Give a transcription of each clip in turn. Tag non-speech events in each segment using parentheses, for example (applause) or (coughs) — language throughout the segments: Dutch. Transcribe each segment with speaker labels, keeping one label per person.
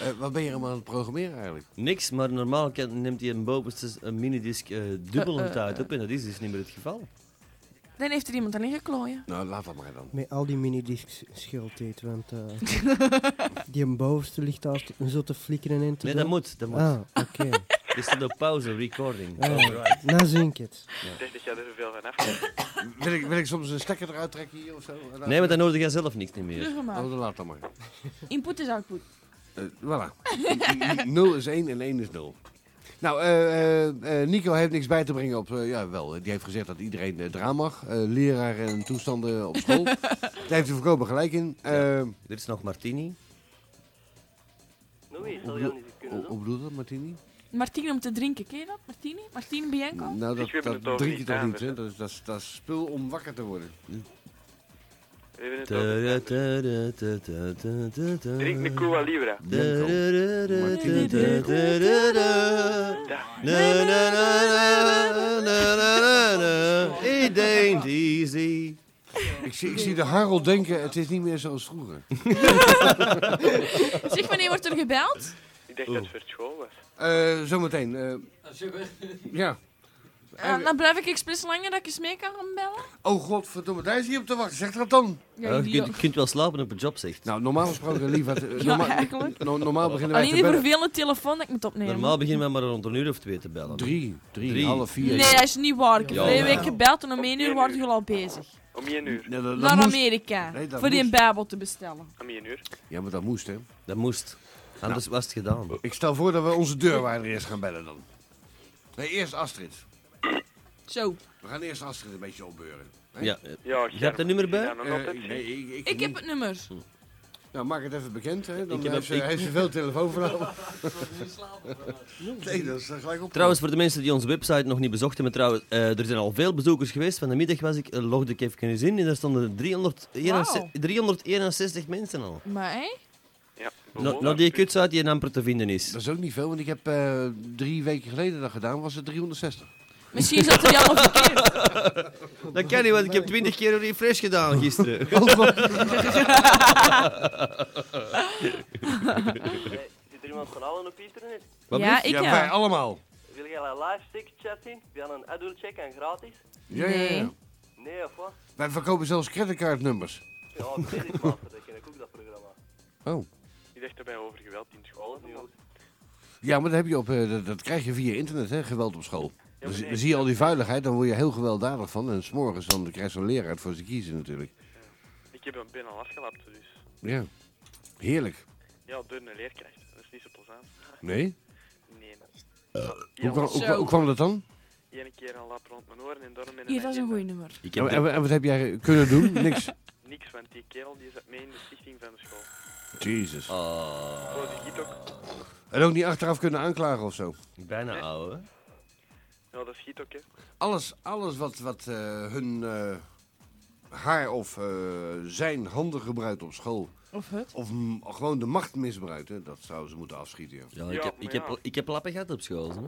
Speaker 1: Eh, wat ben je hem aan het programmeren eigenlijk?
Speaker 2: Niks, maar normaal kan- neemt hij een bovenste s- een minidisc eh dubbel het uit op en dat is dus niet meer het geval.
Speaker 3: Dan heeft er iemand aan ingeklooien.
Speaker 1: Nou, laat dat maar dan.
Speaker 4: Met al die minidiscs schuld eet, want eh,
Speaker 1: (laughs)
Speaker 4: die een bovenste ligt daar te- zo te flikkeren en te
Speaker 2: Nee,
Speaker 4: doen.
Speaker 2: dat moet, dat moet.
Speaker 4: Ah, oké.
Speaker 2: Er staat op pauze, recording.
Speaker 4: Ah.
Speaker 2: Oh, Alright.
Speaker 4: nou zink het.
Speaker 5: Ik denk dat jij er zoveel van afkomt.
Speaker 1: (coughs) Wil ik, wil ik soms een stekker eruit trekken hier of zo?
Speaker 2: Nee, maar dan hoorde jij zelf niks niet meer.
Speaker 3: Terug hem
Speaker 1: Oh,
Speaker 3: maar.
Speaker 1: dan laat dat maar.
Speaker 3: Input is output. (laughs)
Speaker 1: Eh, voilà. (laughs) 0 is 1 en 1 is 0. Nou, eh, eh, eh, Nico heeft niks bij te brengen op... eh, ja, wel, eh, die heeft gezegd dat iedereen eh, eraan mag. Eh, leraar en toestanden op
Speaker 2: (laughs)
Speaker 1: school. Daar heeft hij voorkomen gelijk in. Eh,
Speaker 2: Er is nog Martini.
Speaker 5: Nog eens, zal je dat niet kunnen
Speaker 1: hoe, hoe
Speaker 5: doen?
Speaker 1: bedoel je dat, Martini?
Speaker 3: Martine om te drinken, ken je dat? Martini? Martine Bianco?
Speaker 1: (laughs) Nou, dat,
Speaker 5: Ik heb het
Speaker 1: dat
Speaker 5: over
Speaker 1: drink je
Speaker 5: niet
Speaker 1: toch
Speaker 5: aan,
Speaker 1: niet, hè?
Speaker 5: hè?
Speaker 1: Dat is, dat, is, dat is spul om wakker te worden.
Speaker 5: We hebben het
Speaker 2: Tada,
Speaker 5: over
Speaker 2: tada, tada, tada, tada.
Speaker 5: Drink me Cuba Libra.
Speaker 2: Tada, tada,
Speaker 1: Martini.
Speaker 2: tada, tada, tada.
Speaker 5: Ja,
Speaker 2: Na, na, na, na, na, na, na, na. It ain't easy.
Speaker 1: Ik zie, ik zie de Harold denken, het is niet meer
Speaker 2: (laughs)
Speaker 1: zoals vroeger.
Speaker 3: Zeg, wanneer wordt er gebeld?
Speaker 5: ik dacht dat het voor school was.
Speaker 1: Eh, zometeen. eh, ja.
Speaker 3: Eh, dan blijf ik expres langer dat ik eens mee kan gaan bellen.
Speaker 1: Oh godverdomme, daar is hij op te wachten. Zeg dat dan.
Speaker 3: Ja,
Speaker 2: Je
Speaker 3: idioot.
Speaker 2: kunt, je kunt wel slapen op een job, zegt.
Speaker 1: Nou, normaal gesproken, lief. Wat, eh,
Speaker 3: Ja,
Speaker 1: norma-
Speaker 3: eigenlijk.
Speaker 1: no- normaal beginnen wij
Speaker 3: Alleen
Speaker 1: te
Speaker 3: die
Speaker 1: bellen.
Speaker 3: vervelende telefoon dat ik moet opnemen.
Speaker 2: Normaal beginnen we maar rond een uur of twee te bellen.
Speaker 1: Drie, drie,
Speaker 2: Drie.
Speaker 1: half vier.
Speaker 3: Nee, dat is niet waar. Ik heb
Speaker 2: Ja,
Speaker 3: twee
Speaker 2: ja.
Speaker 3: weken gebeld en om
Speaker 5: Om
Speaker 3: één
Speaker 5: één
Speaker 3: uur
Speaker 5: uur.
Speaker 3: waren jullie al bezig.
Speaker 5: Om 1 uur.
Speaker 1: Nee, dat, dat
Speaker 3: Naar
Speaker 1: moest.
Speaker 3: Amerika.
Speaker 1: Nee, dat
Speaker 3: voor die een
Speaker 1: moest.
Speaker 3: Bijbel te bestellen.
Speaker 5: Om 1 uur.
Speaker 1: Ja, maar dat moest, hè.
Speaker 2: Dat moest. Anders was het gedaan.
Speaker 1: Ik stel voor dat we onze deurwaarder eerst gaan bellen dan. Nee, eerst Astrid.
Speaker 3: Zo.
Speaker 1: We gaan eerst Astrid een beetje opbeuren. Hè?
Speaker 2: Ja, eh,
Speaker 5: Ja,
Speaker 2: Je hebt een nummer bij? Hm.
Speaker 5: Ja, nog
Speaker 1: Eh,
Speaker 5: altijd.
Speaker 1: nee, ik, ik,
Speaker 3: Ik heb
Speaker 1: niet.
Speaker 3: het nummer.
Speaker 1: Nou, maak het even bekend, hè. Dan
Speaker 2: Ik heb
Speaker 1: heeft, ze,
Speaker 2: het- ik-
Speaker 1: heeft ze veel
Speaker 3: (laughs)
Speaker 1: telefoon van Nee, dat is er gelijk op.
Speaker 2: Trouwens, voor de mensen die onze website nog niet bezochten, maar trouwens, eh, er zijn al veel bezoekers geweest. Van de middag was ik, eh, logde ik even eens in en daar stonden 361
Speaker 3: Wauw.
Speaker 2: 361 mensen al.
Speaker 3: Maar hé?
Speaker 5: Ja,
Speaker 2: Nou,
Speaker 5: behoorlijk.
Speaker 2: nou die kuts uit die in amper te vinden is.
Speaker 1: Dat is ook niet veel, want ik heb eh, drie weken geleden dat gedaan, was het 360.
Speaker 3: Misschien zat er jou al verkeerd.
Speaker 2: (laughs) Dat kan niet, want ik heb 20 keer een refresh gedaan gisteren. (laughs)
Speaker 6: (laughs) Eh, Hey, Zit er iemand van allen op internet?
Speaker 2: Wat
Speaker 3: ja, ik
Speaker 1: ja,
Speaker 3: ja.
Speaker 1: wij allemaal.
Speaker 6: Wil jij een live stick chat in? Wil je een adult check en gratis?
Speaker 1: Ja, ja, ja.
Speaker 3: Nee.
Speaker 6: Nee of wat?
Speaker 1: Wij verkopen zelfs creditcardnummers.
Speaker 6: Ja, (laughs) creditmaster, dat ken ik ook dat programma.
Speaker 1: Oh.
Speaker 5: Ik dacht dat wij over geweld in school
Speaker 6: Nu
Speaker 5: hadden.
Speaker 6: ook.
Speaker 1: Ja, maar dat, heb je op, eh, dat, dat krijg je via internet, hè, geweld op school. Dan, zie-
Speaker 5: nee.
Speaker 1: dan zie je al die vuiligheid, dan word je heel gewelddadig van. En s'morgens dan krijg je zo'n leraar het voor ze kiezen natuurlijk.
Speaker 5: Ik heb hem binnen al afgelapt, dus...
Speaker 1: Ja. Heerlijk.
Speaker 5: Ja, door een leerkracht. Dat is niet zo plezant.
Speaker 1: Nee?
Speaker 5: Nee, man.
Speaker 1: Hoe, kwam- hoe,
Speaker 3: Zo.
Speaker 1: kwam- hoe kwam dat dan?
Speaker 5: Eén keer een lap rond mijn oren en daarom ben ik...
Speaker 3: Hier, dat is een goeie nummer.
Speaker 2: Ik heb
Speaker 1: En,
Speaker 2: er-
Speaker 1: en- en wat heb jij Eh, kunnen
Speaker 6: (laughs)
Speaker 2: (laughs)
Speaker 1: doen? Niks.
Speaker 5: Niks, want die kerel die zat mee in de stichting van de school.
Speaker 1: Jezus.
Speaker 2: Ah,
Speaker 5: Oh, die giet ook.
Speaker 1: En ook niet achteraf kunnen aanklagen of zo.
Speaker 2: bijna ouwe.
Speaker 5: Ja, dat schiet ook, hè.
Speaker 1: Alles, alles wat, wat eh, hun eh, haar of eh, zijn handen gebruikt op school.
Speaker 3: Of het?
Speaker 1: Of m- gewoon de macht misbruikt, hè, dat zouden ze moeten afschieten. Ja.
Speaker 2: Ja, ik,
Speaker 5: Ja,
Speaker 2: heb, ik,
Speaker 5: maar
Speaker 2: heb,
Speaker 5: ja.
Speaker 2: ik heb lappen gehad op school. Hè.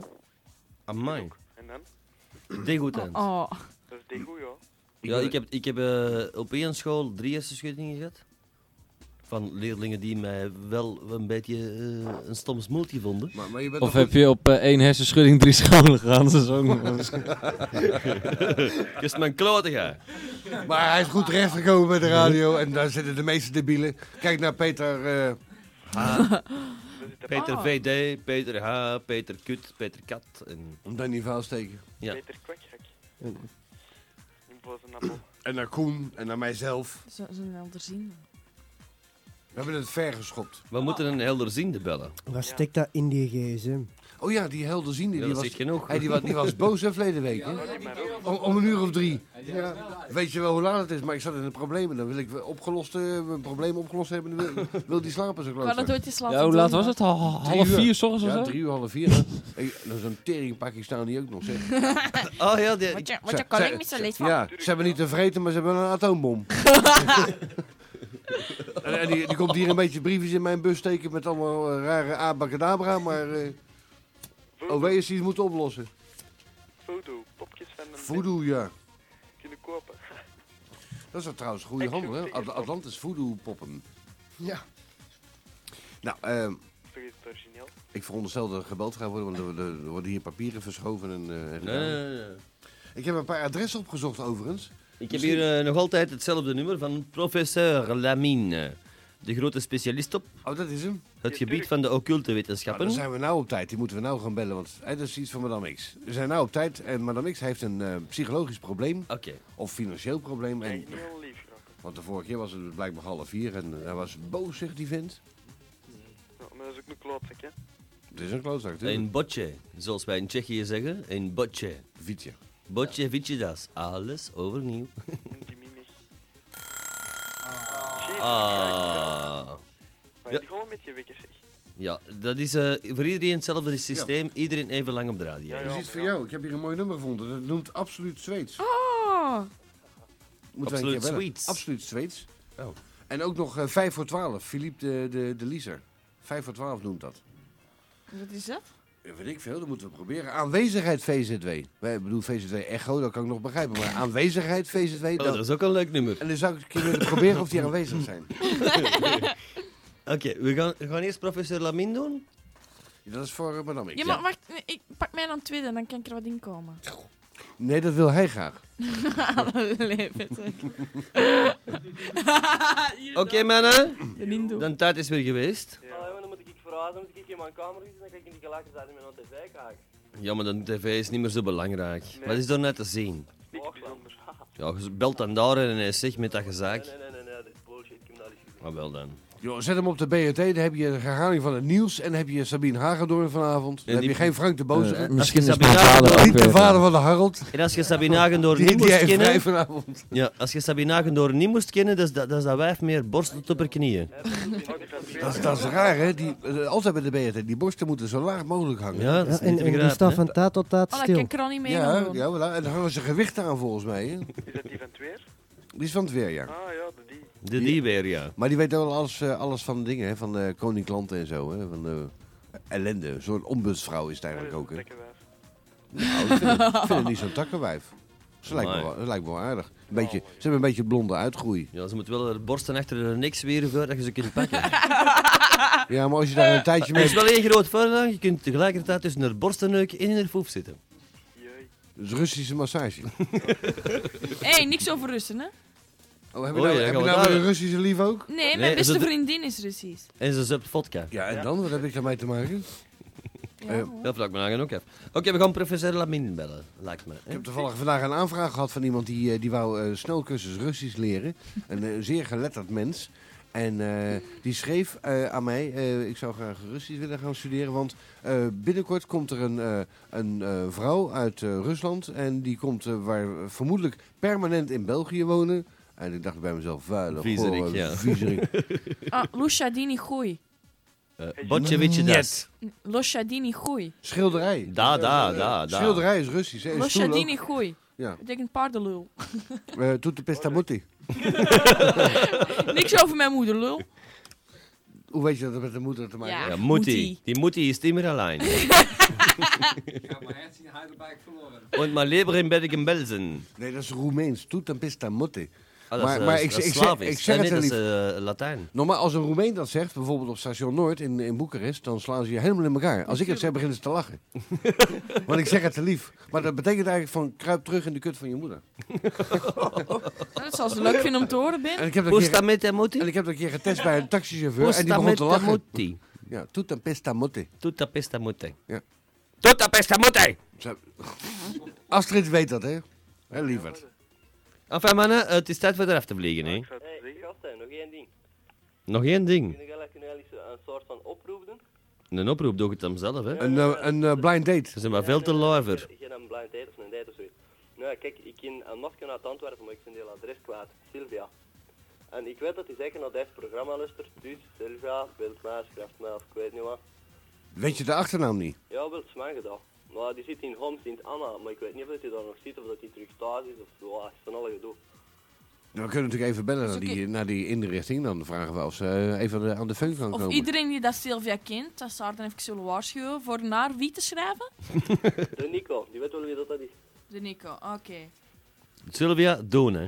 Speaker 2: Amai.
Speaker 5: En dan?
Speaker 2: Deed goed aan.
Speaker 3: Oh.
Speaker 5: Dat is de goeie, hoor.
Speaker 2: Ja, ik heb, ik heb eh, op één school drie eerste schuttingen gehad. Van leerlingen die mij wel een beetje eh, een stom smoeltje vonden.
Speaker 1: Maar, maar je bent
Speaker 7: Of
Speaker 1: toch
Speaker 7: heb je op eh, één hersenschudding drie scholen gegaan? Dat is ook nog wel eens-
Speaker 2: Just mijn klote gaan. (laughs)
Speaker 7: (laughs)
Speaker 1: goed- Maar hij is goed terechtgekomen bij de radio en daar zitten de meeste debielen. Kijk naar Peter. eh,
Speaker 5: (laughs) Dat is de
Speaker 2: Ah. Peter
Speaker 1: Oh.
Speaker 3: Ah.
Speaker 2: VD, Peter H, Peter Kut, Peter Kat. En...
Speaker 1: om Danny Vaal steken.
Speaker 2: Ja.
Speaker 5: Peter Kwakhak.
Speaker 4: Mm.
Speaker 5: In Bozenappel.
Speaker 1: En naar Koen en naar mijzelf.
Speaker 3: Zo- Zo'n helder zien.
Speaker 1: We hebben het ver geschopt.
Speaker 2: We moeten een helderziende bellen.
Speaker 4: Wat steekt dat in die gsm?
Speaker 1: Oh ja, die helderziende,
Speaker 2: Ja, dat
Speaker 1: die,
Speaker 2: is
Speaker 1: was,
Speaker 2: echt genoeg.
Speaker 1: hij, die, was, die was boos hè, verleden week. Hè? Om, om een uur of drie. Ja. Weet je wel hoe laat het is, maar ik zat in een probleem en dan wil ik opgelost, eh, mijn probleem opgelost hebben. Dan wil, wil die slapen zo
Speaker 3: Ik had het
Speaker 1: klootzak.
Speaker 3: ooit eens laten
Speaker 7: Ja, hoe laat
Speaker 3: doen,
Speaker 7: was het? Hal- hal-
Speaker 1: Drie
Speaker 7: half
Speaker 1: uur.
Speaker 7: vier s ochtends
Speaker 1: Ja,
Speaker 7: of zo?
Speaker 1: drie uur, half vier. hè. Ik- Dat is een teringpakje staan die ook nog, zeg.
Speaker 2: Oh ja, die-
Speaker 3: Want
Speaker 2: ik-
Speaker 3: je, want je
Speaker 1: Ze-
Speaker 3: kan
Speaker 1: ze-
Speaker 3: ik niet zo leed van.
Speaker 1: Ja, ze hebben niet te vreten, maar ze hebben een
Speaker 3: (laughs)
Speaker 1: atoombom. en en die, die komt hier een beetje briefjes in mijn bus steken met allemaal eh, rare abacadabra, maar eh OW is die het moeten oplossen.
Speaker 5: Voodoo. Popjes van een
Speaker 1: Voodoo, ja.
Speaker 5: bed kunnen kopen.
Speaker 1: Dat is wel trouwens een goede handel, hè? At- Atlantis voodoo poppen. Ja. Nou, ehm,
Speaker 5: Toch is origineel.
Speaker 1: Ik veronderstel dat er gebeld gaat worden, want er, er worden hier papieren verschoven. En, eh, en
Speaker 2: Nee,
Speaker 1: gedaan.
Speaker 2: nee, nee, nee.
Speaker 1: Ik heb een paar adressen opgezocht overigens.
Speaker 2: Ik heb
Speaker 1: Misschien-
Speaker 2: hier eh, nog altijd hetzelfde nummer van professor Lamine, de grote specialist op
Speaker 1: Oh, dat is hem.
Speaker 2: het gebied van de occulte wetenschappen.
Speaker 1: Nou, dan zijn we nou op tijd. Die moeten we nou gaan bellen, want hè, dat is iets van Madame X. We zijn nou op tijd en Madame X heeft een eh, psychologisch probleem
Speaker 2: Oké,
Speaker 1: of financieel probleem. En,
Speaker 5: En heel lief, Jacco.
Speaker 1: want de vorige keer was het blijkbaar half vier en eh, hij was boos, zegt die vent.
Speaker 5: Ja, maar dat is ook een klootzak, hè.
Speaker 1: Het is een klootzak, natuurlijk.
Speaker 2: een botje, zoals wij in Tsjechië zeggen, een botje.
Speaker 1: Vietje.
Speaker 2: Botje, vietje, das. Alles
Speaker 1: (laughs)
Speaker 2: overnieuw.
Speaker 5: En Die mimik. Jezus,
Speaker 2: Ah.
Speaker 5: Maar
Speaker 2: Ja.
Speaker 5: die gewoon met je wikkers, zeg.
Speaker 2: Ja, dat is eh, voor iedereen hetzelfde systeem. Iedereen even lang op de radio.
Speaker 5: Ja,
Speaker 1: Dat is iets
Speaker 5: maar
Speaker 1: voor
Speaker 5: ja.
Speaker 1: jou. Ik heb hier een mooi nummer gevonden. Dat noemt Absoluut Zweeds.
Speaker 3: Oh,
Speaker 1: Moeten wij een
Speaker 2: Absoluut Oh.
Speaker 1: keer bellen.
Speaker 2: Zweeds.
Speaker 1: Absoluut Zweeds. En ook nog eh, 5 voor 12. Philippe de, de, de Lieser. 5 voor 12 noemt dat.
Speaker 3: wat is dat?
Speaker 1: Ja, Weet ik veel, dat moeten we proberen. Aanwezigheid VZW. Wij ik bedoel VZW Echo, dat kan ik nog begrijpen. Maar aanwezigheid VZW,
Speaker 2: Oh, dat
Speaker 1: dat...
Speaker 2: is ook een leuk nummer.
Speaker 1: En dan zou ik een keer willen proberen of die aanwezig zijn.
Speaker 2: Oké, we, gaan, we gaan eerst professor Lamin doen.
Speaker 1: Ja, dat is voor eh, madame X.
Speaker 3: Ja, maar wacht, nee, ik pak mij dan tweede, dan kan ik er wat in komen.
Speaker 1: Nee, dat wil hij graag.
Speaker 3: Allee, Patrick.
Speaker 2: Oké, mannen.
Speaker 3: De Nindo.
Speaker 2: Dan tijd is weer geweest.
Speaker 6: Ah, ja, maar dan moet ik verhuizen, dan moet ik in mijn kamer zitten, dan kan ik in die gelakken zijn met een tv
Speaker 5: (laughs)
Speaker 6: kijken.
Speaker 2: Ja, maar de tv is niet meer zo belangrijk. Wat is er net te zien?
Speaker 5: Niks bijzonders.
Speaker 2: Ja, je belt dan daar en hij zegt met dat gezaak.
Speaker 6: Nee, nee, nee, nee, dat is bullshit, ik heb dat niet gezien.
Speaker 2: Maar wel dan.
Speaker 1: Yo, zet hem op de BRT, dan heb je de herhaling van het nieuws. En dan heb je Sabine Hagedorn vanavond. Dan
Speaker 2: Ja,
Speaker 1: heb
Speaker 2: die-
Speaker 1: je geen Frank de Boze.
Speaker 7: Eh,
Speaker 1: hè?
Speaker 7: misschien is
Speaker 2: Als je
Speaker 7: mijn
Speaker 2: Sabine
Speaker 7: vader ook
Speaker 1: Niet de
Speaker 7: weer-
Speaker 2: eh,
Speaker 1: vader van de Harold.
Speaker 2: En als je Sabine Hagendorp
Speaker 1: (laughs) Die,
Speaker 2: niet
Speaker 1: die
Speaker 2: moest
Speaker 1: heeft vrij
Speaker 2: kennen...
Speaker 1: vanavond.
Speaker 2: Ja, als je Sabine Hagendorp niet moest kennen, dus dat is dat, dat is dat wijf meer borst tot op haar knieën.
Speaker 5: Oh,
Speaker 1: Dat, is- dat is raar, hè? Die, eh, altijd bij de BRT. Die borsten moeten zo laag mogelijk hangen.
Speaker 2: Ja, dat
Speaker 4: Ja,
Speaker 2: is niet
Speaker 4: en,
Speaker 2: te
Speaker 4: en die staat
Speaker 2: begrijpen. hè.
Speaker 4: van tijd tot tijd
Speaker 3: Oh, dat kan
Speaker 4: stil.
Speaker 3: ik er al niet mee
Speaker 1: ja,
Speaker 3: gaan doen.
Speaker 1: ja, voilà. En dan hangen ze gewichten aan volgens mij. Hè?
Speaker 5: Is dat die van het weer?
Speaker 1: Die is van het weer, ja.
Speaker 5: Ah ja, de die.
Speaker 2: De die weer, ja.
Speaker 1: Maar die weet wel alles, eh, alles van dingen, hè? van eh koninklanten en zo. Hè? Van eh, ellende. Zo'n ombudsvrouw is het eigenlijk ook. Hè?
Speaker 5: Oh, Lekker wijf.
Speaker 1: Nou, ik vind het- ik vind het niet zo'n takkenwijf. Ze lijkt, me wel, ze lijkt me wel aardig. Een beetje, ze hebben een beetje blonde uitgroei.
Speaker 2: Ja, ze moet wel haar borsten achter haar niks weer voor dat je ze kunt pakken.
Speaker 1: (laughs) Ja, maar als je daar een tijdje
Speaker 2: Er
Speaker 1: mee...
Speaker 2: is wel één groot voordeel, je kunt tegelijkertijd tussen haar borstenneuk en haar foef zitten.
Speaker 5: Jee.
Speaker 1: Dat is Dus Russische massage.
Speaker 3: Hé, hey, niks over Russen, hè?
Speaker 1: Oh, heb je
Speaker 2: Oei,
Speaker 1: nou,
Speaker 2: dan
Speaker 1: heb
Speaker 2: gaan we
Speaker 1: je nou weer
Speaker 2: daar-
Speaker 1: een Russische lief ook?
Speaker 3: Nee,
Speaker 2: Nee,
Speaker 3: mijn
Speaker 2: is
Speaker 3: beste
Speaker 2: het-
Speaker 3: vriendin is Russisch.
Speaker 2: (laughs) En ze zupt vodka.
Speaker 1: Ja, en dan? Wat heb ik daarmee te maken?
Speaker 3: Ja,
Speaker 1: Eh,
Speaker 3: hoor.
Speaker 2: Dat vlak me aan ook even. Oké, we gaan professor Lamin bellen, lijkt me.
Speaker 1: Ik heb toevallig vandaag een aanvraag gehad van iemand die, eh, die wou eh snelcursus Russisch leren. (laughs) Een eh, zeer geletterd mens. En eh, die schreef eh, aan mij, eh, ik zou graag Russisch willen gaan studeren, want eh, binnenkort komt er een, eh, een eh, vrouw uit eh, Rusland en die komt eh, waar we vermoedelijk permanent in België wonen. En ik dacht bij mezelf, vuile
Speaker 2: Viezerik,
Speaker 1: gore
Speaker 2: ja. (laughs)
Speaker 1: viezerik.
Speaker 3: (laughs) Ah, Loshadini gooi.
Speaker 2: Eh, Botje, witje, das.
Speaker 3: Loshadini gooi.
Speaker 1: Schilderij.
Speaker 2: Da, da, da, da.
Speaker 1: Schilderij is Russisch. Hè? Een stoel ook.
Speaker 3: Loshadini gooi.
Speaker 1: Ja.
Speaker 3: Betekent
Speaker 1: (laughs)
Speaker 3: paardenlul.
Speaker 1: Eh Tutte Pestamutti.
Speaker 3: Niks over mijn moeder, lul.
Speaker 1: Hoe weet je dat het met de moeder te maken
Speaker 3: Ja.
Speaker 1: heeft?
Speaker 2: Ja,
Speaker 3: Moetie.
Speaker 2: Moetie. Die Moetie is immer
Speaker 1: (laughs)
Speaker 2: allein. Und mein Leber in Bergen Belsen.
Speaker 1: Nee, dat is Roemeens. Tutte Pestamutti.
Speaker 2: Ah, dat
Speaker 1: Maar-
Speaker 2: is, eh,
Speaker 1: maar
Speaker 2: dat
Speaker 1: ik-
Speaker 2: is
Speaker 1: ik- ik zeg-
Speaker 2: Slavisch.
Speaker 1: ik zeg
Speaker 2: Ah,
Speaker 1: het
Speaker 2: nee,
Speaker 1: heel
Speaker 2: dat is eh, Latijn.
Speaker 1: Normaal, Nou, als een Roemeen dat zegt, bijvoorbeeld op station Noord in, in Boekarest, dan slaan ze je helemaal in elkaar. Als ik het zeg, beginnen ze te lachen. Want ik zeg het te lief. Maar dat betekent eigenlijk van kruip terug in de kut van je moeder.
Speaker 3: (laughs) Dat zal ze leuk vinden om te horen, Ben.
Speaker 1: En ik heb dat, een keer,
Speaker 2: Pustamete
Speaker 1: en
Speaker 2: Moetie.
Speaker 1: ik heb dat een keer getest bij een taxichauffeur en die begon te
Speaker 2: Pustamete
Speaker 1: lachen.
Speaker 2: Moetie.
Speaker 1: Ja, toet en pesta motte.
Speaker 2: Tutta pesta motte.
Speaker 1: Ja.
Speaker 2: Tutta pesta motte!
Speaker 1: Ze- Astrid weet dat, hè? Hè, lieverd.
Speaker 2: Enfin mannen, het is tijd voor eraf te vliegen. Hè.
Speaker 5: Ik zou
Speaker 6: Hé,
Speaker 5: het zeggen.
Speaker 6: gasten, nog één ding.
Speaker 2: Nog één ding.
Speaker 6: Kunnen jullie kunnen jullie eens een soort van oproep doen?
Speaker 2: Een oproep doe ik het hem zelf. Hè.
Speaker 1: Een, eh, een eh, blind date.
Speaker 2: Ze zijn maar veel te luiver.
Speaker 6: Geen een blind date of een date of zoiets. Nou, kijk, ik ken een masker uit Antwerpen, maar ik ben heel adres kwijt. Sylvia. En ik weet dat hij zeker naar dit programma luistert. Dus, Sylvia, wilt mij, schrijft mij of ik weet niet wat.
Speaker 1: Weet je de achternaam niet?
Speaker 6: Ja, wilt ze mij gedaan. Maar die zit in Homs in Anna, maar ik weet niet of dat hij daar nog zit of dat hij terug thuis is of zo. Ah, het is van alle gedoe.
Speaker 1: Nou, we kunnen natuurlijk even bellen
Speaker 3: Dat
Speaker 1: naar
Speaker 3: is
Speaker 1: die, naar die inrichting. Dan vragen we of ze eh, even aan de- aan de feun kan
Speaker 3: Of
Speaker 1: komen.
Speaker 3: iedereen die dat Sylvia kent, dat zou haar dan even zullen waarschuwen voor naar wie te schrijven?
Speaker 6: De Nico, die weet wel wie dat, dat is.
Speaker 3: De Nico, oké.
Speaker 2: Sylvia, doen hè.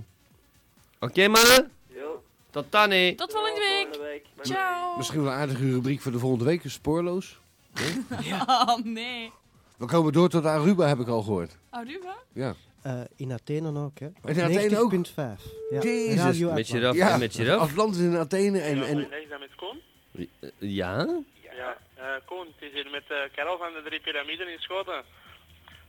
Speaker 2: Oké mannen,
Speaker 6: Ja.
Speaker 2: Tot dan, hè.
Speaker 3: Tot volgende week.
Speaker 8: Volgende week.
Speaker 3: Ciao.
Speaker 1: Misschien wel een aardige rubriek voor de volgende week, spoorloos.
Speaker 3: Oh (laughs) nee.
Speaker 1: We komen door tot Aruba, heb ik al gehoord.
Speaker 3: Aruba?
Speaker 1: Ja.
Speaker 4: Eh, in Athene ook, hè?
Speaker 1: In Athene ook?
Speaker 4: 90.5. Ja.
Speaker 1: Jezus.
Speaker 4: Radio
Speaker 2: Met je
Speaker 4: Atlas.
Speaker 2: eraf
Speaker 1: Ja.
Speaker 2: en met je eraf.
Speaker 1: Atlantis in Athene en... en
Speaker 9: is dat met Koen?
Speaker 2: Ja?
Speaker 9: Ja, eh, Koen, het is hier met eh Karel van de Drie Pyramiden in Schoten.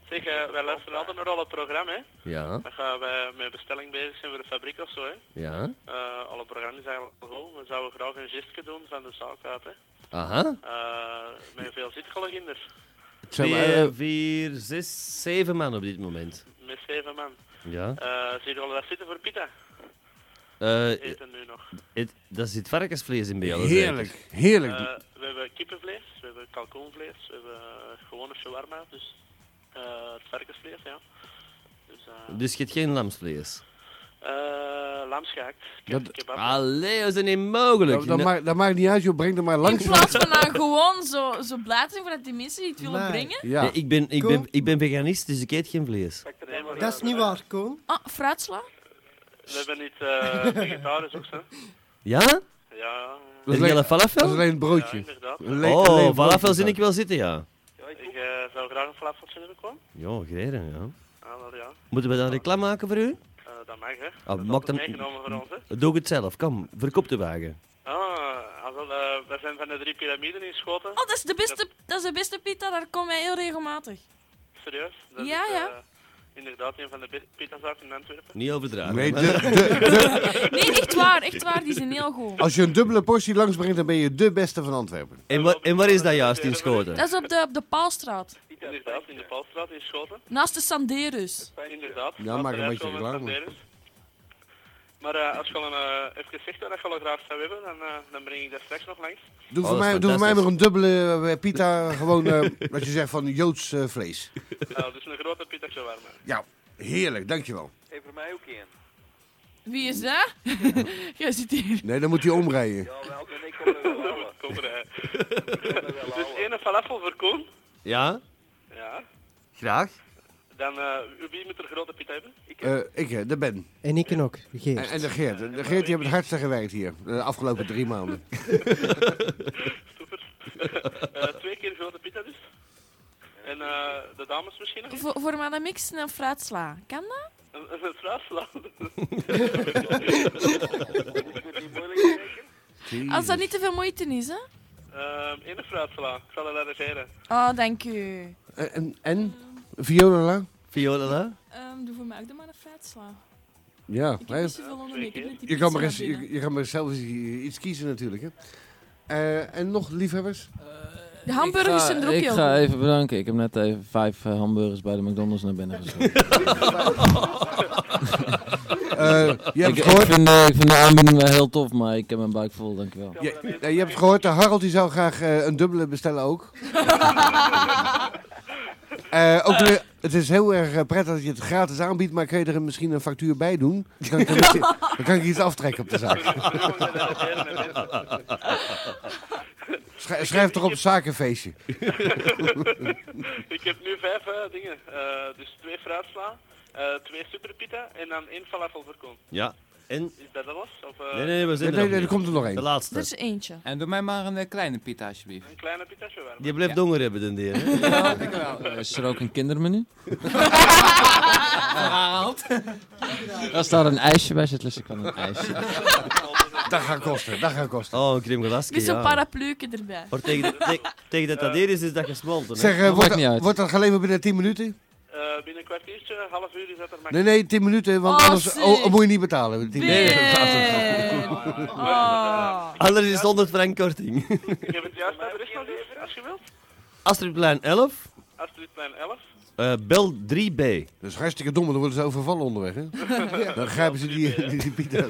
Speaker 9: Zeg, eh, wij luisteren altijd naar al het programma, hè.
Speaker 2: Ja,
Speaker 9: Dan gaan we met bestelling bezig zijn voor de fabriek of zo, hè.
Speaker 2: ja.
Speaker 9: Eh, alle programma's zijn al goed. We zouden graag een gistje doen van de zaak uit, hè.
Speaker 2: Aha.
Speaker 9: Eh, met veel zitgeleginders.
Speaker 1: zeg maar, eh,
Speaker 2: Twee, vier, zes, zeven man op dit moment.
Speaker 9: Met zeven man.
Speaker 2: Ja.
Speaker 9: Eh zie je al wat zitten voor pita?
Speaker 2: Eh,
Speaker 9: Eten nu nog.
Speaker 2: het, daar zit varkensvlees in bij alles.
Speaker 1: heerlijk, heerlijk.
Speaker 9: Eh, we hebben kippenvlees, we hebben kalkoenvlees, we hebben eh, gewone shawarma, dus eh, het varkensvlees, ja. Dus, eh,
Speaker 2: Dus je hebt geen lamsvlees.
Speaker 9: Eh, lamsgehakt.
Speaker 1: Dat-
Speaker 9: Dat... Kebab.
Speaker 2: Allee, dat is niet mogelijk.
Speaker 1: dat, dat,
Speaker 2: Nou,
Speaker 1: maakt, dat maakt niet uit, joh. Breng er maar
Speaker 3: In
Speaker 1: langs.
Speaker 3: plaats van dan gewoon zo, zo blij te zijn voordat die mensen die het willen
Speaker 4: Nee.
Speaker 3: brengen.
Speaker 1: Ja.
Speaker 2: nee, ik, ben, ik,
Speaker 4: Cool.
Speaker 2: ben, ik ben veganist, dus ik eet geen vlees.
Speaker 4: Dat is niet waar, Koen.
Speaker 3: Ah, fruitsla.
Speaker 9: We hebben niet eh vegetarisch ook, hè?
Speaker 2: Ja?
Speaker 9: Ja,
Speaker 1: Dat
Speaker 2: Heb
Speaker 1: is alleen-
Speaker 2: je een
Speaker 1: Dat is
Speaker 2: falafel?
Speaker 1: alleen het
Speaker 9: ja,
Speaker 1: broodje.
Speaker 9: inderdaad.
Speaker 1: Een le- alleen
Speaker 2: Oh,
Speaker 1: het broodje.
Speaker 2: falafel zin ik wel zitten, ja.
Speaker 9: Ik eh, zou graag een flafeltje hebben, Koen.
Speaker 2: Ja, greren, ja.
Speaker 9: Ah, wel ja.
Speaker 2: Moeten we dan reclame maken voor u?
Speaker 9: Eh, dat mag, hè.
Speaker 2: Ah,
Speaker 9: dat
Speaker 2: mag
Speaker 9: is
Speaker 2: dan-
Speaker 9: meegenomen voor ons, hè.
Speaker 2: Doe het zelf, kom. Verkoop de wagen.
Speaker 9: Ah, ah, wel, eh, we zijn van de drie piramiden in Schoten.
Speaker 3: Oh, dat is de beste, dat is de beste pita, daar komen wij heel regelmatig.
Speaker 9: Serieus. Dat
Speaker 3: Ja,
Speaker 9: is,
Speaker 3: ja.
Speaker 9: eh, inderdaad een van de be- pitazaken in Antwerpen.
Speaker 2: Niet overdragen.
Speaker 1: Nee,
Speaker 2: maar-
Speaker 1: de-
Speaker 2: (laughs)
Speaker 1: de-
Speaker 3: Nee, echt waar, echt waar, die zijn heel goed.
Speaker 1: als je een dubbele portie langs brengt, dan ben je de beste van Antwerpen.
Speaker 2: en, wa- en waar is dat juist in Schoten?
Speaker 3: Dat is op de, op de Paalstraat,
Speaker 9: Inderdaad, in de Palstraat in Schoten.
Speaker 3: naast de Sanderus.
Speaker 9: Inderdaad.
Speaker 1: Ja, maak een
Speaker 9: Laat
Speaker 1: beetje
Speaker 9: de
Speaker 1: reclame.
Speaker 9: standaard is. Maar eh, als je al een, eh even zegt dat je al graag zou hebben, dan, eh, dan breng ik dat straks nog langs.
Speaker 1: Doe,
Speaker 2: Oh,
Speaker 1: voor,
Speaker 2: dat is
Speaker 1: mij, doe voor mij
Speaker 2: fantastisch.
Speaker 1: maar een dubbele eh, pita, gewoon eh, wat je zegt van Joods eh, vlees.
Speaker 9: (laughs) Ah, dus een grote pita shawarma.
Speaker 1: Ja, heerlijk, dankjewel.
Speaker 8: Hey, voor mij ook één.
Speaker 3: Wie is dat? (laughs) Jij zit hier.
Speaker 1: Nee, dan moet hij omrijden.
Speaker 8: Ja, wel, ben ik kom er wel halen.
Speaker 9: Kom er, hè.
Speaker 8: Ik kom er wel
Speaker 9: Dus
Speaker 8: halen.
Speaker 9: één falafel voor Koen.
Speaker 2: Ja?
Speaker 9: Ja.
Speaker 2: Graag.
Speaker 9: Dan, eh, wie moet er grote pita hebben? Ik (laughs)
Speaker 1: Eh, ik, eh, de Ben.
Speaker 4: En ik en ook, Geert.
Speaker 1: En, en de Geert. De Geert, die hebben het hardste gewerkt hier. De afgelopen drie maanden.
Speaker 9: super. Eh, twee keer grote pita dus. En eh, de dames misschien nog?
Speaker 3: Voor, voor Madame X een fruitsla. Kan dat?
Speaker 9: Een, een fruitslaan.
Speaker 3: Als dat niet te veel moeite is, hè?
Speaker 9: Ehm, één fruitslaan. Ik zal het regeren.
Speaker 3: Oh, dank u.
Speaker 1: En, en, en? Viola? La?
Speaker 2: Viola, la?
Speaker 3: Ehm, doe voor mij ook dan maar een fruitsla.
Speaker 1: Ja.
Speaker 3: Ik heb
Speaker 1: hè?
Speaker 3: niet zoveel onder mee. Ik heb net die
Speaker 1: Je kan, maar eens,
Speaker 3: pizza
Speaker 1: je,
Speaker 3: binnen.
Speaker 1: je kan maar zelf eens i- iets kiezen natuurlijk. Hè. Eh, en nog liefhebbers?
Speaker 3: Eh, De hamburgers zijn er ook
Speaker 7: Ah, Ik
Speaker 3: heel
Speaker 7: ga
Speaker 3: goed.
Speaker 7: even bedanken. Ik heb net even vijf eh, hamburgers bij de McDonald's naar binnen
Speaker 2: (laughs)
Speaker 7: geschoten.
Speaker 1: Eh, je, hebt
Speaker 7: ik,
Speaker 1: het
Speaker 7: ik,
Speaker 1: gehoord,
Speaker 7: vind, eh, ik vind de aanbieding wel heel tof, maar ik heb mijn buik vol, dankjewel.
Speaker 1: je, eh, je hebt het gehoord, de Harold die zou graag eh, een dubbele bestellen ook. Eh, ook de- het is heel erg eh, prettig dat je het gratis aanbiedt, maar kun je er misschien een factuur bij doen? Dan kan ik, er misschien- dan kan ik iets aftrekken op de zaak. Schrij- schrijf toch op zakenfeestje.
Speaker 9: (laughs) Ik heb nu vijf eh, dingen. Eh, dus twee fruitsla, eh, twee superpita en dan één falafel voor Koen.
Speaker 2: Ja. En?
Speaker 9: Is dat alles? Of eh,
Speaker 2: Nee, nee, we
Speaker 1: Nee,
Speaker 2: zijn er
Speaker 1: nee,
Speaker 2: nog
Speaker 1: nee, er
Speaker 2: niet.
Speaker 1: komt er nog
Speaker 2: De
Speaker 1: één.
Speaker 3: Er
Speaker 2: laatste.
Speaker 3: is
Speaker 2: (laughs)
Speaker 3: eentje.
Speaker 10: En doe mij maar een eh, kleine pita, alsjeblieft.
Speaker 9: een kleine pita shawarma?
Speaker 2: Die blijft honger hebben, den dier. hè?
Speaker 7: (laughs)
Speaker 10: Ja, denk ik wel.
Speaker 7: Eh, Is er ook een kindermenu? (laughs)
Speaker 10: Harold.
Speaker 9: Eh,
Speaker 7: Als daar een ijsje bij zit, lust ik wel een ijsje.
Speaker 1: (laughs) Dat gaat kosten, dat gaat kosten.
Speaker 2: Oh, een krimgelasje,
Speaker 3: Met zo'n
Speaker 2: ja.
Speaker 3: parapluke erbij.
Speaker 2: Maar tegen, te- tegen
Speaker 9: Eh.
Speaker 2: dat dat hier is, is dat gesmolten. Hè?
Speaker 1: Zeg, eh, wordt,
Speaker 7: maakt niet
Speaker 1: dat-
Speaker 7: uit.
Speaker 1: wordt dat geleverd binnen 10 minuten?
Speaker 9: Eh, binnen een kwartiertje, half uur is dat er
Speaker 1: Nee,
Speaker 9: makkelijk.
Speaker 1: nee, 10 minuten, want
Speaker 3: Oh,
Speaker 1: anders
Speaker 3: sick.
Speaker 1: oh, oh, moet je niet betalen. 10 minuten.
Speaker 3: Ben. Oh.
Speaker 2: Anders is het 100 frank korting.
Speaker 9: Ah. Ik heb het juist adres nog even, als je wilt.
Speaker 2: Astridplein 11,
Speaker 9: Astridplein 11.
Speaker 2: eh, bel 3B.
Speaker 1: Dat is hartstikke dom, want dan worden ze overvallen onderweg. Hè?
Speaker 3: (laughs)
Speaker 1: Dan grijpen ze die, die, die pieten.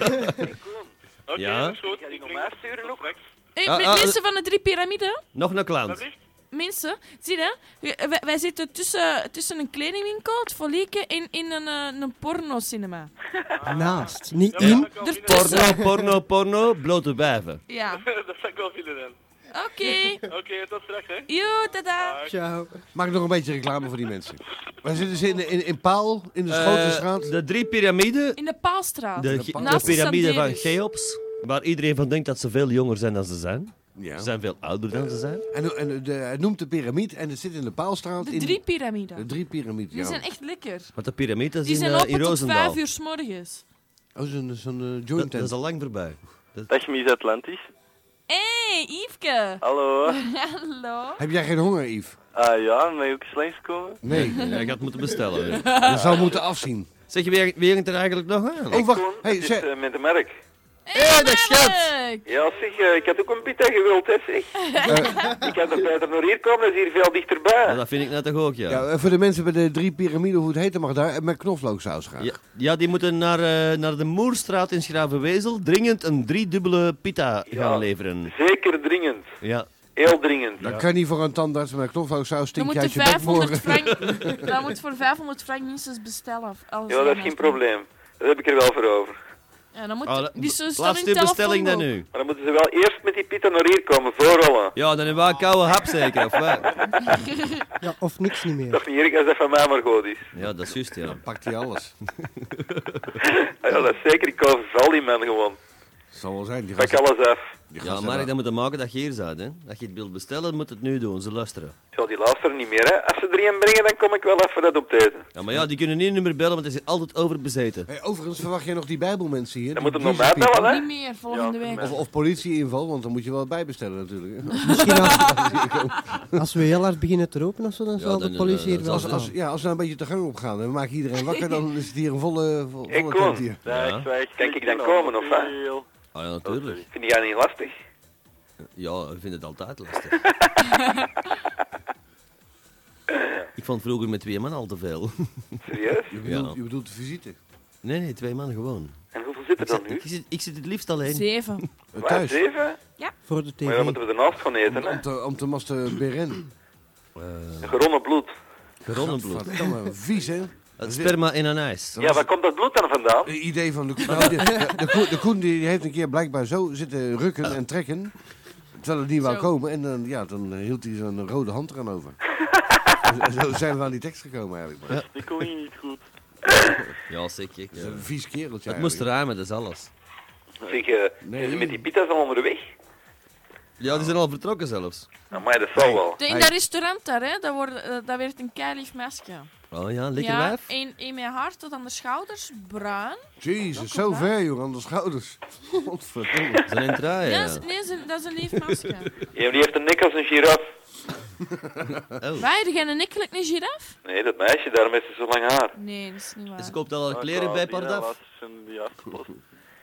Speaker 9: Oké,
Speaker 2: Ja.
Speaker 3: dus.
Speaker 9: dat is goed.
Speaker 8: Ga die
Speaker 9: Ik
Speaker 8: nog
Speaker 9: breng
Speaker 8: maar
Speaker 9: het
Speaker 8: sturen
Speaker 9: tot
Speaker 8: nog?
Speaker 9: straks.
Speaker 3: Hey,
Speaker 2: Ah,
Speaker 3: met
Speaker 2: ah,
Speaker 3: mensen Eh, van de drie piramiden,
Speaker 2: Nog een klant.
Speaker 9: Alsjeblieft.
Speaker 3: mensen, zie je, hè? wij, wij zitten tussen, tussen een kledingwinkel, het Folieke, en in een, eh, een pornocinema.
Speaker 9: Ah.
Speaker 2: Nou.
Speaker 4: Naast. Niet
Speaker 9: Ja,
Speaker 4: in.
Speaker 9: dat kan binnen-
Speaker 3: Ertussen.
Speaker 2: Porno, porno, porno, blote wijven.
Speaker 3: Ja,
Speaker 9: (laughs) Dat zou ik wel vinden dan.
Speaker 3: oké.
Speaker 9: (laughs) Oké, tot straks hè.
Speaker 3: Joe, tada.
Speaker 4: Ciao.
Speaker 1: Maak nog een beetje reclame voor die mensen. Wij zitten ze in, in, in Paal, in de Schotenstraat.
Speaker 2: Eh, de drie piramiden.
Speaker 3: In de Paalstraat.
Speaker 2: De, ge- de
Speaker 1: Naast
Speaker 3: de
Speaker 2: piramide van
Speaker 3: Sanderis.
Speaker 2: Cheops. Waar iedereen van denkt dat ze veel jonger zijn dan ze zijn.
Speaker 1: Ja.
Speaker 2: Ze zijn veel ouder dan ze zijn.
Speaker 1: En, en de, hij noemt de piramide en het zit in de paalstraat.
Speaker 3: De
Speaker 1: in,
Speaker 3: drie
Speaker 1: De
Speaker 3: piramiden.
Speaker 1: drie piramide,
Speaker 3: Die
Speaker 1: ja.
Speaker 3: zijn echt lekker.
Speaker 2: Want de piramide is
Speaker 3: Die
Speaker 2: in,
Speaker 3: zijn
Speaker 2: eh,
Speaker 3: open
Speaker 2: in
Speaker 3: tot
Speaker 2: Roosendaal.
Speaker 3: vijf uur s morgens.
Speaker 1: Oh, zo'n zo'n eh,
Speaker 2: Dat,
Speaker 1: joint
Speaker 2: dat
Speaker 1: tent.
Speaker 2: is al lang voorbij.
Speaker 11: Dag Mies Atlantisch.
Speaker 3: Hé, hey, Yveske.
Speaker 11: Hallo.
Speaker 3: (laughs) Hallo.
Speaker 1: Heb jij geen honger, Yves?
Speaker 11: Ah ja, mag je ook eens langskomen?
Speaker 1: Nee.
Speaker 2: Jij gaat moeten bestellen.
Speaker 1: Je zou moeten afzien.
Speaker 2: Zeg je, wie wie hangt er eigenlijk nog aan?
Speaker 1: Oh, wacht.
Speaker 11: Koen,
Speaker 1: Hey,
Speaker 11: het is
Speaker 1: zeg-
Speaker 11: eh, met de merk.
Speaker 3: Hey,
Speaker 2: dat schat.
Speaker 3: Mark.
Speaker 11: Ja zeg, eh, ik had ook een pita gewild hè zeg. ik had er beter naar hier komen, dat is hier veel dichterbij.
Speaker 2: Ja, Oh, dat vind ik net toch ook, ja.
Speaker 1: Ja,
Speaker 2: Ja,
Speaker 1: eh, voor de mensen bij de drie piramiden, hoe het heet, mag daar eh, met knoflooksaus gaan.
Speaker 2: ja, die moeten naar, eh, naar de Moerstraat in Schravenwezel dringend een driedubbele pita gaan leveren.
Speaker 11: Zeker dringend.
Speaker 2: Ja.
Speaker 11: Heel dringend.
Speaker 1: Dat kan niet voor een tandarts met knoflooksaus
Speaker 3: Dan
Speaker 1: stink
Speaker 3: moet
Speaker 1: je
Speaker 3: je
Speaker 1: uit je bek
Speaker 3: 500
Speaker 1: morgen. (laughs)
Speaker 3: frank...
Speaker 2: (laughs)
Speaker 3: Dan moet voor 500 frank minstens bestellen. Als
Speaker 11: Ja, dat is geen probleem. Dat heb ik er wel voor over.
Speaker 3: Ja, dan moet
Speaker 2: Oh,
Speaker 3: je-
Speaker 2: dat-
Speaker 3: die zo staan in
Speaker 2: Laatste
Speaker 3: het
Speaker 2: bestelling dan
Speaker 3: telefoonboek.
Speaker 2: nu.
Speaker 11: Maar dan moeten ze wel eerst met die pita naar hier komen, voorrollen.
Speaker 2: Ja, dan hebben we een koude hap zeker, of wat?
Speaker 4: Ja, of niks niet meer.
Speaker 11: Toch niet erg als dat van mij maar goed is.
Speaker 2: Ja, dat is juist, ja.
Speaker 1: Pakt hij alles. (laughs)
Speaker 11: Ah Ja, dat is zeker. Ik koop val die man gewoon.
Speaker 1: Zal wel zijn. Die
Speaker 11: Pak
Speaker 1: gasten,
Speaker 11: alles af.
Speaker 1: die
Speaker 2: Ja,
Speaker 1: gasten
Speaker 2: maar ik
Speaker 1: hebben-
Speaker 2: dat moet maken dat je hier zat, hè. Dat je het wilt bestellen, moet het nu doen, ze luisteren.
Speaker 11: Ja, die luisteren niet meer, hè. Als ze er een brengen, dan kom ik wel even dat op eten.
Speaker 2: Ja, maar ja, die kunnen niet meer bellen, want het is altijd overbezeten.
Speaker 1: Hey, overigens verwacht jij nog die bijbelmensen hier.
Speaker 11: Dan
Speaker 1: die
Speaker 11: moet hem nog
Speaker 1: Jesus
Speaker 11: mij
Speaker 1: people.
Speaker 11: bellen, hè.
Speaker 3: Niet meer, volgende
Speaker 11: Ja,
Speaker 3: week.
Speaker 1: Of,
Speaker 11: maar-
Speaker 1: of politieinval, want dan moet je wel bijbestellen natuurlijk. hè.
Speaker 4: (laughs) Misschien als, (laughs) als we heel hard beginnen te roepen of zo, dan zal
Speaker 2: dan,
Speaker 4: de
Speaker 2: eh,
Speaker 4: politie hier
Speaker 2: dan
Speaker 4: wel
Speaker 1: Als,
Speaker 2: zal-
Speaker 4: staan.
Speaker 1: als, ja, als we nou een beetje te gang op gaan en we maken iedereen wakker, dan is het hier een volle, vo-
Speaker 11: Ik
Speaker 1: volle tent
Speaker 11: kom.
Speaker 1: hier.
Speaker 2: Ja.
Speaker 11: Kan ik dan komen, of wat?
Speaker 2: Ah ja, natuurlijk.
Speaker 11: Vind jij niet lastig? (laughs)
Speaker 2: Ja, ik vind het altijd lastig. ik vond vroeger met twee man al te veel. (laughs)
Speaker 11: Serieus?
Speaker 1: Je bedoelt, je bedoelt de visite.
Speaker 2: Nee, nee, twee man gewoon.
Speaker 11: En hoeveel zit er
Speaker 2: Ik
Speaker 11: dan
Speaker 2: zit,
Speaker 11: nu?
Speaker 2: ik, zit, ik zit het liefst alleen.
Speaker 3: Zeven.
Speaker 1: Eh,
Speaker 11: Waar,
Speaker 1: thuis.
Speaker 11: zeven?
Speaker 4: Voor de
Speaker 11: Maar dan
Speaker 4: tv.
Speaker 11: moeten we ernaast gaan eten,
Speaker 1: Om,
Speaker 11: hè.
Speaker 1: om te, om te masturberen.
Speaker 11: Geronnen bloed.
Speaker 2: Geronnen bloed.
Speaker 1: Gadverdamme, Vies, hè?
Speaker 2: Het sperma in een ijs.
Speaker 11: Ja, waar komt dat bloed dan vandaan?
Speaker 1: Een idee van de Koen. Nou,
Speaker 11: (laughs)
Speaker 1: de, de Koen, de Koen die heeft een keer blijkbaar zo zitten rukken en trekken. Terwijl het niet wou
Speaker 3: Zo.
Speaker 1: komen. En dan, ja, dan hield hij zo'n rode hand eraan over.
Speaker 3: (laughs)
Speaker 1: En zo zijn we aan die tekst gekomen eigenlijk. Maar.
Speaker 12: Ik kon hier niet goed.
Speaker 2: Ja, zeker.
Speaker 1: Dat is
Speaker 2: Ja.
Speaker 1: een vies kereltje
Speaker 2: Het moest
Speaker 1: eigenlijk.
Speaker 2: ruimen, dat is alles.
Speaker 11: Zeg, eh,
Speaker 1: Nee.
Speaker 11: zijn ze met die pita's al onderweg?
Speaker 2: Ja, die zijn al vertrokken zelfs.
Speaker 11: Amai, Nou, dat zal wel.
Speaker 3: De- In dat restaurant daar, hè, dat, wordt, eh, dat werd een keilief mesje.
Speaker 2: Oh ja, lekker
Speaker 3: ja,
Speaker 2: wijf.
Speaker 3: Een, een mijn haar tot aan de schouders, bruin.
Speaker 1: Jezus, zo
Speaker 3: hè?
Speaker 1: ver joh, aan de schouders. Godverdomme.
Speaker 2: Zijn een trui,
Speaker 3: Ja,
Speaker 2: Ah, ja.
Speaker 3: dat is- nee, dat is een- dat is een lief
Speaker 2: (laughs)
Speaker 3: mesje.
Speaker 11: Ja, die heeft een nek als een giraf.
Speaker 2: Oh.
Speaker 3: Wij, er geen nikkelijk een giraf?
Speaker 11: Nee, dat meisje, daarom heeft ze zo lang haar.
Speaker 3: Nee, dat is niet waar.
Speaker 2: Ze koopt al
Speaker 11: Oh,
Speaker 2: haar kleren bij Pardaf.
Speaker 12: Ja,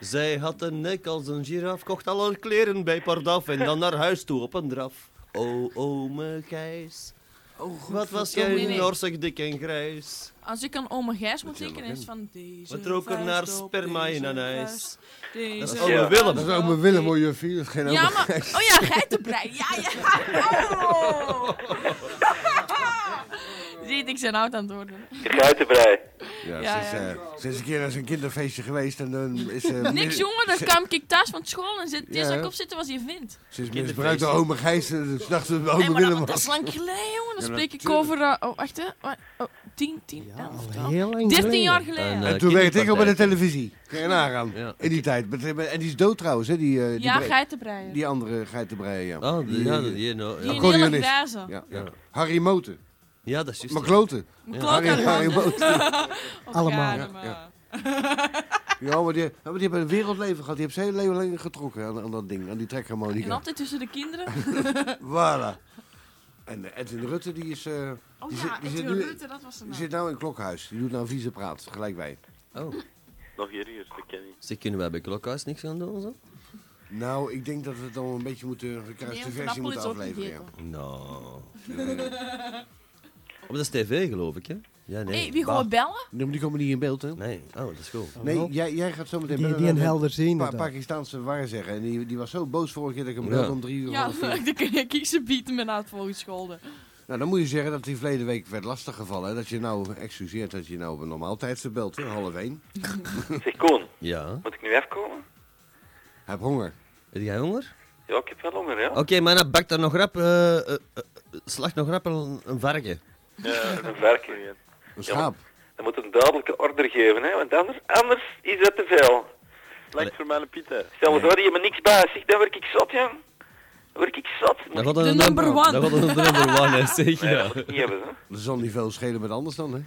Speaker 2: Zij had een nek als een giraf, kocht al haar kleren bij Pardaf en dan naar huis toe op een draf. O, ome Gijs, wat was
Speaker 3: Nee,
Speaker 2: jij
Speaker 3: nee.
Speaker 2: norsig, dik en grijs.
Speaker 3: Als ik aan oma Gijs moet denken, is van deze
Speaker 2: Wat rook er
Speaker 3: vuist
Speaker 2: naar
Speaker 3: op
Speaker 2: sperma in
Speaker 3: deze
Speaker 2: een ijs?
Speaker 3: vuist, deze
Speaker 2: Dat is
Speaker 3: vuist
Speaker 2: ome Willem.
Speaker 1: Dat
Speaker 2: Dat
Speaker 1: is ook mijn Willem, hoor, juffie. Dat is geen
Speaker 3: Ja,
Speaker 1: oma-
Speaker 3: maar... Oh ja, geitenbrei. Ja,
Speaker 2: (laughs)
Speaker 3: (laughs)
Speaker 1: (laughs)
Speaker 3: ja. Oh. Ziet, ik zijn oud aan het worden.
Speaker 11: Geitenbrei.
Speaker 1: Ja,
Speaker 3: Ja,
Speaker 1: ze, is,
Speaker 3: ja.
Speaker 1: eh, ze is een keer naar zijn kinderfeestje geweest en dan is eh, ze...
Speaker 3: Niks jongen,
Speaker 1: (laughs)
Speaker 3: dan kwam ik thuis van school en zit deze kop zitten was je vindt.
Speaker 1: Ze is misbruikt door ome Gijs en ze dacht dat het
Speaker 3: Nee,
Speaker 1: ome
Speaker 3: maar dat,
Speaker 1: Willem
Speaker 3: dat is
Speaker 1: was.
Speaker 3: lang geleden, jongen. Dan
Speaker 1: Ja,
Speaker 3: spreek ik
Speaker 1: natuurlijk.
Speaker 3: over... eh, oh, wacht, hè. Wa- Oh, 10, 10, 11,
Speaker 4: Al
Speaker 3: 12.
Speaker 4: heel lang
Speaker 3: 13 jaar
Speaker 4: geleden.
Speaker 3: geleden.
Speaker 2: En, eh,
Speaker 1: En toen werkte ik al bij de
Speaker 2: kinderpartijtje.
Speaker 1: televisie. Kun je nagaan.
Speaker 2: Ja.
Speaker 1: In die tijd. Met- En die is dood trouwens, hè? Die, eh, die,
Speaker 3: ja,
Speaker 1: bre-
Speaker 3: geitenbreien. Die,
Speaker 1: die andere geitenbreier, ja.
Speaker 2: Oh, die-
Speaker 1: Die,
Speaker 2: ja,
Speaker 1: eh,
Speaker 2: die- die- nou, ja.
Speaker 3: in
Speaker 1: accordeonist.
Speaker 3: hele glazen.
Speaker 1: ja, ja.
Speaker 2: Ja.
Speaker 1: Harry Moten.
Speaker 2: ja, dat is juist. ja.
Speaker 1: McCloten.
Speaker 3: Mijn
Speaker 1: Harry,
Speaker 3: kloot (laughs) aan de
Speaker 1: Harry
Speaker 3: hand.
Speaker 1: Moten.
Speaker 3: Och,
Speaker 4: Allemaal.
Speaker 3: gaarde, maar.
Speaker 1: ja. Ja, maar die, ja, maar die hebben een wereldleven gehad. Die hebben zijn hele leven lang getrokken aan, aan dat ding, aan die
Speaker 3: En
Speaker 1: trekharmonica.
Speaker 3: altijd tussen de kinderen.
Speaker 1: Voilà. En eh, Edwin Rutte, die is... eh,
Speaker 3: Oh
Speaker 1: Die
Speaker 3: ja,
Speaker 1: zit- die
Speaker 3: Edwin
Speaker 1: zit nu-
Speaker 3: Rutte, dat was een
Speaker 1: Die
Speaker 3: naam.
Speaker 1: zit nou in Klokhuis. Die doet nou vieze praat, gelijk wij.
Speaker 2: Oh,
Speaker 12: Nog erger, dat ken ik.
Speaker 2: zeg, kunnen wij bij Klokhuis niks gaan doen? Zo?
Speaker 1: Nou, ik denk dat we het dan een beetje moeten een
Speaker 3: Nee,
Speaker 1: gekruiste
Speaker 3: want een
Speaker 1: versie
Speaker 3: appel
Speaker 1: moeten
Speaker 3: is ook niet
Speaker 1: afleveren. Ja.
Speaker 3: gegeten.
Speaker 2: Nou. Oh, dat is tv, geloof ik, hè? Ja, nee.
Speaker 3: Hé, wie
Speaker 2: Bah.
Speaker 3: gaat bellen?
Speaker 1: Nee, maar die komen niet in beeld, hè?
Speaker 2: Nee, oh, dat is goed.
Speaker 1: Nee, jij, jij gaat zo meteen
Speaker 4: Die,
Speaker 1: bellen
Speaker 4: die een
Speaker 1: met
Speaker 4: helder zien.
Speaker 1: een pa Pakistaanse waar zeggen. En die, die was zo boos vorige keer dat ik hem
Speaker 2: Ja.
Speaker 1: belde om drie uur.
Speaker 3: Ja,
Speaker 1: half
Speaker 3: (laughs)
Speaker 1: vier.
Speaker 3: dan kun je kiezen bieten met na het volgende school.
Speaker 1: Nou, dan moet je zeggen dat die verleden week werd lastiggevallen. Hè? Dat je nou excuseert dat je nou op een normaal tijdstip belt, hè? half
Speaker 3: (laughs)
Speaker 1: één.
Speaker 11: Zeg, Koen,
Speaker 2: Ja.
Speaker 11: moet ik nu afkomen?
Speaker 1: Heb honger.
Speaker 2: Heb jij honger?
Speaker 11: Ja, ik heb wel honger, ja.
Speaker 2: Oké, maar dan bak dan nog rap... eh, eh, eh, slag nog rap een, een varken.
Speaker 11: Een varken.
Speaker 1: Een schaap.
Speaker 11: Dan moet een duidelijke order geven, hè, want anders, anders is dat te veel.
Speaker 2: Allee.
Speaker 5: Lekker voor mijn pieten.
Speaker 11: Stel voor, je hebt me niks bij. Zeg, dan word ik zat, ja.
Speaker 1: (laughs)
Speaker 11: Dan word ik zat.
Speaker 2: Dat
Speaker 11: Moet
Speaker 2: gaat
Speaker 3: De
Speaker 2: een
Speaker 3: number one.
Speaker 2: Dat gaat een number one, hè, zeg
Speaker 11: ik,
Speaker 2: ja.
Speaker 3: (laughs)
Speaker 11: dat moet ik niet hebben, hè.
Speaker 1: Er zal niet veel schelen met anders dan, hè?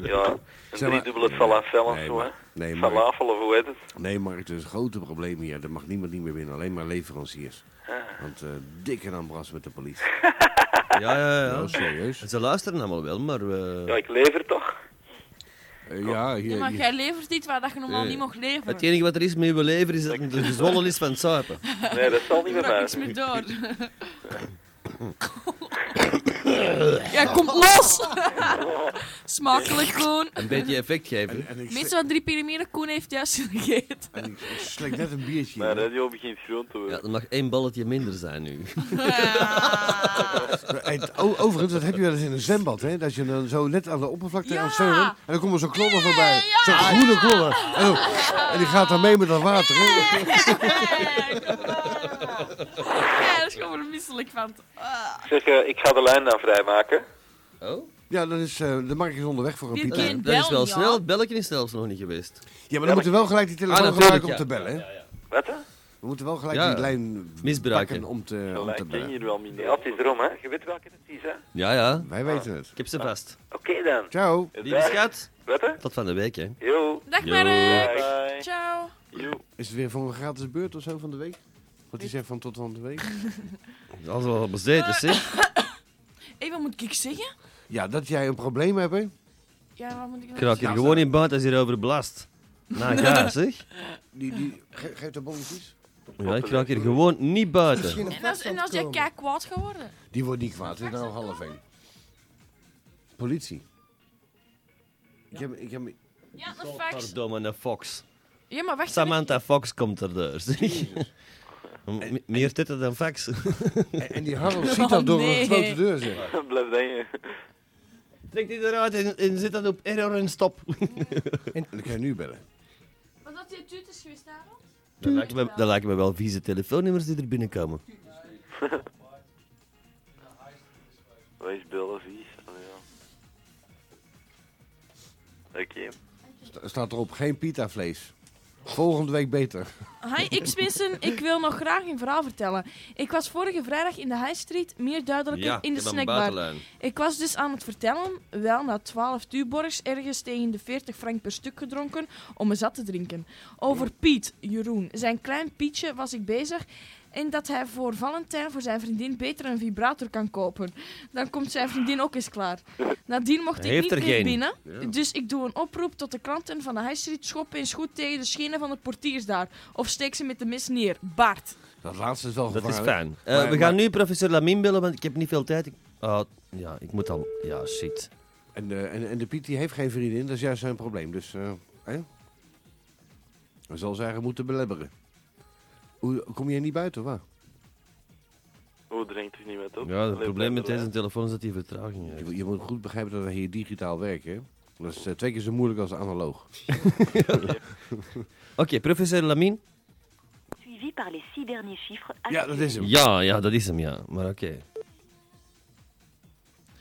Speaker 11: Ja, een
Speaker 1: (laughs) Zeg maar-
Speaker 11: driedubbele falafel of
Speaker 1: Nee,
Speaker 11: zo, hè.
Speaker 1: maar- nee, maar-
Speaker 11: Falafel of hoe heet het?
Speaker 1: Nee, Mark, er is een grote probleem hier. Er mag niemand niet meer winnen, alleen maar leveranciers. Want eh dikke ambras met de politie.
Speaker 2: (laughs) Ja, ja, ja.
Speaker 1: Nou, serieus.
Speaker 2: Eh, Ze luisteren allemaal wel, maar... eh,
Speaker 11: Ja, ik lever toch?
Speaker 1: Eh, ja, hier,
Speaker 3: Ja, maar
Speaker 1: hier-
Speaker 3: jij levert iets waar dat je normaal
Speaker 2: Nee.
Speaker 3: niet mocht leveren.
Speaker 2: Het enige wat er is mee we leven is dat het gezwollen is van het zuipen.
Speaker 11: Nee, dat zal niet
Speaker 3: Ik
Speaker 11: meer
Speaker 3: raak
Speaker 11: mij.
Speaker 3: niks meer door. ja, kom los! (laughs) Smakelijk, Koen.
Speaker 2: Een beetje effect geven.
Speaker 1: En, en ik, slik-
Speaker 3: Mensen van Drie Pyramiden, Koen heeft juist gegeten. (laughs)
Speaker 1: en ik, ik slik net een biertje.
Speaker 5: Mijn
Speaker 1: in.
Speaker 5: radio begint groen te worden.
Speaker 2: Ja, er mag één balletje minder zijn nu.
Speaker 1: Hey, t- o- overigens, dat heb je wel eens in een zwembad, hè? Dat je dan zo net aan de oppervlakte
Speaker 3: Ja.
Speaker 1: aan het zwemmen bent, En dan komt er zo'n klodder voorbij. Zo'n groene klodder. En, dan- en die gaat dan mee met dat water, hè?
Speaker 3: Hey, kom op. Ja, dat is gewoon een misselijk van. Ah.
Speaker 11: Zeg, eh, ik ga de lijn dan vrijmaken.
Speaker 2: Oh?
Speaker 1: Ja, dan is eh, de markt is onderweg voor een
Speaker 3: Die
Speaker 1: pita.
Speaker 3: kind-
Speaker 2: Dat is
Speaker 3: bel
Speaker 2: wel
Speaker 3: niet,
Speaker 2: snel.
Speaker 3: hoor.
Speaker 2: Het belletje is zelfs nog niet geweest.
Speaker 1: Ja, maar dan moeten we wel gelijk die telefoon
Speaker 2: Ah, natuurlijk,
Speaker 1: gebruiken om te bellen, hè?
Speaker 11: Wat, hè?
Speaker 1: We moeten wel gelijk
Speaker 2: Ja.
Speaker 1: die lijn
Speaker 2: Misbruiken.
Speaker 1: pakken om te, om te
Speaker 5: Ik ken
Speaker 1: bellen.
Speaker 5: hier wel minder.
Speaker 11: Ja, het is erom, hè. Je weet welke het is, hè.
Speaker 2: Ja, ja.
Speaker 1: Wij weten het.
Speaker 2: Ik heb ze vast.
Speaker 11: Oké dan.
Speaker 1: Ciao.
Speaker 2: Lieve schat,
Speaker 11: Wat, hè?
Speaker 2: tot van de week, hè.
Speaker 11: Yo.
Speaker 3: Dag,
Speaker 2: Yo.
Speaker 3: Mark.
Speaker 11: Bye.
Speaker 3: Ciao.
Speaker 1: Is het weer voor een gratis beurt of zo van de week? Wat die zegt van tot van de week?
Speaker 3: (laughs)
Speaker 2: Dat is wel bezeten, zeg.
Speaker 3: Hé, wat moet ik zeggen?
Speaker 1: Ja, dat jij een probleem hebt, hè?
Speaker 3: Ja, wat moet ik nou
Speaker 2: Ik raak hier
Speaker 3: zeggen?
Speaker 2: gewoon in buiten als hier over belast.
Speaker 3: (laughs)
Speaker 2: Nou ja, zeg.
Speaker 1: Die, die, ge- geef de bonnetjes.
Speaker 2: Ja, ik raak hier gewoon niet buiten.
Speaker 4: Misschien een
Speaker 3: En als, en als jij
Speaker 4: komen.
Speaker 3: kijk kwaad geworden?
Speaker 1: Die wordt niet kwaad, het is nou half één. Politie. Ik heb, ik heb,
Speaker 3: Ja, een fax.
Speaker 2: Verdomme, een fox.
Speaker 3: Ja, maar wacht.
Speaker 2: Samantha Fox komt er dus.
Speaker 1: (laughs)
Speaker 2: Meer titten dan fax.
Speaker 1: en, en die Harold ziet
Speaker 3: (laughs) Oh,
Speaker 1: dat door
Speaker 3: nee.
Speaker 1: een gesloten deur, zeg.
Speaker 11: (laughs) Blijf denken.
Speaker 2: Trek die eruit en, en zit dan op error en stop.
Speaker 1: (laughs) En ik ga je nu bellen.
Speaker 3: Was dat je tuut is geweest, Harold?
Speaker 2: Dat lijken, me, dat lijken me wel vieze telefoonnummers die er binnenkomen.
Speaker 5: Wees bellen vies. Allee, ja. Oké.
Speaker 1: Sta- Staat erop, geen pitavlees. Volgende week beter.
Speaker 3: (laughs) Hi X-Mensen, ik wil nog graag een verhaal vertellen. Ik was vorige vrijdag in de High Street, meer duidelijk in de snackbar. Ik was dus aan het vertellen, wel na 12 Tuborgs ergens tegen de 40 frank per stuk gedronken om me zat te drinken. Over Piet, Jeroen, zijn klein Pietje was ik bezig en dat hij voor Valentijn voor zijn vriendin beter een vibrator kan kopen. Dan komt zijn vriendin ook eens klaar. Nadien mocht
Speaker 2: Hij
Speaker 3: ik
Speaker 2: heeft
Speaker 3: niet
Speaker 2: er
Speaker 3: meer
Speaker 2: geen.
Speaker 3: binnen, dus ik doe een oproep tot de klanten van de High Street schop eens goed tegen de schenen van de portiers daar of steek ze met de mis neer. Bart.
Speaker 1: Dat laatste is wel
Speaker 2: Dat is fijn.
Speaker 1: gevaarlijk.
Speaker 2: Eh,
Speaker 1: Maar-
Speaker 2: we
Speaker 1: maar-
Speaker 2: gaan nu professor Lamin bellen, want ik heb niet veel tijd. Ik- Ah, ja, ik moet al... Ja, shit.
Speaker 1: En, eh, en, en de Piet die heeft geen vriendin, dat is juist zijn probleem. Dus eh, hè? we zal ze eigenlijk moeten belemmeren. Hoe, kom jij niet buiten, waar?
Speaker 5: Oh, drinkt toch niet met op?
Speaker 2: Ja, het
Speaker 5: Allee,
Speaker 2: probleem met
Speaker 5: blijf
Speaker 2: deze
Speaker 5: erbij.
Speaker 2: telefoon is dat hij vertraging heeft.
Speaker 1: Je, je moet goed begrijpen dat we hier digitaal werken. hè? Dat is eh, twee keer zo moeilijk als
Speaker 2: (laughs)
Speaker 1: analoog.
Speaker 2: Oké, professor Lamin.
Speaker 10: Suivi par les six derniers chiffres.
Speaker 1: Ja, dat is hem.
Speaker 2: Ja, ja, dat is hem, ja. Maar oké.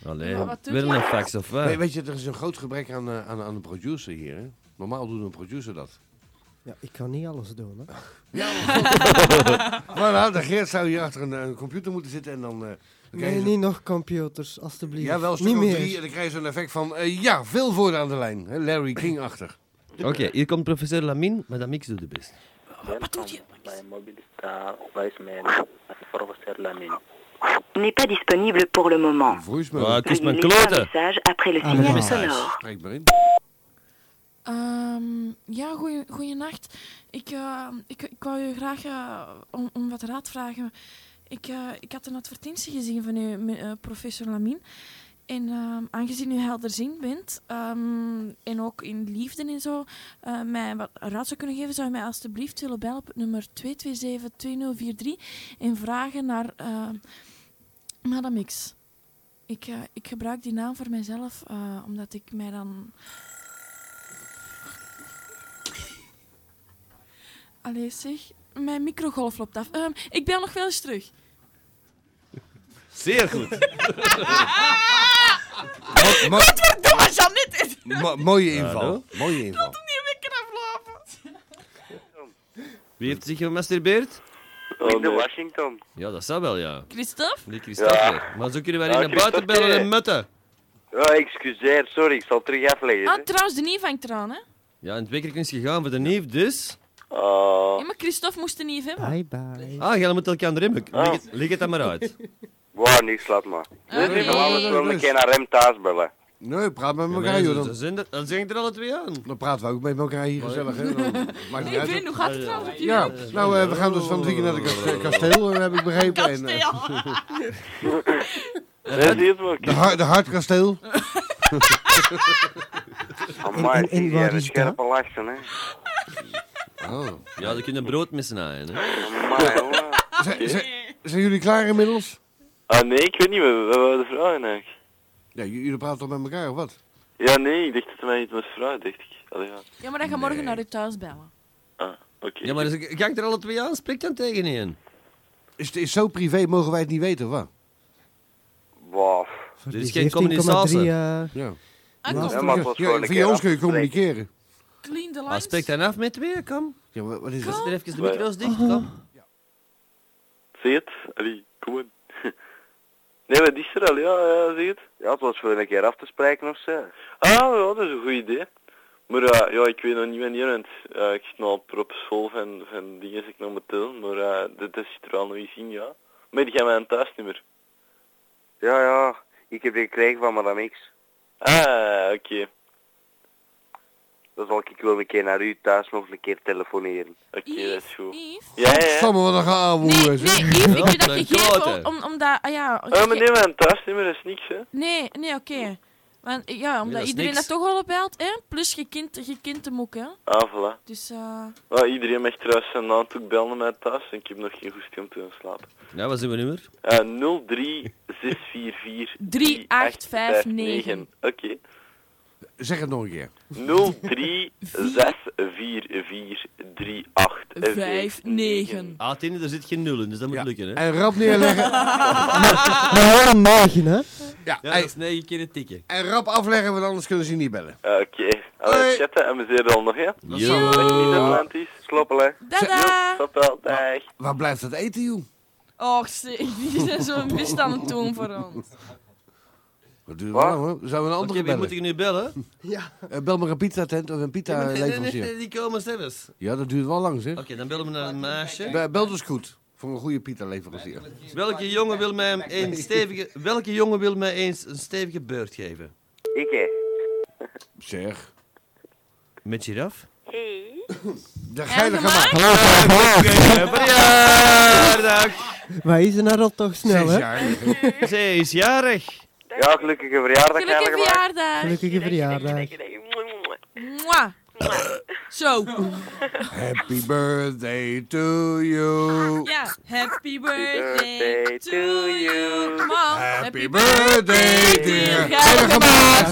Speaker 2: Allee,
Speaker 3: Maar wat doet
Speaker 2: weer
Speaker 3: hij?
Speaker 2: een fax of wat?
Speaker 1: Nee, weet je, er is een groot gebrek aan, eh, aan, aan een producer hier. Hè? Normaal doet een producer dat.
Speaker 4: Ja, ik kan niet alles doen, hè.
Speaker 1: Ja,
Speaker 4: (laughs)
Speaker 1: maar goed. Maar nou, de Geert zou hier achter een, een computer moeten zitten en dan... eh, dan krijg je
Speaker 4: Nee,
Speaker 1: zo-
Speaker 4: niet nog computers, alstublieft.
Speaker 1: Ja, wel een stuk
Speaker 4: niet
Speaker 1: of
Speaker 4: meer.
Speaker 1: drie en dan krijg je zo'n effect van... eh, ja, veel voor aan de lijn. hè, Larry King-achtig.
Speaker 2: Oké, hier komt professor Lamin, maar dat mix doet de best.
Speaker 3: Wat doet je?
Speaker 6: Mijn mobiel staat wijs mijn professor Lamine.
Speaker 10: N'est pas disponible pour le moment.
Speaker 1: Voicemail.
Speaker 2: Ah, kus mijn
Speaker 10: Veuillez laisser un
Speaker 2: kloten!
Speaker 10: message après le
Speaker 4: Ah,
Speaker 10: signal
Speaker 4: bon.
Speaker 10: sonore.
Speaker 1: Spreek maar in. (laughs)
Speaker 3: Ehm, ja, goeie- goeienacht. Ik, eh, ik, ik wou je graag eh, om, om wat raad vragen. Ik, eh, ik had een advertentie gezien van u, me- eh, professor Lamin. En ehm, aangezien u helderziend bent ehm, en ook in liefde en zo eh, mij wat raad zou kunnen geven, zou u mij alstublieft willen bellen op het nummer 227-2043 en vragen naar ehm Madame X. Ik, eh, ik gebruik die naam voor mezelf eh, omdat ik mij dan Allee, zeg. Mijn microgolf loopt af. Ehm, ik bel nog wel eens terug.
Speaker 2: Zeer (laughs) goed!
Speaker 1: Mo- mo-
Speaker 3: Verdomme, Jeannette!
Speaker 1: mo- mooie
Speaker 3: (laughs)
Speaker 1: inval.
Speaker 2: Hallo?
Speaker 1: Mooie inval.
Speaker 3: Die wekker aflopen.
Speaker 2: Wie heeft zich gemasturbeerd?
Speaker 11: Ik de Washington.
Speaker 2: Ja, dat zou wel, ja.
Speaker 3: Christophe?
Speaker 2: Die Christophe. Maar zo kunnen wij
Speaker 11: Ja,
Speaker 2: niet naar buiten
Speaker 11: Christophe. eh,
Speaker 2: bellen en mutten.
Speaker 11: Ja, Oh, excuseer, sorry, ik zal terug afleggen.
Speaker 3: Ah, trouwens, de neef hangt eraan, hè?
Speaker 11: Oh.
Speaker 2: Ja, en twee keer is gegaan voor de neef, dus...
Speaker 11: Ah.
Speaker 3: Ja, maar Christophe moest de neef hebben.
Speaker 4: Bye bye.
Speaker 2: Ah, jij moet elkaar aan de riem. Leg
Speaker 11: Ah.
Speaker 2: het- Leg het dan maar uit.
Speaker 11: Wauw, niks, laat maar.
Speaker 3: Ah,
Speaker 11: Ik wil alles
Speaker 3: nee.
Speaker 11: wel een keer naar hem thuis bellen.
Speaker 1: Nee, praat met
Speaker 2: Ja,
Speaker 1: elkaar,
Speaker 2: maar
Speaker 1: joh.
Speaker 2: Dan
Speaker 1: Dan,
Speaker 2: zijn er- dan zijn er alle twee aan.
Speaker 1: dan praten we ook met elkaar hier gezellig,
Speaker 3: (laughs)
Speaker 1: hè.
Speaker 2: (laughs)
Speaker 1: Dan maakt niet
Speaker 3: Hey,
Speaker 1: uit.
Speaker 3: Vin, hoe gaat het trouwens op
Speaker 1: Ja,
Speaker 3: jullie?
Speaker 1: nou, eh, we gaan dus van het weekend naar de kast- kasteel, eh, heb ik begrepen. En, eh,
Speaker 3: Kasteel.
Speaker 1: (laughs)
Speaker 3: (laughs)
Speaker 11: Dat is wel
Speaker 1: de, har- de (laughs)
Speaker 11: (laughs)
Speaker 1: Hartkasteel.
Speaker 11: Amai,
Speaker 4: En- en- en
Speaker 11: die
Speaker 4: waar
Speaker 11: zijn
Speaker 4: is
Speaker 11: scherpe lachen, hè.
Speaker 1: Oh.
Speaker 2: Ja, die kunnen brood mee snijden, hè.
Speaker 11: Amai, hoor.
Speaker 1: Zijn- zijn- zijn jullie klaar inmiddels?
Speaker 11: Ah nee, ik weet niet, wat wat waren de vragen eigenlijk?
Speaker 1: Ja, j- jullie praten toch met elkaar of wat?
Speaker 11: Ja nee, ik dacht dat wij iets met vragen, dacht ik. Allee, ja.
Speaker 3: Ja, maar dan ga morgen naar je thuis bellen.
Speaker 11: Ah, oké.
Speaker 2: Ja, maar dus, ga ik er alle twee aan? Spreek dan tegen één.
Speaker 1: Is het is zo privé, mogen wij het niet weten of wat?
Speaker 11: Wauw.
Speaker 4: Voor
Speaker 2: Dit
Speaker 4: die
Speaker 2: is geen
Speaker 4: 17,3,
Speaker 2: communicatie.
Speaker 4: eh,
Speaker 1: Ja.
Speaker 3: Enkel,
Speaker 11: Ja, maar het was
Speaker 1: Ja,
Speaker 11: gewoon een
Speaker 1: via
Speaker 11: keer
Speaker 1: ons kun
Speaker 4: (laughs)
Speaker 1: je
Speaker 11: afspreken.
Speaker 1: communiceren.
Speaker 3: clean de
Speaker 2: Ah,
Speaker 3: lines.
Speaker 2: spreek dan af met twee, kom.
Speaker 1: Ja, maar wat is
Speaker 3: Kom.
Speaker 1: dat?
Speaker 2: Er even de
Speaker 11: Ja.
Speaker 2: micro's
Speaker 1: Oh.
Speaker 2: dicht, kom.
Speaker 11: Zie het? Allee, kom on. (laughs) Nee, wat is er al? Ja, ja, zie het? Ja, het was voor een keer af te spreken of zo. Ah, ja, dat is een goed idee. Maar eh, ja, ik weet nog niet wanneer, want eh, ik zit nog op op school van, van dingen ik nog moet tellen, maar eh, dat dat zit er al nog eens in, ja. Maar die gaan mij een thuisnummer. Ja, ja, ik heb die gekregen van madame X. Ah, oké. Dan zal ik wel een keer naar u thuis nog een keer telefoneren. Oké, dat is
Speaker 3: Yves,
Speaker 11: goed.
Speaker 3: Yves.
Speaker 11: Ja, ja, ja.
Speaker 1: Samen wat een
Speaker 3: Nee,
Speaker 1: geaarwoe
Speaker 3: nee,
Speaker 1: is, hè?
Speaker 3: Yves, ik heb dat
Speaker 2: Mijn
Speaker 3: gegeven
Speaker 2: klote.
Speaker 3: om, omdat... Ah, ja,
Speaker 11: Ah, maar nee, mijn thuisnummer is niks, hè.
Speaker 3: Nee, nee, oké. Want eh, ja, omdat
Speaker 2: dat is
Speaker 3: iedereen
Speaker 2: niks.
Speaker 3: dat toch al opbelt, hè? Plus je kind, je kind hem ook, hè?
Speaker 11: Ah, voilà.
Speaker 3: Dus, eh...
Speaker 11: Ah, iedereen mag trouwens zijn naam ook bellen naar mij thuis en ik heb nog geen goed om te gaan slapen.
Speaker 2: Ja, wat is uw nummer?
Speaker 11: Eh 03644 3859. (laughs) Oké.
Speaker 1: Zeg het nog een keer.
Speaker 11: 03644
Speaker 3: Vijf, negen.
Speaker 11: 3859.
Speaker 2: Ah, Tine, er zit geen nul in, dus dat moet
Speaker 1: Ja.
Speaker 2: lukken, hè.
Speaker 1: En rap
Speaker 3: (laughs)
Speaker 1: neerleggen.
Speaker 4: Maar wel een maagje, hè?
Speaker 1: ja,
Speaker 2: Ja,
Speaker 1: en,
Speaker 2: dat is negen keer het tikken.
Speaker 1: en rap afleggen, want anders kunnen ze je niet bellen.
Speaker 11: Eh, Oké.
Speaker 1: Hoi.
Speaker 11: Allee, chatten en we zien er al nog, hè.
Speaker 2: Ja.
Speaker 11: Dag, Nederlandisch. Sloppelen.
Speaker 3: Dada!
Speaker 11: Tot wel, dag.
Speaker 1: Waar blijft dat eten, joh?
Speaker 3: Och, zeg, (laughs) die zijn zo'n mist aan het doen voor ons.
Speaker 1: Wat duurt
Speaker 11: Wat?
Speaker 1: wel lang, hoor? Zou we een
Speaker 2: Oké,
Speaker 1: andere
Speaker 2: wie
Speaker 1: bellen?
Speaker 2: moet ik nu bellen?
Speaker 1: Eh, bel maar een pizza tent of een pizza
Speaker 2: Nee, nee, nee,
Speaker 1: leverancier.
Speaker 2: (laughs) nee, die komen zelfs.
Speaker 1: Ja, dat duurt wel lang, zeg.
Speaker 2: Oké, dan eh, bellen we naar een meisje.
Speaker 1: Be- Bel dus goed. Voor een goede pizza leverancier.
Speaker 2: Welke jongen wil mij een stevige, welke jongen wil mij eens een stevige beurt geven?
Speaker 6: Ik hè.
Speaker 1: Zeg.
Speaker 2: Met giraf?
Speaker 1: De
Speaker 3: En
Speaker 1: geilige
Speaker 3: gemaakt?
Speaker 1: maat.
Speaker 4: Hallo, hallo.
Speaker 2: Verjaardag!
Speaker 4: Maar is er nou al toch snel,
Speaker 1: Zes
Speaker 4: hè?
Speaker 1: jaar.
Speaker 2: Ze is jarig.
Speaker 11: Ja, gelukkige verjaardag
Speaker 3: Gelukkig
Speaker 11: eigenlijk. maar.
Speaker 3: verjaardag!
Speaker 4: Gelukkige verjaardag.
Speaker 3: Mwah.
Speaker 11: (laughs)
Speaker 3: Zo.
Speaker 1: Happy birthday to you.
Speaker 3: Ja. Happy birthday
Speaker 11: birthday
Speaker 3: to
Speaker 11: to
Speaker 3: you.
Speaker 11: you.
Speaker 3: Come on.
Speaker 1: Happy birthday, dear geilige
Speaker 3: (laughs)
Speaker 1: maat.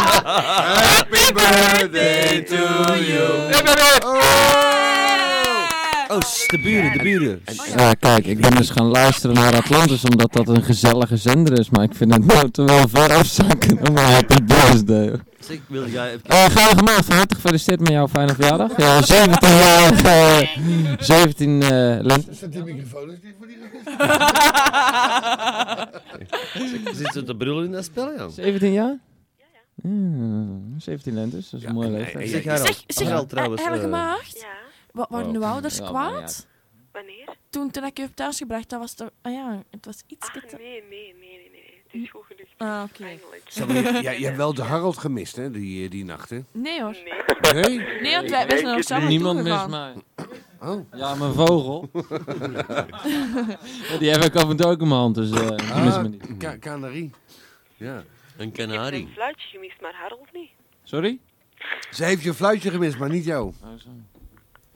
Speaker 1: Happy birthday to you.
Speaker 2: Oh, sst, de buren, de buren.
Speaker 7: Ja, kijk, ik ben dus gaan luisteren naar Atlantis omdat dat een gezellige zender is, maar ik vind het nou te wel ver afzakken. Oh, maar happy birthday.
Speaker 2: Zeg, Dus wil jij even...
Speaker 7: Eh Geilige Maat, van harte gefeliciteerd met jouw fijne verjaardag. Ja, 17 jaar, eh, 17 eh lente.
Speaker 1: Die microfoon is niet voor die
Speaker 2: (laughs) Zit ze te brullen in dat spel, Jan?
Speaker 7: 17 jaar? Ja, 17 lentes, dat is een
Speaker 2: eh,
Speaker 7: mooie leeftijd.
Speaker 2: Zeg, Harold.
Speaker 3: Zeg, zeg,
Speaker 2: Harold, trouwens,
Speaker 3: heilige
Speaker 2: eh,
Speaker 3: maagd.
Speaker 10: Ja,
Speaker 3: Wa- Waren de ouders
Speaker 7: Oh, Ja, maar
Speaker 3: kwaad?
Speaker 10: wanneer?
Speaker 3: Toen, toen ik je heb thuisgebracht, dat was toch... Ah ja, het was iets...
Speaker 10: Ach, nee, nee, nee, nee, nee. Het is goed gelukt.
Speaker 3: Ah, oké.
Speaker 10: Eindelijk.
Speaker 1: Ja, je hebt wel de Harold gemist, hè, die, eh, die nacht, hè?
Speaker 3: (laughs) Nee hoor.
Speaker 10: Nee,
Speaker 1: Nee?
Speaker 3: Nee, want wij, wij zijn er samen
Speaker 7: Niemand mist
Speaker 3: toegegaan.
Speaker 7: mij.
Speaker 1: Oh.
Speaker 7: Ja, mijn
Speaker 2: (laughs)
Speaker 7: vogel. Ja, Oh, die heb ik af en toe ook in mijn hand, dus eh die
Speaker 2: Ah.
Speaker 7: mist me niet.
Speaker 1: (laughs) Ka- Canarie. Ja.
Speaker 2: Een
Speaker 10: ik heb een
Speaker 2: kanarie.
Speaker 10: fluitje gemist, maar Harold niet.
Speaker 7: Sorry?
Speaker 1: Ze heeft je fluitje gemist, maar niet jou.
Speaker 7: Oh, zo.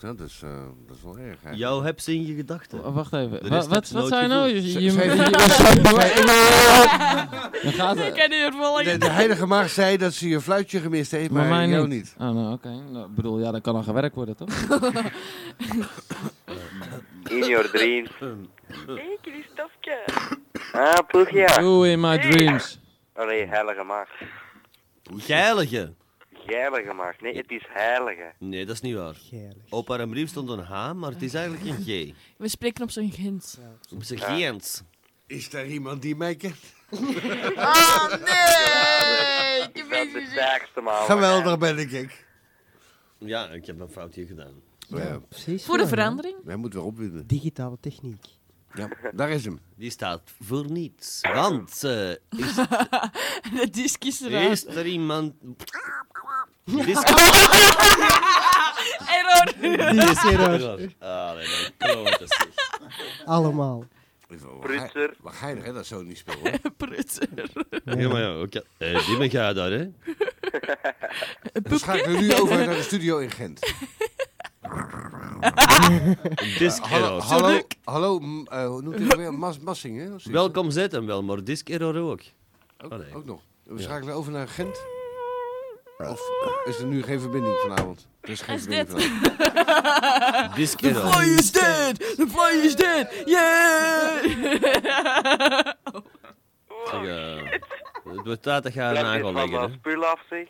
Speaker 1: Ja, dat, is, eh, dat is wel erg, hè?
Speaker 2: Jou hebt ze in je gedachten.
Speaker 7: Oh, wacht even.
Speaker 2: De
Speaker 7: Wa-
Speaker 2: rest
Speaker 7: wat
Speaker 2: heb je
Speaker 7: wat zei je
Speaker 2: nooit
Speaker 7: nou? Je, je,
Speaker 1: Ze-
Speaker 7: je,
Speaker 1: ze-
Speaker 7: (laughs)
Speaker 1: (laughs)
Speaker 7: Dan gaat
Speaker 3: Ik
Speaker 7: het.
Speaker 3: kan niet meer
Speaker 1: De,
Speaker 3: volgen.
Speaker 1: de heilige maag zei dat ze je fluitje gemist heeft, maar,
Speaker 7: mij
Speaker 1: jou
Speaker 7: niet.
Speaker 1: niet.
Speaker 7: Oh, nou, oké. Nou, ik bedoel, ja, dat kan dan gewerkt worden, toch?
Speaker 11: In your dreams.
Speaker 10: Hé, Christofke.
Speaker 11: Ah, poegja.
Speaker 7: Doe in my dreams.
Speaker 9: (laughs)
Speaker 11: Allee, heilige maag.
Speaker 2: Geilige.
Speaker 11: geilen gemaakt. Nee, het is heilige.
Speaker 2: Nee, dat is niet waar. Op haar brief stond een H, maar het is eigenlijk
Speaker 11: (laughs)
Speaker 2: een G.
Speaker 3: We spreken op zijn Gent.
Speaker 2: Op zijn Gent.
Speaker 1: Is daar iemand die mij kent?
Speaker 7: Oh,
Speaker 3: Ah, nee! Ik
Speaker 11: Dat is de sterkste man.
Speaker 1: (laughs) Geweldig ben ik, ik.
Speaker 2: Ja, ik heb een foutje gedaan.
Speaker 1: Ja.
Speaker 4: Precies.
Speaker 3: Voor de verandering.
Speaker 1: Wij moeten weer opwinden.
Speaker 4: Digitale techniek.
Speaker 1: Ja, daar is hem.
Speaker 2: Die staat voor niets. Want eh, is,
Speaker 3: (laughs) De disk is
Speaker 2: is
Speaker 3: eruit.
Speaker 2: er iemand...
Speaker 3: (laughs) Error.
Speaker 4: Die is eruit.
Speaker 2: Ah, nee, nee, klote zeg.
Speaker 4: Allemaal.
Speaker 11: Prutser.
Speaker 1: Wat geinig, hè, dat zo niet spelen.
Speaker 7: (laughs)
Speaker 3: Prutser.
Speaker 2: Ja, maar ja, oké. Eh, die ben jij daar, hè?
Speaker 1: Dus ga ik er nu over naar de studio in
Speaker 7: (laughs)
Speaker 1: Gent.
Speaker 2: Disc
Speaker 1: Eh, Hallo,
Speaker 2: error.
Speaker 1: hallo, hallo m- eh, hoe noemt u dat weer? Mas, Massing, hè? Of zoiets?
Speaker 2: Welkom zetten wel, maar disc error ook.
Speaker 1: Ook,
Speaker 2: Oh, nee.
Speaker 1: ook nog. We schakelen over naar Gent. Of eh, is er nu geen verbinding vanavond? Er is geen
Speaker 3: Is
Speaker 1: verbinding
Speaker 3: dit-
Speaker 1: vanavond.
Speaker 2: Disc error.
Speaker 3: Fly is dead! The fly is dead! Yeah!
Speaker 2: Zeg, eh, het wordt tijd dat je haar
Speaker 11: Blijf
Speaker 2: nagel
Speaker 11: dit van
Speaker 2: leggen,
Speaker 11: dat
Speaker 2: hè?
Speaker 11: spul af, zeg.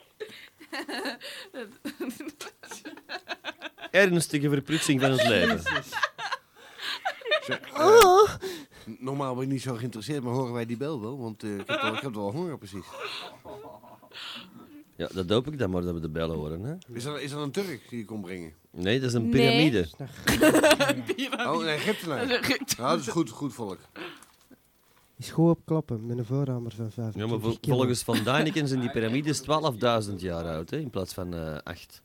Speaker 2: Ernstige verprutsing van het leven.
Speaker 1: eh, Normaal ben ik niet zo geïnteresseerd, maar horen wij die bel wel? Want eh, ik, heb wel, ik heb wel honger, precies.
Speaker 2: Ja, dat hoop ik dan maar dat we de bellen horen, hè?
Speaker 1: Is dat, is dat een Turk die je komt brengen?
Speaker 2: Nee, dat is een
Speaker 3: Nee.
Speaker 2: piramide.
Speaker 1: Oh, een Egyptenaar. Ja, dat is goed, goed volk.
Speaker 4: Is goed opklappen met een voorramer van 5.
Speaker 2: Ja, maar vol- volgens Van
Speaker 13: (laughs)
Speaker 2: Däniken
Speaker 1: (laughs)
Speaker 2: zijn die piramides 12.000 jaar oud, hè? In plaats van eh 8.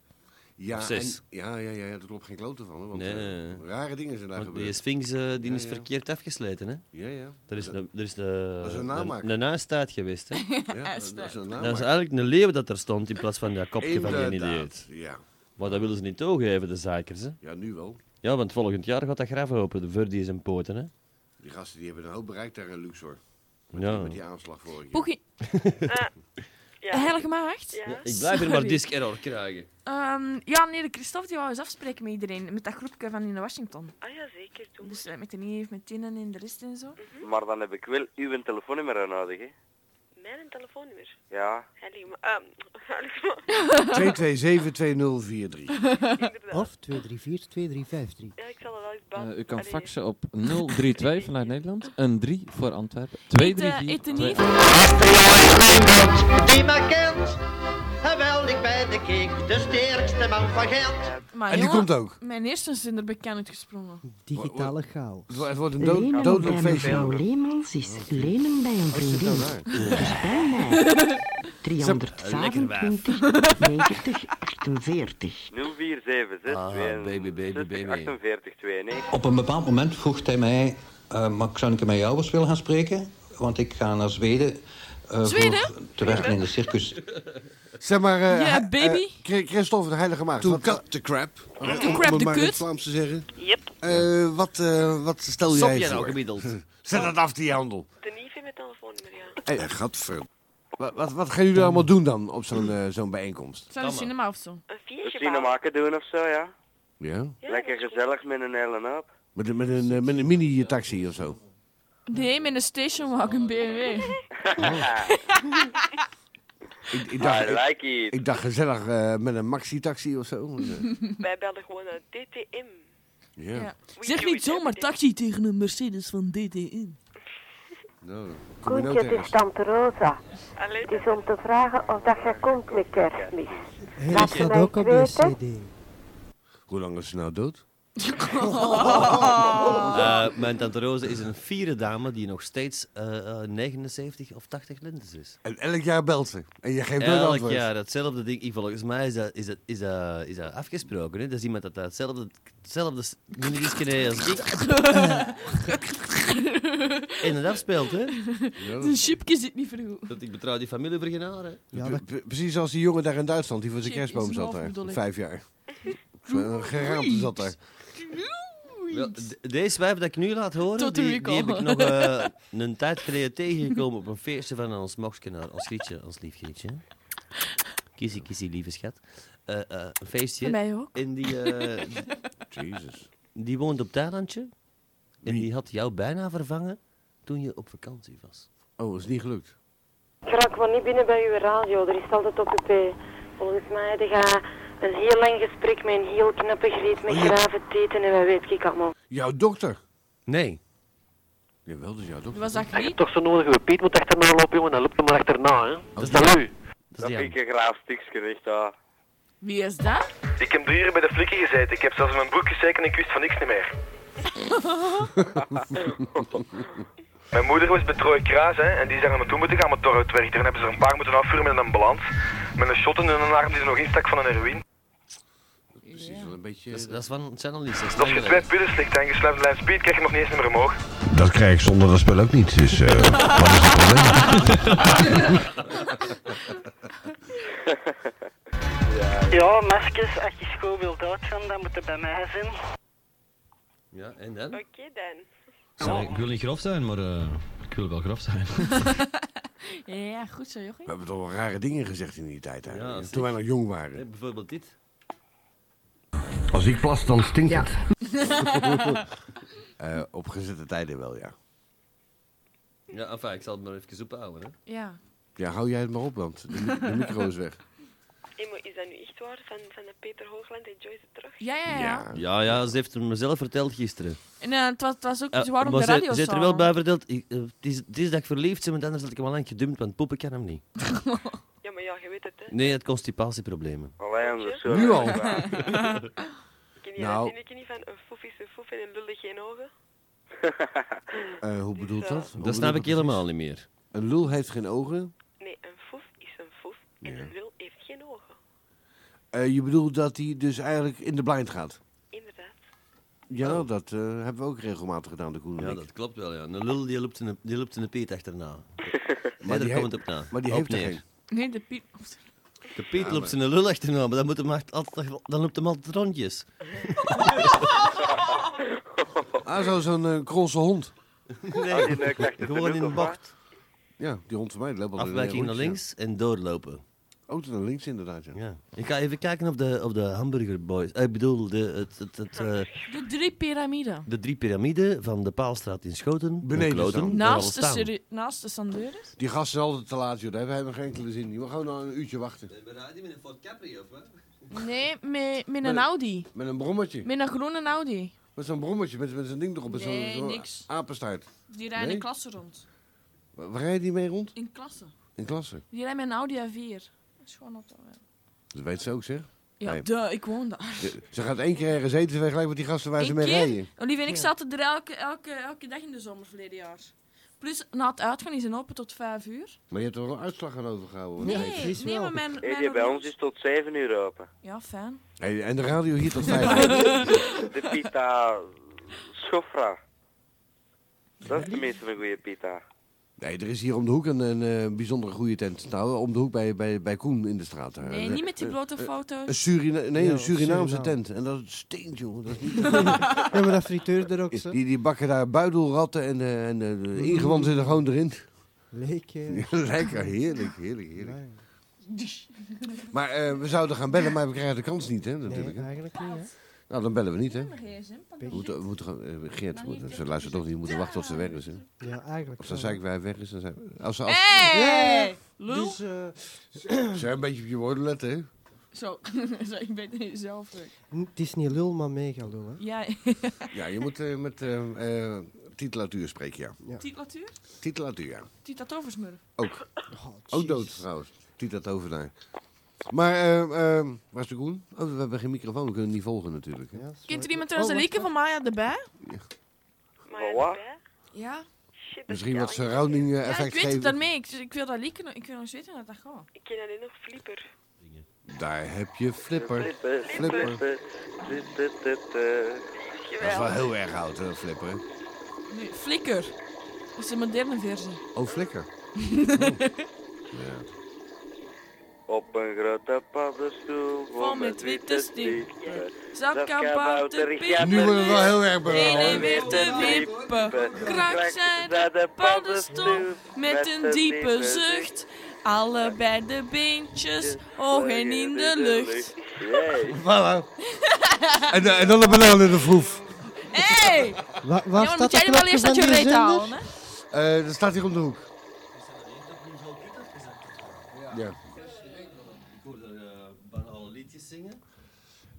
Speaker 1: Ja,
Speaker 2: Of zes.
Speaker 1: en- ja, ja, ja, ja, daar klopt geen klote van. Hoor, want
Speaker 2: Nee.
Speaker 1: eh, rare dingen zijn daar
Speaker 2: Want die
Speaker 1: gebeurd.
Speaker 2: sphinx eh, die
Speaker 1: Ja,
Speaker 2: is
Speaker 1: ja.
Speaker 2: verkeerd afgesleten, hè?
Speaker 1: Ja, ja.
Speaker 2: Er is,
Speaker 1: Dat-
Speaker 2: een, er is,
Speaker 1: dat is
Speaker 2: een,
Speaker 1: een namaak.
Speaker 2: een, een naastaat geweest, hè?
Speaker 1: (laughs) Ja, dat is een naam.
Speaker 2: Dat is eigenlijk een leeuw dat er stond in plaats van dat kopje van die
Speaker 1: Inderdaad,
Speaker 2: idioot.
Speaker 1: Ja.
Speaker 2: Maar dat willen ze niet toegeven, de zakers, hè?
Speaker 1: ja, nu wel.
Speaker 2: Ja, want volgend jaar gaat dat graf open voor die zijn poten, hè?
Speaker 1: Die gasten die hebben een hoop bereikt daar in Luxor. Met, die,
Speaker 2: Ja.
Speaker 1: met die aanslag vorig jaar.
Speaker 3: Poegie,
Speaker 10: Eh, Ja.
Speaker 3: heilige maagd.
Speaker 10: Ja.
Speaker 2: Ik blijf hier maar
Speaker 3: Sorry.
Speaker 2: disc
Speaker 1: (laughs)
Speaker 2: error krijgen.
Speaker 3: Ehm, ja, nee, de Christophe die wou eens afspreken met iedereen. Met dat groepje van in Washington.
Speaker 10: Ah ja, zeker. Mhm. Doe maar.
Speaker 3: Dus eh, met de neef, met Tin en de rest en zo.
Speaker 11: Maar dan heb ik wel uw telefoonnummer nodig, hè.
Speaker 10: Mijn telefoonnummer.
Speaker 11: Ja.
Speaker 10: Heilige ma...
Speaker 3: (laughs)
Speaker 10: ehm, heilige ma-
Speaker 1: (laughs) 2272043.
Speaker 10: Inderdaad.
Speaker 4: Of 234 2353.
Speaker 10: Ja, ik zal er wel eens bouwen.
Speaker 7: Eh, u kan
Speaker 10: Allee.
Speaker 7: faxen op
Speaker 10: (laughs)
Speaker 7: 032 vanuit Nederland. Een 3 voor Antwerpen.
Speaker 3: Eet, eh, eet de
Speaker 7: 234.
Speaker 3: neef.
Speaker 13: Die mij kent, en wel, ik ben de kik, de sterkste man van Gent.
Speaker 3: Maar
Speaker 1: En die
Speaker 3: jongen,
Speaker 1: komt ook.
Speaker 3: mijn eerste zijn er bekend uitgesprongen.
Speaker 4: Digitale chaos.
Speaker 1: Het wordt- Het wordt een dood, dodelijk feestje.
Speaker 9: Lemans Nou, is lenen bij
Speaker 4: Oh,
Speaker 9: een vriendin. Bel mij.
Speaker 4: (laughs)
Speaker 9: 325 90 48.
Speaker 11: 0476
Speaker 2: Ah, baby, baby, baby.
Speaker 11: 48 92.
Speaker 14: Op een bepaald moment vroeg hij mij, eh maar zou ik met jou eens willen gaan spreken? Want ik ga naar Zweden, eh,
Speaker 3: Zweden?
Speaker 14: voor te werken in de
Speaker 10: (laughs)
Speaker 14: circus.
Speaker 7: Eh,
Speaker 1: Zeg maar... eh,
Speaker 3: Ja,
Speaker 1: hij- eh,
Speaker 3: baby.
Speaker 1: Chri- Christophe de Heilige Maagd.
Speaker 9: To
Speaker 1: wat-
Speaker 9: cut the crap.
Speaker 1: om-
Speaker 3: crap
Speaker 1: om het
Speaker 3: the
Speaker 1: maar in
Speaker 3: cut.
Speaker 1: het Vlaams te zeggen.
Speaker 10: Yep.
Speaker 1: Eh, wat, eh, wat stel
Speaker 2: Stop
Speaker 1: jij
Speaker 2: jij nou
Speaker 1: voor?
Speaker 2: gemiddeld?
Speaker 1: (laughs) Zet dat af, die handel.
Speaker 10: De neef heeft mijn telefoonnummer, ja.
Speaker 1: Hey, gadver. Wat, wat, wat gaan jullie allemaal doen dan op zo'n eh, zo'n bijeenkomst?
Speaker 3: Zijn de cinema of zo?
Speaker 10: Een
Speaker 11: We
Speaker 10: viertje
Speaker 11: zien maken doen of zo, ja.
Speaker 1: Ja?
Speaker 10: Ja,
Speaker 11: Lekker
Speaker 10: dat is
Speaker 11: gezellig met een hele hoop.
Speaker 1: Met, een- met een, eh, met een mini-taxi of zo.
Speaker 3: Nee, met een
Speaker 10: Oh.
Speaker 3: stationwagen BMW.
Speaker 1: Ik, ik, dacht,
Speaker 11: I
Speaker 1: ik,
Speaker 11: Ah, like it.
Speaker 1: ik dacht gezellig eh, met een maxi-taxi of zo.
Speaker 10: goed. (laughs) Wij bellen gewoon naar DTM.
Speaker 1: Ja.
Speaker 3: Ja.
Speaker 10: We
Speaker 3: Zeg
Speaker 10: do
Speaker 3: niet
Speaker 10: it
Speaker 3: zomaar
Speaker 10: every day.
Speaker 3: taxi tegen een Mercedes van DTN.
Speaker 1: Nou, kom je nou
Speaker 9: Koentje, het
Speaker 1: tegen.
Speaker 9: is Tante Rosa.
Speaker 10: Allee,
Speaker 9: Het is om te vragen of dat je komt met kerstmis.
Speaker 4: Hey,
Speaker 9: Laat
Speaker 4: dat
Speaker 9: je
Speaker 4: staat
Speaker 9: mij
Speaker 4: ook op je
Speaker 9: weten.
Speaker 4: cd.
Speaker 1: Hoe lang is ze nou dood?
Speaker 10: Oh.
Speaker 2: Eh, mijn tante Roze is een fiere dame die nog steeds eh, eh, 79 of 80 lentes is.
Speaker 1: En elk jaar belt ze. En je geeft nooit
Speaker 2: Elk
Speaker 1: antwoord.
Speaker 2: jaar datzelfde ding. Ik- Volgens mij is dat, is dat, is dat, is dat afgesproken. Hè? Dat is iemand dat datzelfde hetzelfde s- minidiscje neemt als ik. en dat afspeelt, hè?
Speaker 1: Ja.
Speaker 3: Zijn chipje zit niet vergoed.
Speaker 2: Dat ik betrouw die familie voor geen haar, hè?
Speaker 4: Ja,
Speaker 1: Pre-
Speaker 4: dat
Speaker 1: pre- Precies als die jongen daar in Duitsland, die voor zijn
Speaker 3: Shit, is
Speaker 1: kerstboom
Speaker 3: een
Speaker 1: zat
Speaker 3: half
Speaker 1: daar.
Speaker 3: bedoel ik.
Speaker 1: Vijf jaar.
Speaker 10: (laughs)
Speaker 1: Een geraamte eh, zat daar.
Speaker 2: Wel, de- deze wijf dat ik nu laat horen,
Speaker 3: Tot de
Speaker 2: die, die
Speaker 3: recall.
Speaker 2: heb ik
Speaker 3: (laughs)
Speaker 2: nog eh, een tijd geleden tegengekomen op een feestje van ons mokskenaar, ons grietje, ons lief grietje. Kissie, kissie, lieve schat. Eh, eh, een
Speaker 3: Voor
Speaker 2: feestje.
Speaker 3: mij ook.
Speaker 2: En die, eh,
Speaker 1: Jezus.
Speaker 2: die woont op Thailandje. En
Speaker 1: Wie?
Speaker 2: die had jou bijna vervangen toen je op vakantie was.
Speaker 1: Oh, is niet gelukt.
Speaker 9: Ik raak maar niet binnen bij uw radio, er is altijd op uw p.
Speaker 15: Volgens mij had je een heel lang gesprek met een heel knappe griet met graven teten en wat weet ik allemaal.
Speaker 1: Jouw dokter? Nee. Jawel, dat is jouw dokter.
Speaker 3: Was dat
Speaker 1: griet?
Speaker 16: dus Toch zo nodig, uw Piet moet achterna lopen, jongen. Hij loopt hem maar achterna, hè. dat is dat lui.
Speaker 11: Dat vind ik een graaf stiksje, echt daar.
Speaker 3: Wie is dat?
Speaker 17: Ik heb drie uur bij de
Speaker 11: (laughs)
Speaker 16: (laughs)
Speaker 17: flikken gezeten. Ik heb zelfs mijn broek gestreken en ik wist van niks niet meer. Mijn moeder was bij Troy Kraas hè, en die zijn er naartoe moeten gaan met torhoutwerk. Daar hebben ze er een paar moeten afvuren met een ambulance. Met een shot in hun arm die er nog instak van een heroïne.
Speaker 1: Precies, Dus wel een beetje...
Speaker 2: Dat is, dat is van het zijn al niet.
Speaker 17: Als je twee pillen slikt en je sluit een lijn speed, krijg je nog niet eens meer omhoog.
Speaker 18: Dat krijg ik zonder dat spel ook niet, dus eh, wat is het
Speaker 9: (laughs)
Speaker 18: probleem?
Speaker 19: (laughs) Ja, maskers, als je school wilt uitgaan, dan moet het bij mij zijn.
Speaker 2: Ja, en dan?
Speaker 10: Oké dan.
Speaker 20: Sorry, ik wil niet grof zijn, maar eh, ik wil wel grof zijn.
Speaker 3: Ja, ja, goed zo, jochie.
Speaker 1: We hebben toch wel rare dingen gezegd in die tijd eigenlijk. toen wij nog jong waren.
Speaker 2: bijvoorbeeld dit.
Speaker 18: Als ik plas, dan stinkt het.
Speaker 1: (laughs) Eh, op gezette tijden wel, ja.
Speaker 2: Ja, enfin, ik zal het maar even ophouden, hè.
Speaker 3: Ja.
Speaker 1: Ja, hou jij het maar op, want de, mi- de micro is weg.
Speaker 10: Hey, maar is dat nu echt waar? Van, van de Peter Hoogland en Joyce terug?
Speaker 3: Ja, ja, ja.
Speaker 2: Ja, ja, ze heeft het mezelf verteld gisteren.
Speaker 3: En eh, het, was, het was ook
Speaker 2: Eh,
Speaker 3: zwaar om
Speaker 2: maar
Speaker 3: de
Speaker 2: ze-
Speaker 3: radio
Speaker 2: ze, heeft er
Speaker 3: samen.
Speaker 2: wel bij verteld, ik, eh, het, is, het is dat ik verliefd ben, want anders had ik hem al lang gedumpt, want poepen kan hem niet.
Speaker 10: (laughs) Ja, maar ja, je weet het, hè. eh,
Speaker 2: Nee, het constipatieproblemen.
Speaker 11: Alleen de
Speaker 10: zo. Nu al?
Speaker 3: (laughs)
Speaker 10: (laughs)
Speaker 2: (laughs)
Speaker 10: Ken je
Speaker 1: Nou.
Speaker 10: dat zinnetje niet van een foef is een foef en een lullig geen ogen?
Speaker 1: Eh, hoe bedoelt dat?
Speaker 2: Dat snap ik helemaal niet meer.
Speaker 1: Een lul heeft geen ogen.
Speaker 10: Nee, een foef is een foef en
Speaker 1: Ja.
Speaker 10: een lul heeft geen ogen.
Speaker 1: Eh, je bedoelt dat hij dus eigenlijk in de blind gaat?
Speaker 10: Inderdaad.
Speaker 1: Ja, dat eh, hebben we ook regelmatig gedaan, de Koen en
Speaker 2: Oh. Ja,
Speaker 1: ik.
Speaker 2: dat klopt wel, ja. Een lul die loopt een, die loopt een peet
Speaker 10: (laughs)
Speaker 2: achterna.
Speaker 1: Maar
Speaker 2: Maar
Speaker 1: die
Speaker 2: daar
Speaker 1: he-
Speaker 2: komt het op na.
Speaker 1: maar die
Speaker 2: Op
Speaker 1: heeft er
Speaker 2: neer.
Speaker 1: geen.
Speaker 3: Nee, de Piet...
Speaker 2: De Piet
Speaker 1: Ja, maar-
Speaker 2: loopt zijn lul achterna, maar dan, moet hem echt altijd, dan loopt hem
Speaker 10: (laughs)
Speaker 2: altijd rondjes.
Speaker 1: (laughs)
Speaker 2: (laughs)
Speaker 1: Ah, zo- zo'n eh, krolse hond. (laughs)
Speaker 10: Ah, nou,
Speaker 2: Nee, gewoon in de bocht.
Speaker 1: Ja, die hond van mij die loopt altijd in
Speaker 2: Afwijking naar
Speaker 1: rondjes,
Speaker 2: links en doorlopen.
Speaker 1: Ook naar links inderdaad, ja.
Speaker 2: Ik ga even kijken op de, op de Hamburger Boys. Eh, Ik bedoel, de, het, het, het, eh,
Speaker 3: De drie piramiden.
Speaker 2: de drie piramiden van de Paalstraat in Schoten.
Speaker 1: Beneden
Speaker 2: Van Kloten,
Speaker 1: staan.
Speaker 2: waar we al
Speaker 3: Naast de,
Speaker 2: staan.
Speaker 3: Suri- naast de Sandeures.
Speaker 1: Die gasten zijn altijd te laat, joh. Daar hebben we geen enkele zin in. We gaan nog een uurtje wachten.
Speaker 2: We rijden met een Ford Capri, of wat?
Speaker 3: Nee, met, met
Speaker 1: Met-
Speaker 3: een Audi.
Speaker 1: Met een brommetje.
Speaker 3: Met een groene Audi.
Speaker 1: Met zo'n brommetje, met, met zo'n ding erop. Met zo'n-
Speaker 3: Nee,
Speaker 1: zo'n
Speaker 3: niks.
Speaker 1: apenstaart.
Speaker 3: Die rijden
Speaker 1: Nee?
Speaker 3: in klasse rond.
Speaker 1: Waar waar rijden die mee rond?
Speaker 3: In klasse.
Speaker 1: In klasse.
Speaker 3: Die rijden met een Audi A4. Dat is gewoon auto. ja.
Speaker 1: Dat weet ze ook, zeg.
Speaker 3: Ja,
Speaker 1: Nee.
Speaker 3: duh, ik woon daar.
Speaker 1: Ze- Ze gaat één keer ergens eten, ze weet gelijk met die gasten waar ze
Speaker 3: Eén
Speaker 1: mee
Speaker 3: keer?
Speaker 1: rijden.
Speaker 3: Olivier en ik zaten er elke, elke, elke dag in de zomer verleden jaar. Plus, na het uitgaan is het open tot vijf uur.
Speaker 1: Maar je hebt er wel een uitslag aan overgehouden.
Speaker 3: Nee, Nee, precies nee, wel. maar mijn-
Speaker 11: Hey, die
Speaker 3: mijn
Speaker 11: bij
Speaker 3: horloge-
Speaker 11: ons is tot 7 uur open.
Speaker 3: Ja, fijn.
Speaker 1: Hey, en de radio hier
Speaker 3: (laughs)
Speaker 1: tot vijf uur.
Speaker 11: De pita schofra. Dat is tenminste een goede pita.
Speaker 1: Nee, er is hier om de hoek een, een eh, bijzonder goede tent. Nou, om de hoek bij, bij, bij Koen in de straat. daar.
Speaker 3: Nee,
Speaker 1: Een-
Speaker 3: niet met die
Speaker 1: een-
Speaker 3: blote
Speaker 1: een-
Speaker 3: foto's.
Speaker 1: Een, Surina nee,
Speaker 4: Ja,
Speaker 1: een Surinaamse
Speaker 4: Suriname.
Speaker 1: tent. En dat stinkt, joh. Dat
Speaker 3: (laughs)
Speaker 1: is niet
Speaker 4: (laughs) Ja, maar dat frituur er ook zo.
Speaker 1: Die, die bakken daar buidelratten en, eh, en eh, de ingewanden zitten gewoon erin.
Speaker 4: Lekker.
Speaker 1: (laughs) Lekker, heerlijk, heerlijk, heerlijk. Maar eh, we zouden gaan bellen, maar we krijgen de kans niet, hè, natuurlijk. hè.
Speaker 4: Eigenlijk niet, hè.
Speaker 1: Nou, dan bellen we niet, hè. We
Speaker 4: Pech.
Speaker 1: moeten, we moeten, gewoon, eh, Geert, we moeten- ze luistert toch niet, we moeten wachten tot ze weg is, hè.
Speaker 4: Ja, eigenlijk
Speaker 1: Als de
Speaker 4: wel.
Speaker 1: zijkwijk weg is, dan zijn we... Als ze, als,
Speaker 3: Hey! Lul.
Speaker 4: Dus, eh,
Speaker 1: Zij een beetje op je woorden letten, hè.
Speaker 3: Zo, (laughs) zo ik ben er niet zelf. eh.
Speaker 4: Hm, het is niet lul, maar mega lul, hè. (laughs)
Speaker 3: Ja,
Speaker 1: Ja, je moet eh, met eh, eh, titulatuur spreken, ja.
Speaker 3: titulatuur?
Speaker 1: Titulatuur, ja.
Speaker 3: Tita Toversmurf. (laughs)
Speaker 1: Ook.
Speaker 4: Oh,
Speaker 3: Oh,
Speaker 1: ook dood trouwens. Tita Tovenaar. Maar, eh, eh, waar is de Koen? Oh, we hebben geen microfoon, we kunnen het niet volgen natuurlijk. Hè?
Speaker 3: Kent er iemand trouwens een liedje van Maya de Bij?
Speaker 11: Maar wat?
Speaker 3: Ja.
Speaker 1: Misschien wat surrounding eh,
Speaker 3: Ja, ik
Speaker 1: effect
Speaker 3: weet het
Speaker 1: geven.
Speaker 3: daarmee. Ik, ik wil dat liedje nog- ik wil nog eens weten dat dat gaat.
Speaker 10: Ik ken alleen nog Flieper.
Speaker 1: Daar heb je flipper.
Speaker 11: Flipper, flipper.
Speaker 1: Dat is wel heel erg oud, hè, flipper. hè.
Speaker 3: Nee, Flikker. Dat is de moderne versie. (laughs)
Speaker 1: Oh, flikker.
Speaker 11: Op een grote paddenstoel vol met witte stippen.
Speaker 3: Zatkabouter,
Speaker 11: Piet.
Speaker 1: Nu worden we wel heel erg
Speaker 3: In
Speaker 1: belangrijk.
Speaker 3: en weer te wippen. Krak zijn de paddenstoel met een diepe zucht. Allebei de beentjes, ogen in de lucht.
Speaker 1: Voilà. en, eh, en dan een banaan in de vroef.
Speaker 3: Hey!
Speaker 4: Waar,
Speaker 3: Ja, maar moet jij er wel eerst dat je reet halen, hè?
Speaker 1: Eh, dat staat hier om de hoek. Ja.
Speaker 2: Ik hoorde, eh,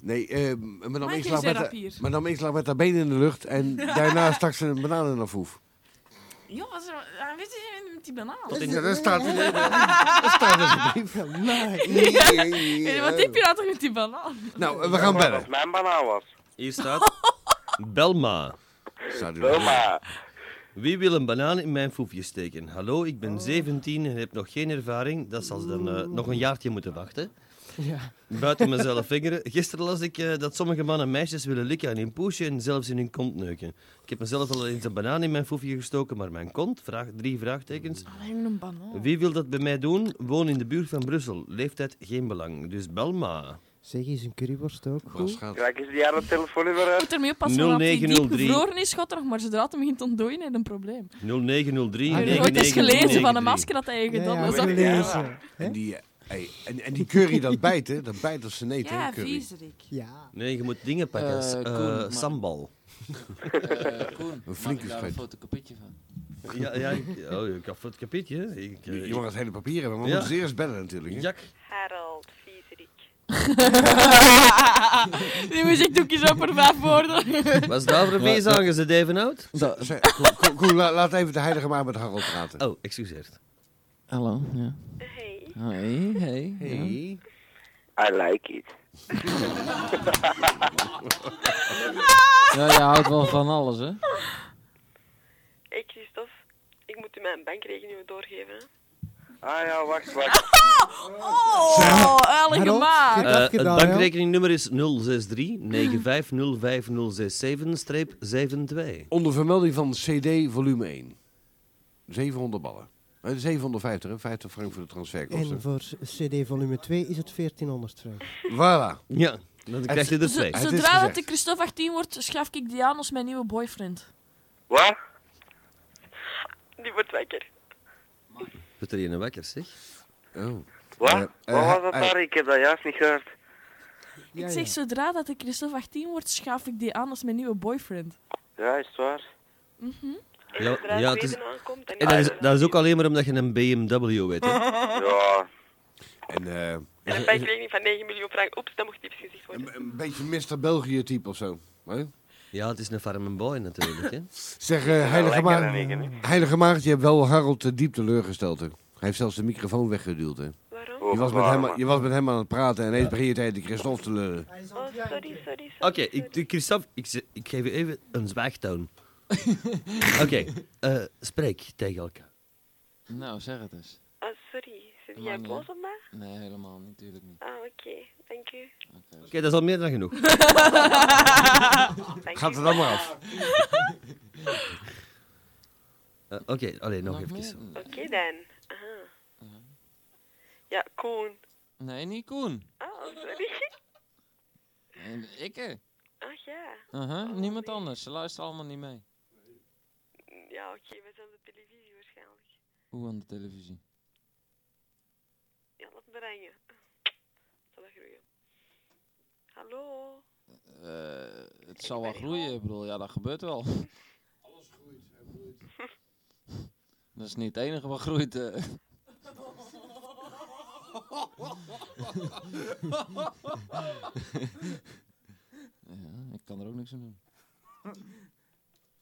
Speaker 1: Nee, eh, madame,
Speaker 3: geen
Speaker 1: Inslag met
Speaker 3: zeerat
Speaker 1: haar,
Speaker 3: hier.
Speaker 1: madame Inslag met haar benen in de lucht
Speaker 3: (laughs)
Speaker 1: en daarna stak ze een banaan in haar voef.
Speaker 3: (laughs) Ja, wat is er- ah, weet je, met die banaan.
Speaker 1: Dat is- Ja, dat staat in de-
Speaker 3: (laughs)
Speaker 4: dat staat alsjeblieft
Speaker 3: van
Speaker 1: (laughs)
Speaker 4: mij.
Speaker 3: (laughs) Wat heb je nou toch met die banaan?
Speaker 1: Nou, eh, we gaan bellen.
Speaker 11: Als mijn banaan was.
Speaker 2: Hier
Speaker 1: (laughs)
Speaker 2: staat Belma.
Speaker 11: Belma.
Speaker 2: Wie wil een banaan in mijn foefje steken? Hallo, ik ben 17 en heb nog geen ervaring. Dat zal ze dan eh, nog een jaartje moeten wachten.
Speaker 4: Ja.
Speaker 2: Buiten mezelf vingeren. Gisteren las ik eh, dat sommige mannen meisjes willen likken aan hun poesje en zelfs in hun kont neuken. Ik heb mezelf al eens een banaan in mijn foefje gestoken, maar mijn kont? Vraag, drie vraagtekens.
Speaker 3: Alleen een banaan.
Speaker 2: Wie wil dat bij mij doen? Woon in de buurt van Brussel. Leeftijd geen belang. Dus bel maar.
Speaker 4: Zeg, is een curryworst ook goed?
Speaker 11: Kijk eens die aan de telefoon even
Speaker 3: Je
Speaker 11: uit.
Speaker 3: moet ermee oppassen, want als die diep
Speaker 2: 0903.
Speaker 3: bevroren is, gaat er nog maar zodra het hem begint te ontdooien, heb je een probleem.
Speaker 2: 0903
Speaker 1: Ah,
Speaker 3: Heb je ooit eens gelezen van een masker dat hij gedaan
Speaker 1: Ja,
Speaker 3: was?
Speaker 1: ja,
Speaker 3: dat-
Speaker 1: gelezen. En die, eh, hey, en, en die curry dat bijt, hè? Dat bijt als ze neet,
Speaker 3: Ja,
Speaker 1: hè? Curry.
Speaker 3: viezerik. Ja.
Speaker 2: Nee, je moet dingen pakken.
Speaker 8: Eh,
Speaker 2: S- eh,
Speaker 8: Koen, maar-
Speaker 2: sambal.
Speaker 8: Eh, Koen,
Speaker 1: Een flinke
Speaker 8: maak ik daar een
Speaker 1: scheet.
Speaker 8: fotocopietje van.
Speaker 2: Ja, ja ik, oh, ik had voor het kapietje. Ik, eh,
Speaker 1: Je, je mag het hele papier hebben, maar we
Speaker 2: Ja.
Speaker 1: moeten ze eerst bellen natuurlijk. Hè?
Speaker 2: Jack.
Speaker 10: Harold Vieserik.
Speaker 3: (laughs) Die muziekdoekjes op voor vijf woorden.
Speaker 2: (laughs) Was daar voor een
Speaker 1: Maar-
Speaker 2: feest aangezet, Evenhout?
Speaker 1: Zeg, Koen, Koen, Koen, la- laat even de heilige maar met Harold praten.
Speaker 2: Oh, excuseert.
Speaker 7: Hallo, ja.
Speaker 10: Hey.
Speaker 7: Hey, hey. ja.
Speaker 1: Hey.
Speaker 11: I like it.
Speaker 7: Ja, je houdt wel van alles, hè?
Speaker 10: Hey Christophe, ik moet u mijn bankrekening doorgeven. hè.
Speaker 11: Ah ja, wacht,
Speaker 10: (laughs)
Speaker 11: wacht.
Speaker 3: Oh, alle
Speaker 11: Harold,
Speaker 3: gemaakt.
Speaker 11: kijk
Speaker 2: Eh, het
Speaker 11: afgedaan, hè?
Speaker 2: bankrekeningnummer is 063-9505067-72.
Speaker 1: Onder vermelding van CD volume 1. 700 ballen. Eh, 750, hè? 50 frank voor de transferkosten.
Speaker 4: En voor s- CD volume 2 is het 1400 frank.
Speaker 1: Voilà.
Speaker 2: Ja, dan krijg je er twee.
Speaker 1: Het is
Speaker 3: Zodra dat
Speaker 1: gezegd.
Speaker 3: de Christophe 18 wordt, schaf ik die aan als mijn nieuwe boyfriend.
Speaker 11: Wat?
Speaker 10: Die wordt wakker.
Speaker 2: Wordt er een wekker, zeg?
Speaker 1: Oh.
Speaker 11: Wat?
Speaker 2: Eh,
Speaker 11: Wat was dat
Speaker 2: eh,
Speaker 11: daar? Ik heb dat juist niet gehoord.
Speaker 3: ik zeg, zodra dat de Christophe 18 wordt, schaf ik die aan als mijn nieuwe boyfriend.
Speaker 11: Ja, is het waar?
Speaker 3: Mhm.
Speaker 2: Ja, ja, het is...
Speaker 10: aankomt,
Speaker 2: En dat is, dat is ook alleen maar omdat je een BMW weet, hè?
Speaker 11: Ja.
Speaker 1: En, eh,
Speaker 10: En een bankrekening van 9 miljoen frank. Oeps, dat mocht niet gezegd worden.
Speaker 1: een beetje Mr. België type of zo. hè?
Speaker 2: Ja, het is een farm and boy natuurlijk, hè?
Speaker 1: Zeg, eh,
Speaker 2: Ja,
Speaker 1: Heilige,
Speaker 2: lekker
Speaker 1: Maag-
Speaker 2: in één keer, hè?
Speaker 1: Heilige Maagd, je hebt wel Harold eh, diep teleurgesteld. Hè. Hij heeft zelfs de microfoon weggeduwd. Hè.
Speaker 11: Waarom?
Speaker 1: Je was, met
Speaker 11: Waarom?
Speaker 1: hem, je was met hem aan het praten en ineens begin je tegen de Christophe te
Speaker 2: Eh.
Speaker 1: leuren.
Speaker 10: Oh, sorry, sorry.
Speaker 2: Oké, ik- de- Christophe, ik, ze- ik geef je even een zwijgtoon. Oké, eh, spreek tegen elkaar.
Speaker 7: Nou, zeg het eens.
Speaker 10: Oh, sorry. Zit
Speaker 7: Maar
Speaker 10: jij
Speaker 7: niet.
Speaker 10: boos op mij?
Speaker 7: Nee, helemaal niet, natuurlijk niet. dus-
Speaker 10: Ah, oké. Dank u.
Speaker 2: Oké, dat is al meer dan
Speaker 10: (laughs)
Speaker 7: (laughs)
Speaker 2: genoeg.
Speaker 10: Dank
Speaker 1: Gaat
Speaker 10: u.
Speaker 1: het dan maar af.
Speaker 2: Eh, Oké, alleen nog,
Speaker 7: Nog
Speaker 2: even.
Speaker 10: Oké dan. Aha. Ja, Koen.
Speaker 7: (laughs) Nee, niet Koen.
Speaker 10: Oh, sorry. (laughs)
Speaker 7: Eh, Ikke.
Speaker 10: Ach ja.
Speaker 7: Aha, Uh-huh,
Speaker 10: Oh,
Speaker 7: niemand anders. Ze luisteren allemaal niet mee.
Speaker 10: Ja, oké. We zijn op de televisie waarschijnlijk.
Speaker 7: Hoe aan de televisie?
Speaker 10: Ja, laat me hangen. Zal dat groeien? Hallo?
Speaker 7: Eh, het zal wel groeien, ik bedoel, ja, dat gebeurt wel. (laughs)
Speaker 1: Alles groeit en bloeit.
Speaker 7: Dat is niet het enige wat groeit. eh. ja, ik kan er ook niks aan doen.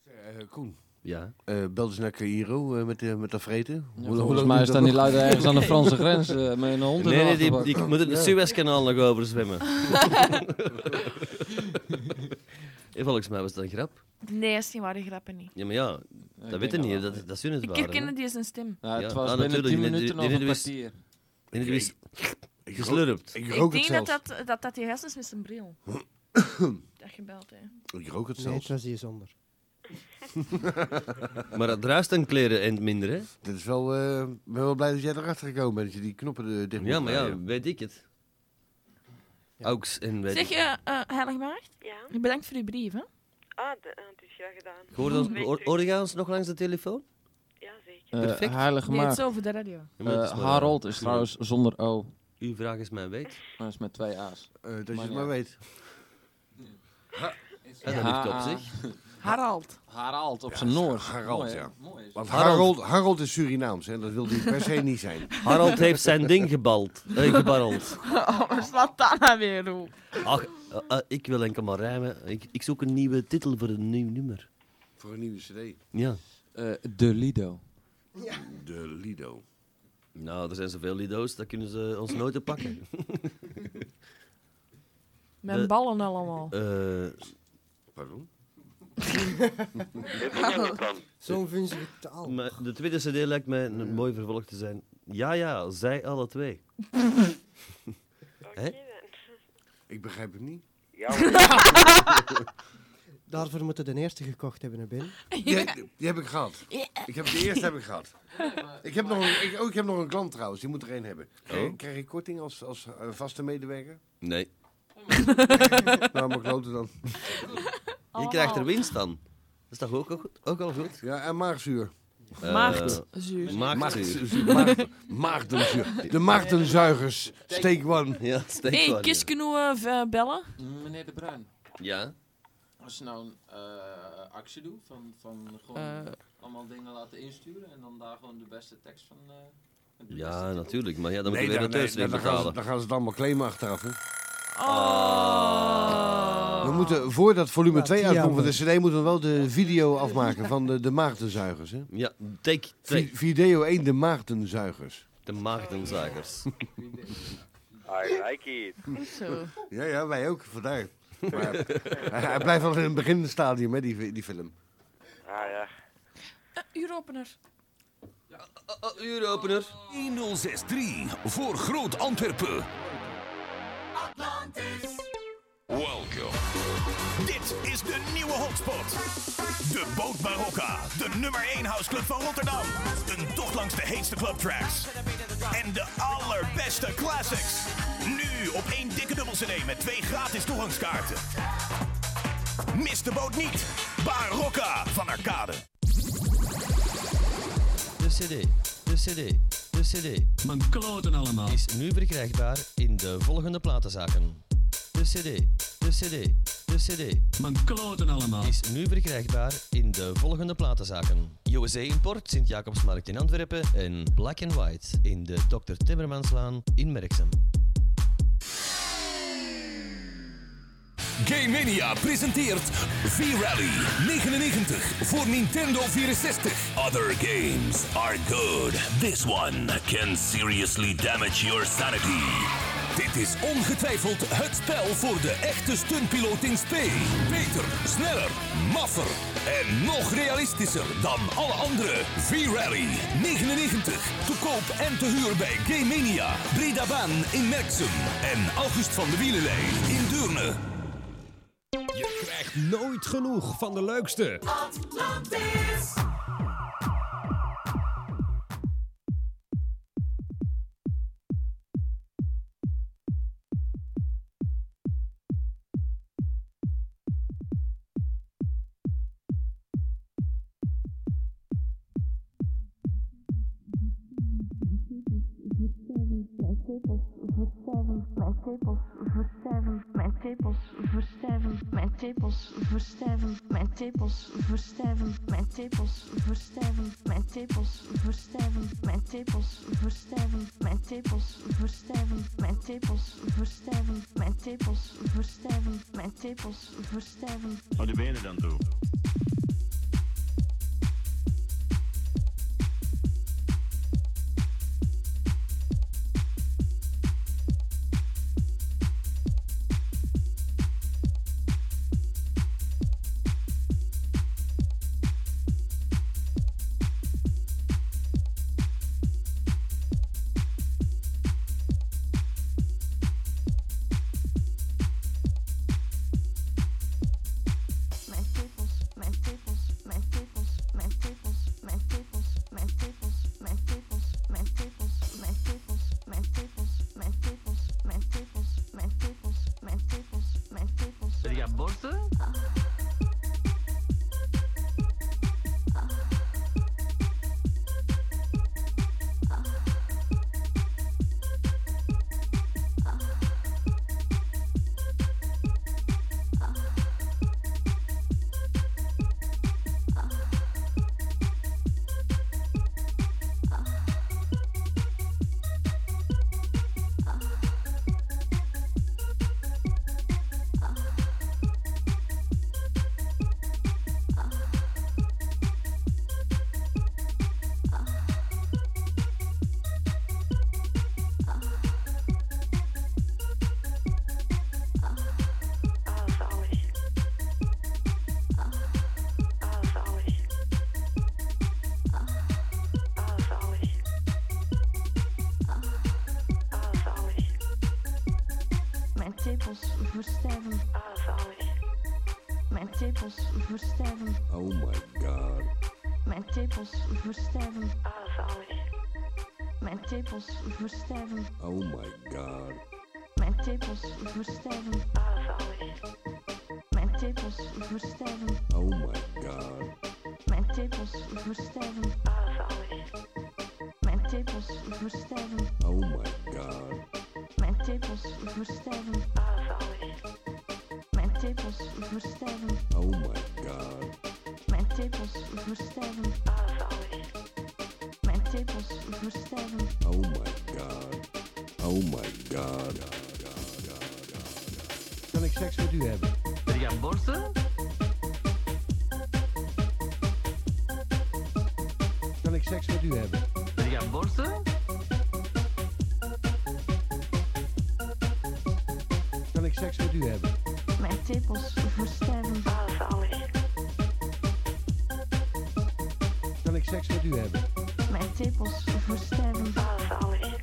Speaker 1: Eh, Koen.
Speaker 2: Ja.
Speaker 1: Eh, bel eens naar Cairo eh, met, eh, met dat vreten. Hoe- hoe
Speaker 7: volgens
Speaker 1: lang
Speaker 7: mij
Speaker 1: duurt
Speaker 7: staan
Speaker 1: dat
Speaker 7: die
Speaker 1: nog?
Speaker 7: luiden ergens aan de
Speaker 1: (laughs)
Speaker 7: Franse grens, eh, met hun hond in
Speaker 2: Nee,
Speaker 7: de
Speaker 2: nee, die,
Speaker 7: achterbak.
Speaker 2: die moet het
Speaker 7: Ja.
Speaker 2: Suezkanaal nog overzwemmen. (laughs) en volgens mij was dat een grap.
Speaker 3: Nee, dat is niet waar, die grappen niet.
Speaker 2: Ja, maar ja, dat
Speaker 7: denk
Speaker 2: weten
Speaker 7: dat
Speaker 2: niet,
Speaker 7: wel.
Speaker 2: dat, dat zullen het
Speaker 3: Ik
Speaker 2: waren,
Speaker 3: herkende
Speaker 2: hè.
Speaker 3: die zijn stem.
Speaker 7: Ja, het
Speaker 2: Ja,
Speaker 7: was
Speaker 2: ah,
Speaker 7: binnen
Speaker 2: natuurlijk,
Speaker 7: 10
Speaker 2: die-
Speaker 7: minuten
Speaker 2: die-
Speaker 7: nog een
Speaker 2: die- die-
Speaker 7: kwartier.
Speaker 2: En het is
Speaker 1: Ik rook-
Speaker 2: geslurpt.
Speaker 1: Ik
Speaker 3: Ik
Speaker 1: rook het
Speaker 3: denk dat
Speaker 1: zelfs.
Speaker 3: dat, dat dat die gast is met zijn
Speaker 1: (coughs)
Speaker 3: bril. dat gebeld, hè.
Speaker 1: Ik rook het
Speaker 4: Nee, het
Speaker 1: zelfs.
Speaker 4: was hier zonder.
Speaker 2: Maar dat ruist aan kleren en minder, hè?
Speaker 1: Dit is wel, eh, ik ben wel blij dat jij erachter gekomen bent, dat je die knoppen eh, dicht moet
Speaker 2: Ja, maar ja,
Speaker 1: draaien.
Speaker 2: weet ik het. Auks en weet
Speaker 3: Zeg,
Speaker 2: ik.
Speaker 3: je Heilige Maagd,
Speaker 10: Ja?
Speaker 3: bedankt voor je brief, hè.
Speaker 10: Ah, de, ah, het is graag gedaan.
Speaker 3: (laughs)
Speaker 2: Hoorde ons, hoor- hoorde jij ons nog langs de telefoon?
Speaker 10: Ja, zeker.
Speaker 7: Eh,
Speaker 2: Perfect.
Speaker 7: heilige
Speaker 3: Nee, het
Speaker 7: maag.
Speaker 3: is over de radio.
Speaker 2: Ja, maar dat is
Speaker 7: Eh,
Speaker 2: maar-
Speaker 7: Harold is trouwens zonder O.
Speaker 2: Uw vraag is mijn weet.
Speaker 7: (laughs) Dat is met twee A's.
Speaker 1: Eh, dat je
Speaker 7: Maar
Speaker 1: het
Speaker 7: ja.
Speaker 1: maar weet.
Speaker 2: Ja, dat ligt op zich.
Speaker 3: Harald.
Speaker 7: Harald op zijn Noors.
Speaker 1: Harald,
Speaker 7: Mooi, hè?
Speaker 1: ja.
Speaker 7: Mooi is het.
Speaker 1: Want Harold, Harold is Surinaams en dat wil hij per se niet zijn.
Speaker 2: Harold heeft zijn ding gebald. Eh,
Speaker 3: (laughs)
Speaker 2: gebarreld.
Speaker 3: Oh, maar slaat dat nou weer op?
Speaker 2: Ach, eh, eh, ik wil enkel maar rijmen. Ik, ik zoek een nieuwe titel voor een nieuw nummer.
Speaker 1: (laughs) Voor een nieuwe cd.
Speaker 2: Ja.
Speaker 7: Eh, de Lido.
Speaker 1: De Lido.
Speaker 2: Nou, er zijn zoveel Lido's, daar kunnen ze ons nooit op pakken.
Speaker 3: Mijn
Speaker 2: De-
Speaker 3: ballen allemaal.
Speaker 2: Eh,
Speaker 1: Pardon?
Speaker 4: Zo'n vunzige taal.
Speaker 2: Maar de tweede CD lijkt mij een mooi vervolg te zijn. Ja, ja, zij alle twee. Hè?
Speaker 1: Ik begrijp het niet.
Speaker 2: (laughs)
Speaker 4: Daarvoor moeten de eerste gekocht hebben, hè, Ben.
Speaker 1: Die, die heb ik gehad. Ik heb, de eerste heb ik gehad. Ik heb, nog een, ik, oh, ik heb nog een klant trouwens, die moet er één hebben. Krijg,
Speaker 2: Oh.
Speaker 1: krijg ik korting als, als eh, vaste medewerker?
Speaker 2: Nee.
Speaker 1: (laughs) nou, maar kloten (laughs) dan.
Speaker 2: Je krijgt er winst dan. Dat is toch ook, al goed- ook al goed?
Speaker 1: Ja, en maagzuur.
Speaker 2: Eh,
Speaker 3: Maagdzuur.
Speaker 2: Maagdzuur.
Speaker 1: Maagd- Maagdenzuur. De maagdenzuigers. Steek one.
Speaker 2: Ja, steek
Speaker 3: Hé, hey,
Speaker 2: one,
Speaker 3: kist kunnen we, eh, bellen?
Speaker 8: Mm, Meneer De Bruin,
Speaker 2: Ja.
Speaker 8: als je nou een eh, actie doet, van, van gewoon
Speaker 3: Eh.
Speaker 8: allemaal dingen laten insturen en dan daar gewoon de beste tekst van... eh, het
Speaker 2: ja.
Speaker 8: beste
Speaker 2: (laughs) Ja,
Speaker 8: tekst-
Speaker 2: natuurlijk. Maar ja, dan moet je
Speaker 1: Nee,
Speaker 2: weer een
Speaker 1: dan, nee,
Speaker 2: thuisding
Speaker 1: dan gaan ze,
Speaker 2: betalen.
Speaker 1: dan gaan ze het allemaal claimen achteraf. Hè.
Speaker 3: Oh.
Speaker 1: We moeten, voordat volume
Speaker 4: Ja,
Speaker 1: 2
Speaker 4: die
Speaker 1: uitkomt van de
Speaker 4: jammer.
Speaker 1: cd, moeten we wel de video afmaken van de, de maagdenzuigers. Hè?
Speaker 2: Ja, take
Speaker 1: Vi-
Speaker 2: 2.
Speaker 1: video 1, de maagdenzuigers.
Speaker 2: De
Speaker 1: (laughs)
Speaker 2: maagdenzuigers.
Speaker 11: I like it.
Speaker 3: Zo.
Speaker 1: Ja, ja, wij ook, vandaar. Maar hij, hij blijft al in het beginstadium, hè, die, die film.
Speaker 11: Ah ja.
Speaker 3: Eh, uuropener.
Speaker 2: Uuropener.
Speaker 21: 1063 voor Groot Antwerpen. Welkom. Dit is de nieuwe hotspot. De Boot Barokka, de nummer 1 houseclub van Rotterdam. Een tocht langs de heetste clubtracks. En de allerbeste classics. Nu op één dikke dubbel CD met twee gratis toegangskaarten. Mis de boot niet. Barokka van Arcade.
Speaker 2: De CD, de CD, de CD. Mijn kloten allemaal. Is nu verkrijgbaar in de volgende platenzaken. De CD, de CD, de CD. Mijn kloten allemaal. Is nu verkrijgbaar in de volgende platenzaken: USA Import, Sint-Jacobsmarkt in Antwerpen en Black and White in de Dr. Timmermanslaan in Merksem.
Speaker 21: Game Mania presenteert V-Rally 99 voor Nintendo 64. Other games are good. This one can seriously damage your sanity. Dit is ongetwijfeld het spel voor de echte stuntpiloot in spe. Beter, sneller, maffer en nog realistischer dan alle andere. V-Rally 99 te koop en te huur bij Game Mania, Breda Baan in Merksem en August van de Wielenlei in Deurne.
Speaker 22: Je krijgt nooit genoeg van de leukste.
Speaker 23: Atlantis.
Speaker 24: Mijn tepels versterven, mijn tepels versterven, mijn tepels versterven, mijn tepels versterven, mijn tepels versterven, mijn tepels versterven, mijn tepels versterven, mijn tepels versterven, mijn tepels versterven, mijn tepels versterven, mijn tepels versterven, mijn tepels versterven.
Speaker 25: Hou de Oh, benen dan toe.
Speaker 24: Mijn tepels verstijvend.
Speaker 10: Ah, zalig.
Speaker 24: Mijn tepels verstijvend.
Speaker 18: Oh my god.
Speaker 24: Mijn tepels verstijvend.
Speaker 10: Ah, zalig.
Speaker 24: Mijn tepels verstijvend.
Speaker 18: Oh my god.
Speaker 24: Mijn tepels verstijvend.
Speaker 10: Ah, zalig.
Speaker 24: Mijn tepels verstijvend.
Speaker 18: Oh my god.
Speaker 24: Mijn tepels verstijvend.
Speaker 10: Ah, zalig.
Speaker 24: Mijn tepels verstijvend.
Speaker 18: Oh my god.
Speaker 24: Mijn tepels verstijvend.
Speaker 10: Ah, zalig.
Speaker 24: Mijn tepels verstijvend.
Speaker 18: Oh my god.
Speaker 24: Mijn tepels verstijvend.
Speaker 10: Ah, zalig.
Speaker 24: Mijn tepels verstijvend.
Speaker 18: Oh my god. Oh my god.
Speaker 1: Kan ik seks met u hebben?
Speaker 16: Wil je gaan borsten?
Speaker 1: Kan ik seks met u hebben?
Speaker 16: Wil je gaan borsten?
Speaker 1: Kan ik seks met u hebben?
Speaker 24: Mijn tepels verstijvend.
Speaker 10: Ah, zalig.
Speaker 1: Kan ik seks met u hebben?
Speaker 24: Mijn tepels verstijvend.
Speaker 10: Ah, zalig.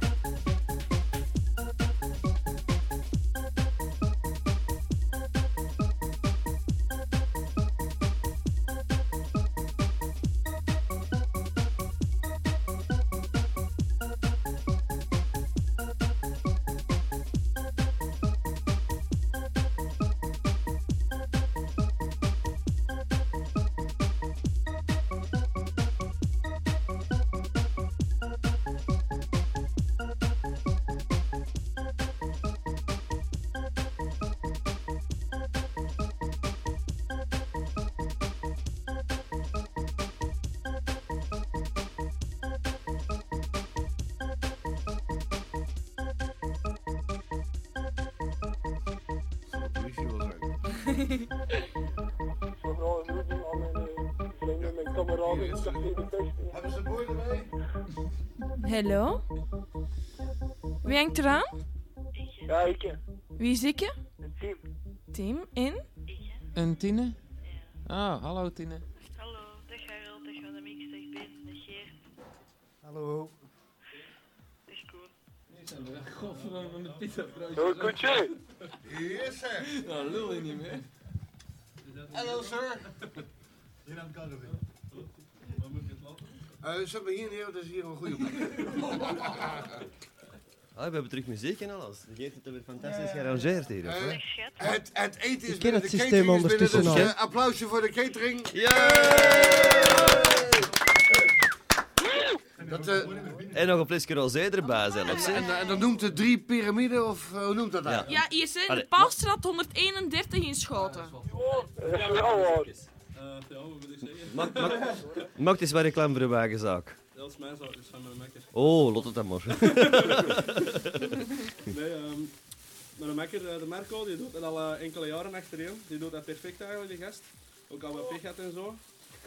Speaker 9: (laughs) eh,
Speaker 10: Hallo?
Speaker 3: Wie hangt eraan?
Speaker 5: Ja, ik.
Speaker 3: Wie is ik?
Speaker 5: Tim.
Speaker 3: Tim in?
Speaker 7: Een Tine? Ah, hallo Tine.
Speaker 6: Hallo, dag Harold, dag Van de Mix, dag Ben, dag Geert,
Speaker 4: Hallo.
Speaker 6: dag Koen.
Speaker 8: Godverdomme, met pizza broodjes.
Speaker 5: Doe een koetje.
Speaker 8: Yes, sir. Nou, lul je niet meer. Hallo, sir. Hier aan het kan Waar moet je het laten?
Speaker 1: Eh zullen we hier neer? Dat is hier een goede plek.
Speaker 8: (laughs)
Speaker 2: Ah, we hebben terug muziek en alles. De Geert heeft het weer fantastisch gearrangeerd hier. of
Speaker 1: Eh,
Speaker 2: wat?
Speaker 1: het, het eten is
Speaker 4: Ik ken
Speaker 1: binnen,
Speaker 4: het
Speaker 1: de
Speaker 4: systeem
Speaker 1: catering is binnen,
Speaker 4: ondertussen
Speaker 1: dus
Speaker 4: al.
Speaker 1: eh, applausje voor de catering. Dat, eh,
Speaker 2: En nog een flesje rosé erbij zelfs. hè.
Speaker 1: en, en dat noemt het drie piramiden, of eh, hoe noemt dat dat?
Speaker 3: Ja, hier zijn de
Speaker 2: Allee.
Speaker 3: Paalstraat 131 in Schoten.
Speaker 10: Oh,
Speaker 5: Ja,
Speaker 10: eh,
Speaker 5: hoor.
Speaker 8: Ja, Eh, wat wil ik zeggen?
Speaker 2: Mag- mag-
Speaker 8: (laughs)
Speaker 2: Maakt eens wat reclame voor de wagenzaak.
Speaker 8: Dat is mijn zaak, dus dat is van mijn makker.
Speaker 2: Oh, lot het dan maar.
Speaker 8: (laughs) nee, ehm mijn makker, eh, de Marco, die doet dat al eh, enkele jaren achtereen. Die doet dat perfect eigenlijk, die gast. Ook al wat pech had en zo.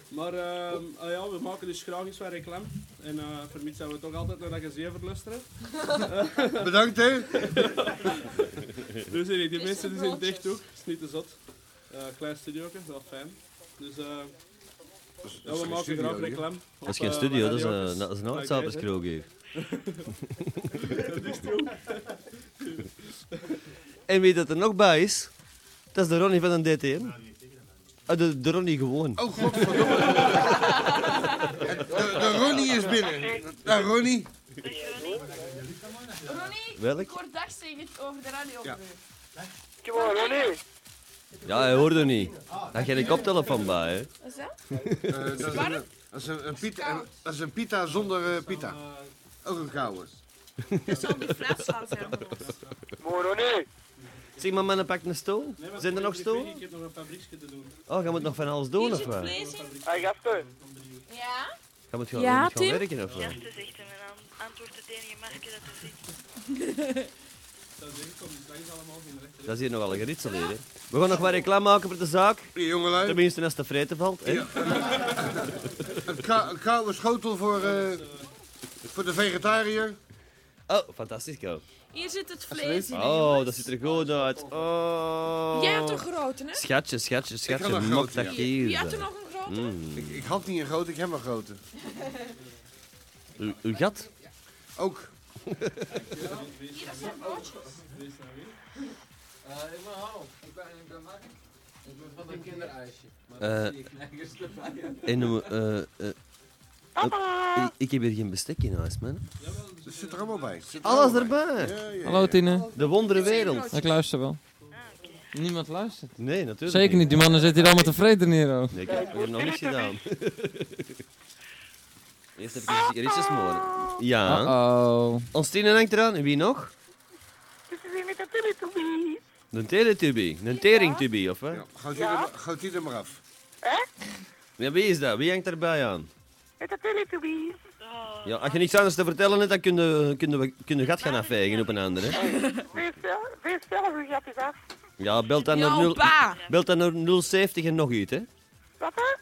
Speaker 8: Maar ehm, ah ja, we maken dus graag eens wat reclame. En eh vermits zijn we toch altijd naar dat gezever luisteren.
Speaker 1: (laughs) Bedankt, hè.
Speaker 8: (laughs) dus hier, die mensen die zijn dicht ook. is niet te zot. Eh klein studioke, wel fijn. Dus eh
Speaker 2: Dus
Speaker 8: ja,
Speaker 1: dat
Speaker 8: we
Speaker 1: is geen
Speaker 8: maken
Speaker 1: studio,
Speaker 8: graag
Speaker 1: hè?
Speaker 8: reclame.
Speaker 2: Dat is geen studio, dat eh, is een, dat is een
Speaker 8: hier.
Speaker 2: houtzapperskroog hier.
Speaker 8: Dat is true.
Speaker 2: (laughs) En wie dat er nog bij is, dat is de Ronnie van een DTM. Ah, de, de Ronnie gewoon.
Speaker 1: Oh,
Speaker 2: (laughs)
Speaker 1: godverdomme. de, de Ronnie is binnen. Nou, Ronnie.
Speaker 3: Ronnie,
Speaker 2: Welk?
Speaker 3: ik hoor dag zeggen over de radio.
Speaker 1: Ja.
Speaker 5: Kom maar, Ronnie.
Speaker 2: Ja, hij hoorde niet. Daar geen koptelefoon bij, hè.
Speaker 3: Wat is dat?
Speaker 1: Eh, dat, is een, dat, is een, een pita, een- dat is een pita zonder eh, pita. Ook een koude.
Speaker 3: Dat zal die fluitslaat zijn van ons.
Speaker 5: Mooi, Ronnie.
Speaker 2: Zeg maar, mannen, pak een stoel.
Speaker 8: Nee, maar
Speaker 2: Zijn er nog
Speaker 8: ik heb-
Speaker 2: stoelen?
Speaker 8: Ik heb nog een fabrieksje te doen.
Speaker 2: Oh, je moet nog van alles doen,
Speaker 3: Hier
Speaker 2: of
Speaker 3: zit
Speaker 2: wat?
Speaker 3: vlees in.
Speaker 5: Hij gaat er.
Speaker 3: Ja?
Speaker 2: Je moet gaan,
Speaker 3: Ja,
Speaker 2: je moet gaan
Speaker 3: Tim?
Speaker 2: werken, of wat?
Speaker 6: Gasten zegt hem en dan antwoordt het enige marke dat er zit.
Speaker 8: Dat is echt, kom, dat is allemaal in de rechter.
Speaker 2: Dat is hier nogal een geritsel hier, hè. We gaan nog wat reclame maken voor de zaak.
Speaker 1: Hey, jongelui.
Speaker 2: Tenminste, als het te vreten valt, hè.
Speaker 1: Een, ka- een koude schotel voor, eh, voor de vegetariër.
Speaker 2: Oh, fantastisch, Kou.
Speaker 3: Hier zit het vlees in. hè,
Speaker 2: Oh,
Speaker 3: jongens.
Speaker 2: dat ziet er goed uit. Oh.
Speaker 3: Jij hebt een grote, hè?
Speaker 2: Schatje, schatje,
Speaker 1: had
Speaker 2: schatje.
Speaker 1: een
Speaker 2: Mok
Speaker 1: grote,
Speaker 2: dat
Speaker 1: ja.
Speaker 2: hier.
Speaker 3: Wie had er nog een grote?
Speaker 2: Mm.
Speaker 1: Ik, ik had niet een grote, ik heb een grote.
Speaker 2: Uw- Uw gat?
Speaker 1: Ook. (laughs)
Speaker 3: Hier, dat zijn broodjes.
Speaker 1: Eh,
Speaker 13: ik ben Harold. Ik ben, ik ben Mark. Ik ben van een kinderijsje. Maar
Speaker 2: Eh,
Speaker 13: dat zie ik nergens te vangen.
Speaker 2: En hoe- eh, eh, eh, ik- ik heb hier geen bestek in huis, man.
Speaker 1: Dat zit er allemaal bij.
Speaker 2: Alles erbij.
Speaker 7: Hallo Tine.
Speaker 2: De wondere wereld.
Speaker 7: Ik luister wel. Niemand luistert.
Speaker 2: Nee, natuurlijk.
Speaker 7: Zeker niet, die mannen zitten hier allemaal tevreden hier. oh.
Speaker 2: Nee, ik heb hier nog niks gedaan. (laughs) Eerst heb ik hier sigaretjes smoren. Ja.
Speaker 7: Uh-oh.
Speaker 2: Ons Tine hangt eraan. En wie nog? Een teletubby. Een teringtubby, of hè?
Speaker 1: Goud die, er- goud die er maar af.
Speaker 2: Ja, wie is dat? Wie hangt daarbij aan?
Speaker 13: Met de Teletubbies.
Speaker 2: Ja, als je niks anders te vertellen hebt, dan kunnen kun je, kun je gat gaan afvegen op een ander. Hè?
Speaker 13: Wees zelf, wees zelf uw gatjes af.
Speaker 2: Ja, belt dan
Speaker 13: Ja,
Speaker 2: naar, nul-
Speaker 13: pa.
Speaker 2: (laughs) belt dan naar 070 en nog iets, hè?
Speaker 13: Wat hè?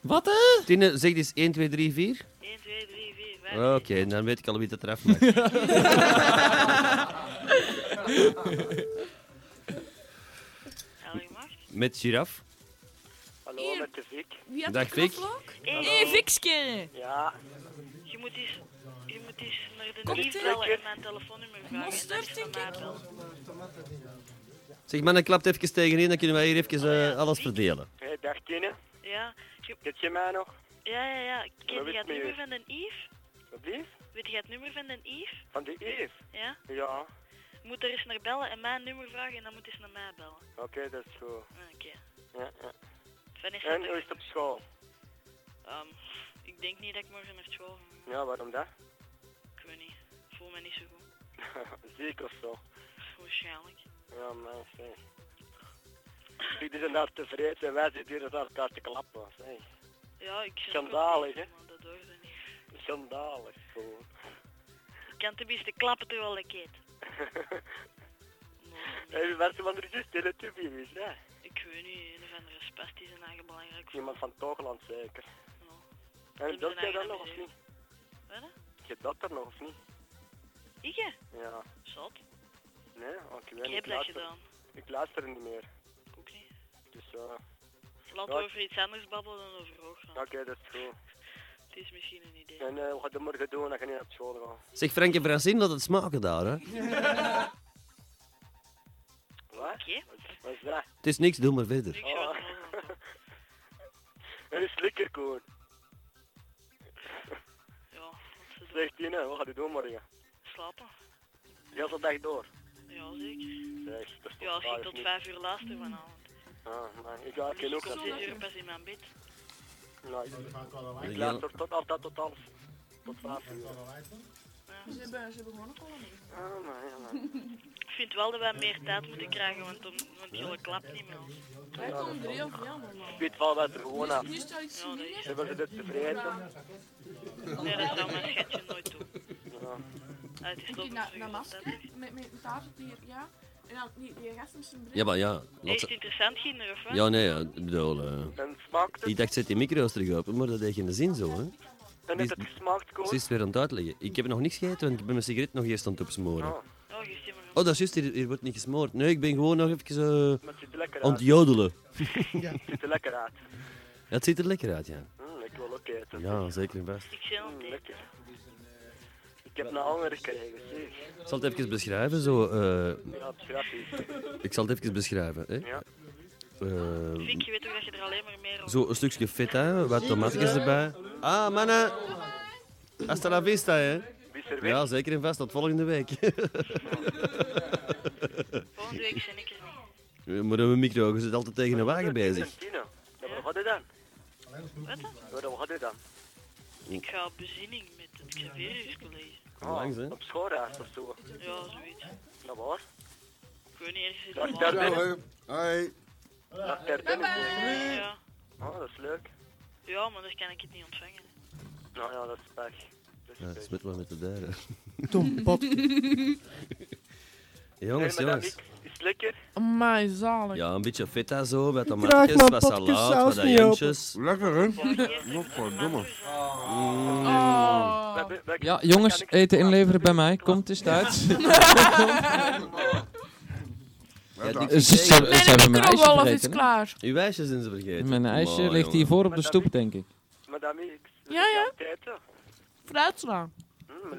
Speaker 7: Wat hè?
Speaker 2: Tine, zeg eens 1, 2, 3, 4.
Speaker 6: 1, 2, 3, 4, 5.
Speaker 2: Oké, dan weet ik al wie dat eraf maakt. (laughs)
Speaker 6: Ah,
Speaker 2: Met giraf.
Speaker 9: Hallo, met de Vic.
Speaker 3: Wie had
Speaker 2: Dag,
Speaker 3: de knoflook?
Speaker 2: Vic.
Speaker 3: Hé, hey, Vikske!
Speaker 9: Ja.
Speaker 6: Je moet eens, je moet eens naar de
Speaker 3: Cocktail.
Speaker 6: dienstbellen en mijn telefoonnummer vragen.
Speaker 3: Mosterd,
Speaker 6: en dat is van mij
Speaker 2: Zeg, mannen, klapt even tegenin, dan kunnen wij hier even eh, alles verdelen.
Speaker 9: Hé, hey, dag Tine.
Speaker 6: bel. Ja,
Speaker 9: Ken je mij nog?
Speaker 6: ja, ja, ja.
Speaker 9: Wat
Speaker 6: Ken
Speaker 9: is
Speaker 6: jij het
Speaker 9: het
Speaker 6: nummer
Speaker 9: meer?
Speaker 6: van een Yves?
Speaker 9: Wat blieft?
Speaker 6: Weet jij het nummer van een Yves? Hein?
Speaker 9: Van de Yves?
Speaker 6: Ja?
Speaker 9: Ja.
Speaker 6: Moet er eens naar bellen en mijn nummer vragen en dan moet eens naar mij bellen.
Speaker 9: Oké, dat is goed.
Speaker 6: Oké.
Speaker 9: Ja, ja.
Speaker 6: Vanessa,
Speaker 9: En hoe is het op school?
Speaker 6: ehm, ik denk niet dat ik morgen naar school ga.
Speaker 9: Ja, waarom dat? (laughs)
Speaker 6: Ik weet niet. Ik voel me niet zo goed.
Speaker 9: Ziek of zo?
Speaker 6: Waarschijnlijk.
Speaker 9: Ja, man, zeg. Ik is daar tevreden en wij zitten hier naar elkaar te klappen. Zeg.
Speaker 6: Ja, ik zit ook wel
Speaker 9: Schandalig, hè?
Speaker 6: tegen, maar Dat hoort er niet.
Speaker 9: Schandalig, gewoon.
Speaker 6: Ik kan tenminste klappen terwijl ik eet.
Speaker 9: Hé, waar ze van de zus Teletubbies, hè?
Speaker 6: Ik weet niet, een of andere spast is een eigen belangrijk voor.
Speaker 9: Iemand van Toogland zeker.
Speaker 6: Die
Speaker 9: En dat
Speaker 6: zijn
Speaker 9: jij dat
Speaker 6: eigen
Speaker 9: nog of
Speaker 6: museum.
Speaker 9: niet?
Speaker 6: Wat? hè?
Speaker 9: Je dat er nog of niet?
Speaker 6: Ik hè?
Speaker 9: Ja.
Speaker 6: Zot.
Speaker 9: Nee, oh, ik weet
Speaker 6: Ik
Speaker 9: niet.
Speaker 6: heb dat
Speaker 9: luister-
Speaker 6: gedaan.
Speaker 9: Ik luister niet meer.
Speaker 6: Ook niet.
Speaker 9: Dus ja.
Speaker 6: Ah. Laten
Speaker 9: Ja,
Speaker 6: we over iets anders babbelen dan over hooggaan.
Speaker 9: Oké, dat is goed.
Speaker 6: (laughs) Het is misschien een idee.
Speaker 9: En eh, we gaan het morgen doen als je niet naar school
Speaker 6: (laughs)
Speaker 9: gaat.
Speaker 2: Zeg, Frank en Francine, laat het smaken daar, hè.
Speaker 9: Wat? Wat is dat?
Speaker 2: Het is niks, doe maar verder.
Speaker 9: Oh. (laughs) dat is lekker gewoon.
Speaker 6: (laughs) Ja, wat ze doen.
Speaker 9: Zeg Tine, wat gaat u doen morgen?
Speaker 6: Slapen?
Speaker 9: De hele dag door.
Speaker 6: Ja, zeker.
Speaker 9: Zeg, dat is toch
Speaker 6: Ja, als
Speaker 9: saai,
Speaker 6: ik
Speaker 9: of
Speaker 6: tot
Speaker 9: niet?
Speaker 6: vijf uur laatste vanavond.
Speaker 9: Ah, maar ik ga ik
Speaker 6: Dus
Speaker 9: ken
Speaker 6: ik
Speaker 9: ook
Speaker 6: kom
Speaker 9: dat
Speaker 6: om
Speaker 9: doen.
Speaker 6: zes uur pas in mijn bed.
Speaker 9: Nou, ik- ik luister tot altijd tot half. Tot vijf uur.
Speaker 3: Ze hebben, ze hebben gewoon een kolonie.
Speaker 9: Ah, maar ja, maar.
Speaker 6: Ik vind wel dat wij meer tijd moeten krijgen, want, om, want jullie klapt niet meer.
Speaker 9: Ja, dat is
Speaker 3: Drie
Speaker 9: wel-
Speaker 3: of ja, normaal.
Speaker 9: Ik weet wel wat er gewoon aan.
Speaker 3: Nu sta ik zien.
Speaker 9: Ze willen dit tevreden.
Speaker 6: Nee, dat zou mijn schatje nooit doen.
Speaker 9: Ja.
Speaker 6: Ah, het is
Speaker 3: Ik
Speaker 6: toch
Speaker 3: naar na masker, met, met een tafeltje, ja. En dan die, die gast met zijn bril.
Speaker 2: Ja, maar ja, laat
Speaker 6: Is het
Speaker 2: ze-
Speaker 6: interessant, Ginder, of wat?
Speaker 2: Ja, nee, ja, ik bedoel... eh, ik dacht, zet die micro's terug open, maar dat heeft geen zin zo, hè.
Speaker 9: En heeft het gesmaakt,
Speaker 2: Ze
Speaker 9: Koen?
Speaker 2: is weer aan het uitleggen. Ik heb nog niks gegeten, want ik ben mijn sigaret nog eerst aan het opsmoren.
Speaker 9: Oh.
Speaker 2: Oh, dat is juist, hier, hier wordt niet gesmoord. Nee, ik ben gewoon nog even eh,
Speaker 9: Maar het ziet er lekker
Speaker 2: aan
Speaker 9: uit.
Speaker 2: het jodelen.
Speaker 9: (laughs) Ja. Het ziet er lekker uit.
Speaker 2: Ja, het ziet er lekker uit, ja.
Speaker 9: Hm, ik wil ook eten.
Speaker 2: Ja, zeker best.
Speaker 6: Ik zie
Speaker 9: Hm, lekker. Ik heb een honger gekregen, zie.
Speaker 2: Ik zal het even beschrijven, zo...
Speaker 9: Ja,
Speaker 2: eh,
Speaker 9: het is grappig.
Speaker 2: ik zal het even beschrijven, hè. Eh,
Speaker 6: Vic, je weet toch dat je er alleen maar meer op...
Speaker 2: zo een stukje feta, wat tomatjes erbij. Ah, mannen! Hasta la vista, hè. Ja, zeker en vast, tot volgende week.
Speaker 6: Volgende week zijn ik er niet.
Speaker 2: Ja, Maar dan een micro, je zit altijd tegen een wagen bezig.
Speaker 9: Tino, ja, wat gaat u dan?
Speaker 6: Wat dan?
Speaker 9: Ja, Wat gaat u dan?
Speaker 6: Ik ga op bezinning met het Xaverius College.
Speaker 2: Langs, hè?
Speaker 9: Op schoolreis of zo?
Speaker 6: Ja, zoiets.
Speaker 9: Nou, waar?
Speaker 6: Ik weet niet ergens in de
Speaker 9: Dag,
Speaker 6: maand.
Speaker 9: Terpen.
Speaker 1: Hoi.
Speaker 9: Dag, Terpen.
Speaker 6: Ja.
Speaker 9: Oh, dat is leuk.
Speaker 6: ja, maar dan kan ik het niet ontvangen.
Speaker 9: Nou ja, dat is pech.
Speaker 2: Ja, dat is met wat met de deuren.
Speaker 4: Tom Potke.
Speaker 2: Jongens,
Speaker 9: Hey, madame,
Speaker 2: jongens.
Speaker 9: ik- Is het lekker?
Speaker 3: Amai, zalig.
Speaker 2: Ja, een beetje feta zo,
Speaker 4: draag
Speaker 2: wat tomatjes,
Speaker 4: mijn
Speaker 2: wat
Speaker 4: potjes
Speaker 2: salaat,
Speaker 4: saus
Speaker 2: wat
Speaker 4: niet open.
Speaker 2: jantjes.
Speaker 1: Lekker, hè? Nog wat domme. Oh.
Speaker 7: Ja, jongens, eten inleveren bij mij. Komt, is het uit. (laughs) Ze- ze- ze hebben mijn ijsje vergeten, hè?
Speaker 2: Uw ijsjes zijn ze vergeten.
Speaker 7: Mijn ijsje
Speaker 2: Maar,
Speaker 7: ligt
Speaker 2: jongen.
Speaker 7: hiervoor op de stoep, denk ik.
Speaker 9: Madame, ik
Speaker 3: Ja, ja.
Speaker 9: eten.
Speaker 3: Fruitslaan.
Speaker 9: Hm,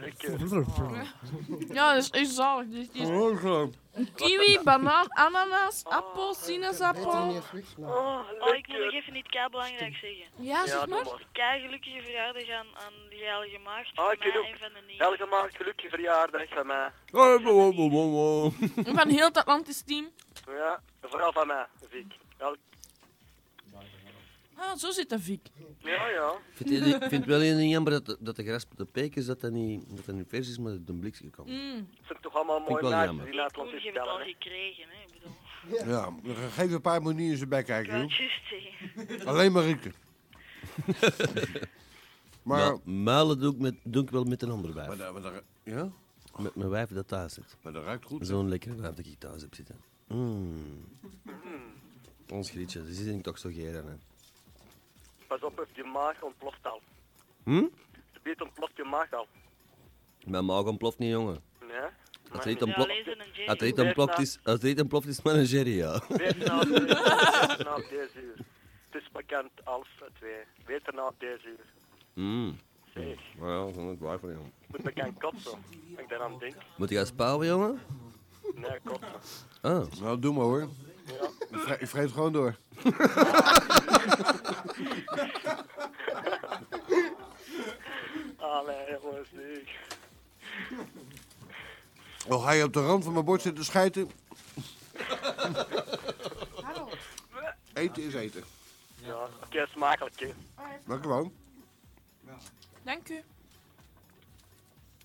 Speaker 3: Ja, dat is echt zalig. Die, die is- kiwi, banaan, ananas, appel, sinaasappel.
Speaker 6: Oh, oh, ik moet nog even iets kei belangrijk zeggen.
Speaker 3: Ja, zeg Ja, doe maar.
Speaker 6: Kei gelukkige verjaardag aan, aan de heilige maagd.
Speaker 9: Ah,
Speaker 6: van
Speaker 9: ik
Speaker 6: mij
Speaker 9: ook.
Speaker 6: en van de niet.
Speaker 9: Elke maand gelukkig verjaardag van mij.
Speaker 1: (laughs)
Speaker 3: Van heel het Atlantis team.
Speaker 9: Ja, vooral van mij, Vic. Elk-
Speaker 3: Ah, zo zit dat Vic.
Speaker 9: Ja, ja.
Speaker 2: vind het- Ik vind het wel heel jammer dat, dat de gerasp de peek is, dat dat niet, dat dat niet vers is, maar dat het een blikje komt.
Speaker 9: Mm.
Speaker 3: Mm.
Speaker 9: Het zijn toch allemaal
Speaker 2: Vind ik
Speaker 9: mooie
Speaker 2: wel
Speaker 9: naakjes
Speaker 2: jammer.
Speaker 9: die in het Atlantis
Speaker 6: Je hebt het al
Speaker 9: stellen. hè.
Speaker 6: gekregen, hè. Ik bedoel,
Speaker 1: Ja, geef een paar manieren ze bij
Speaker 6: ik
Speaker 1: kijken.
Speaker 6: wou
Speaker 1: joh.
Speaker 6: het juist zeggen.
Speaker 1: (laughs) Alleen maar rieken. Maar-
Speaker 2: Nou, muilen doe ik, met, doe ik wel met een ander wijf.
Speaker 1: ja?
Speaker 2: Met mijn wijf dat thuis zit.
Speaker 1: Maar dat ruikt goed.
Speaker 2: Zo'n lekkere wijf dat ik thuis heb zitten. Mm. Ons grietje, die zit ik toch zo geer aan. hè.
Speaker 9: Pas op, die maag ontploft al.
Speaker 2: Hm?
Speaker 9: De beet ontploft je maag al.
Speaker 2: Mijn maag ontploft niet, jongen.
Speaker 9: Nee?
Speaker 2: Als er iets
Speaker 9: Ja,
Speaker 2: ontploft-
Speaker 9: lezen en Jerry.
Speaker 2: als er iets ontploft is, als er iets ontploft is, mijn Jerry, ja.
Speaker 9: Weet na deze- na deze uur. Het is bekend als twee. Weet er na deze uur.
Speaker 2: (laughs) Mm.
Speaker 9: Zeg.
Speaker 2: Maar ja, zonder twijfel, jongen.
Speaker 9: Moet bekend kotsen. Als ik daaraan denk.
Speaker 2: Moet ik gaan spouwen, jongen?
Speaker 9: Nee, kotsen.
Speaker 2: Ah.
Speaker 1: Nou, doe maar hoor. Ik vre- Ik vreet gewoon door.
Speaker 9: Allee, jongens, Ah, nee.
Speaker 1: Al ga je op de rand van mijn bord zitten schijten, eten is eten.
Speaker 9: Ja, oké, smakelijk, hè.
Speaker 1: Maar gewoon.
Speaker 3: Dank u.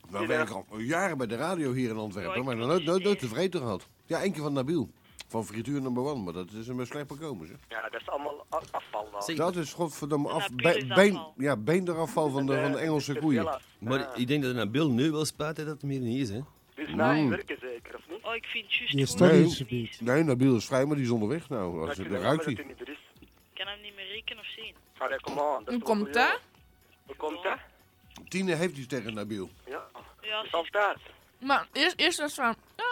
Speaker 1: Nou ben ik al jaren bij de radio hier in Antwerpen, maar nog nooit, nooit, nooit te vreten gehad. Ja, één keer van Nabil. Van frituur nummer 1, maar dat is hem slecht bekomen, zeg.
Speaker 9: Ja, dat is allemaal a- afval dan.
Speaker 1: Dat is godverdomme af,
Speaker 9: Nabil
Speaker 1: be-
Speaker 9: is
Speaker 1: been,
Speaker 9: afval.
Speaker 1: ja, beenderafval van
Speaker 9: Dus,
Speaker 1: de,
Speaker 9: eh,
Speaker 1: van de Engelse koeien.
Speaker 2: Maar ik denk dat Nabil nu wel spijt heeft dat het meer niet is, hè.
Speaker 9: Dus
Speaker 1: na je Mm.
Speaker 9: werken zeker, of niet?
Speaker 6: Oh, ik vind juist
Speaker 1: Nee,
Speaker 6: gewoon...
Speaker 1: Nee, Nabil is vrij, maar die is onderweg nou. Als
Speaker 9: Dat
Speaker 1: je
Speaker 9: je
Speaker 1: de
Speaker 9: dat
Speaker 1: ruikt
Speaker 9: jammer
Speaker 1: hij.
Speaker 9: dat hij niet er is.
Speaker 6: Ik kan hem niet meer rekenen of zien.
Speaker 9: Allee, kom aan.
Speaker 3: Hoe komt dat?
Speaker 9: Hoe komt dat?
Speaker 1: Tine heeft iets tegen Nabil.
Speaker 9: Ja.
Speaker 6: Ja,
Speaker 9: is altijd.
Speaker 3: Maar eerst, eerst was van, ah,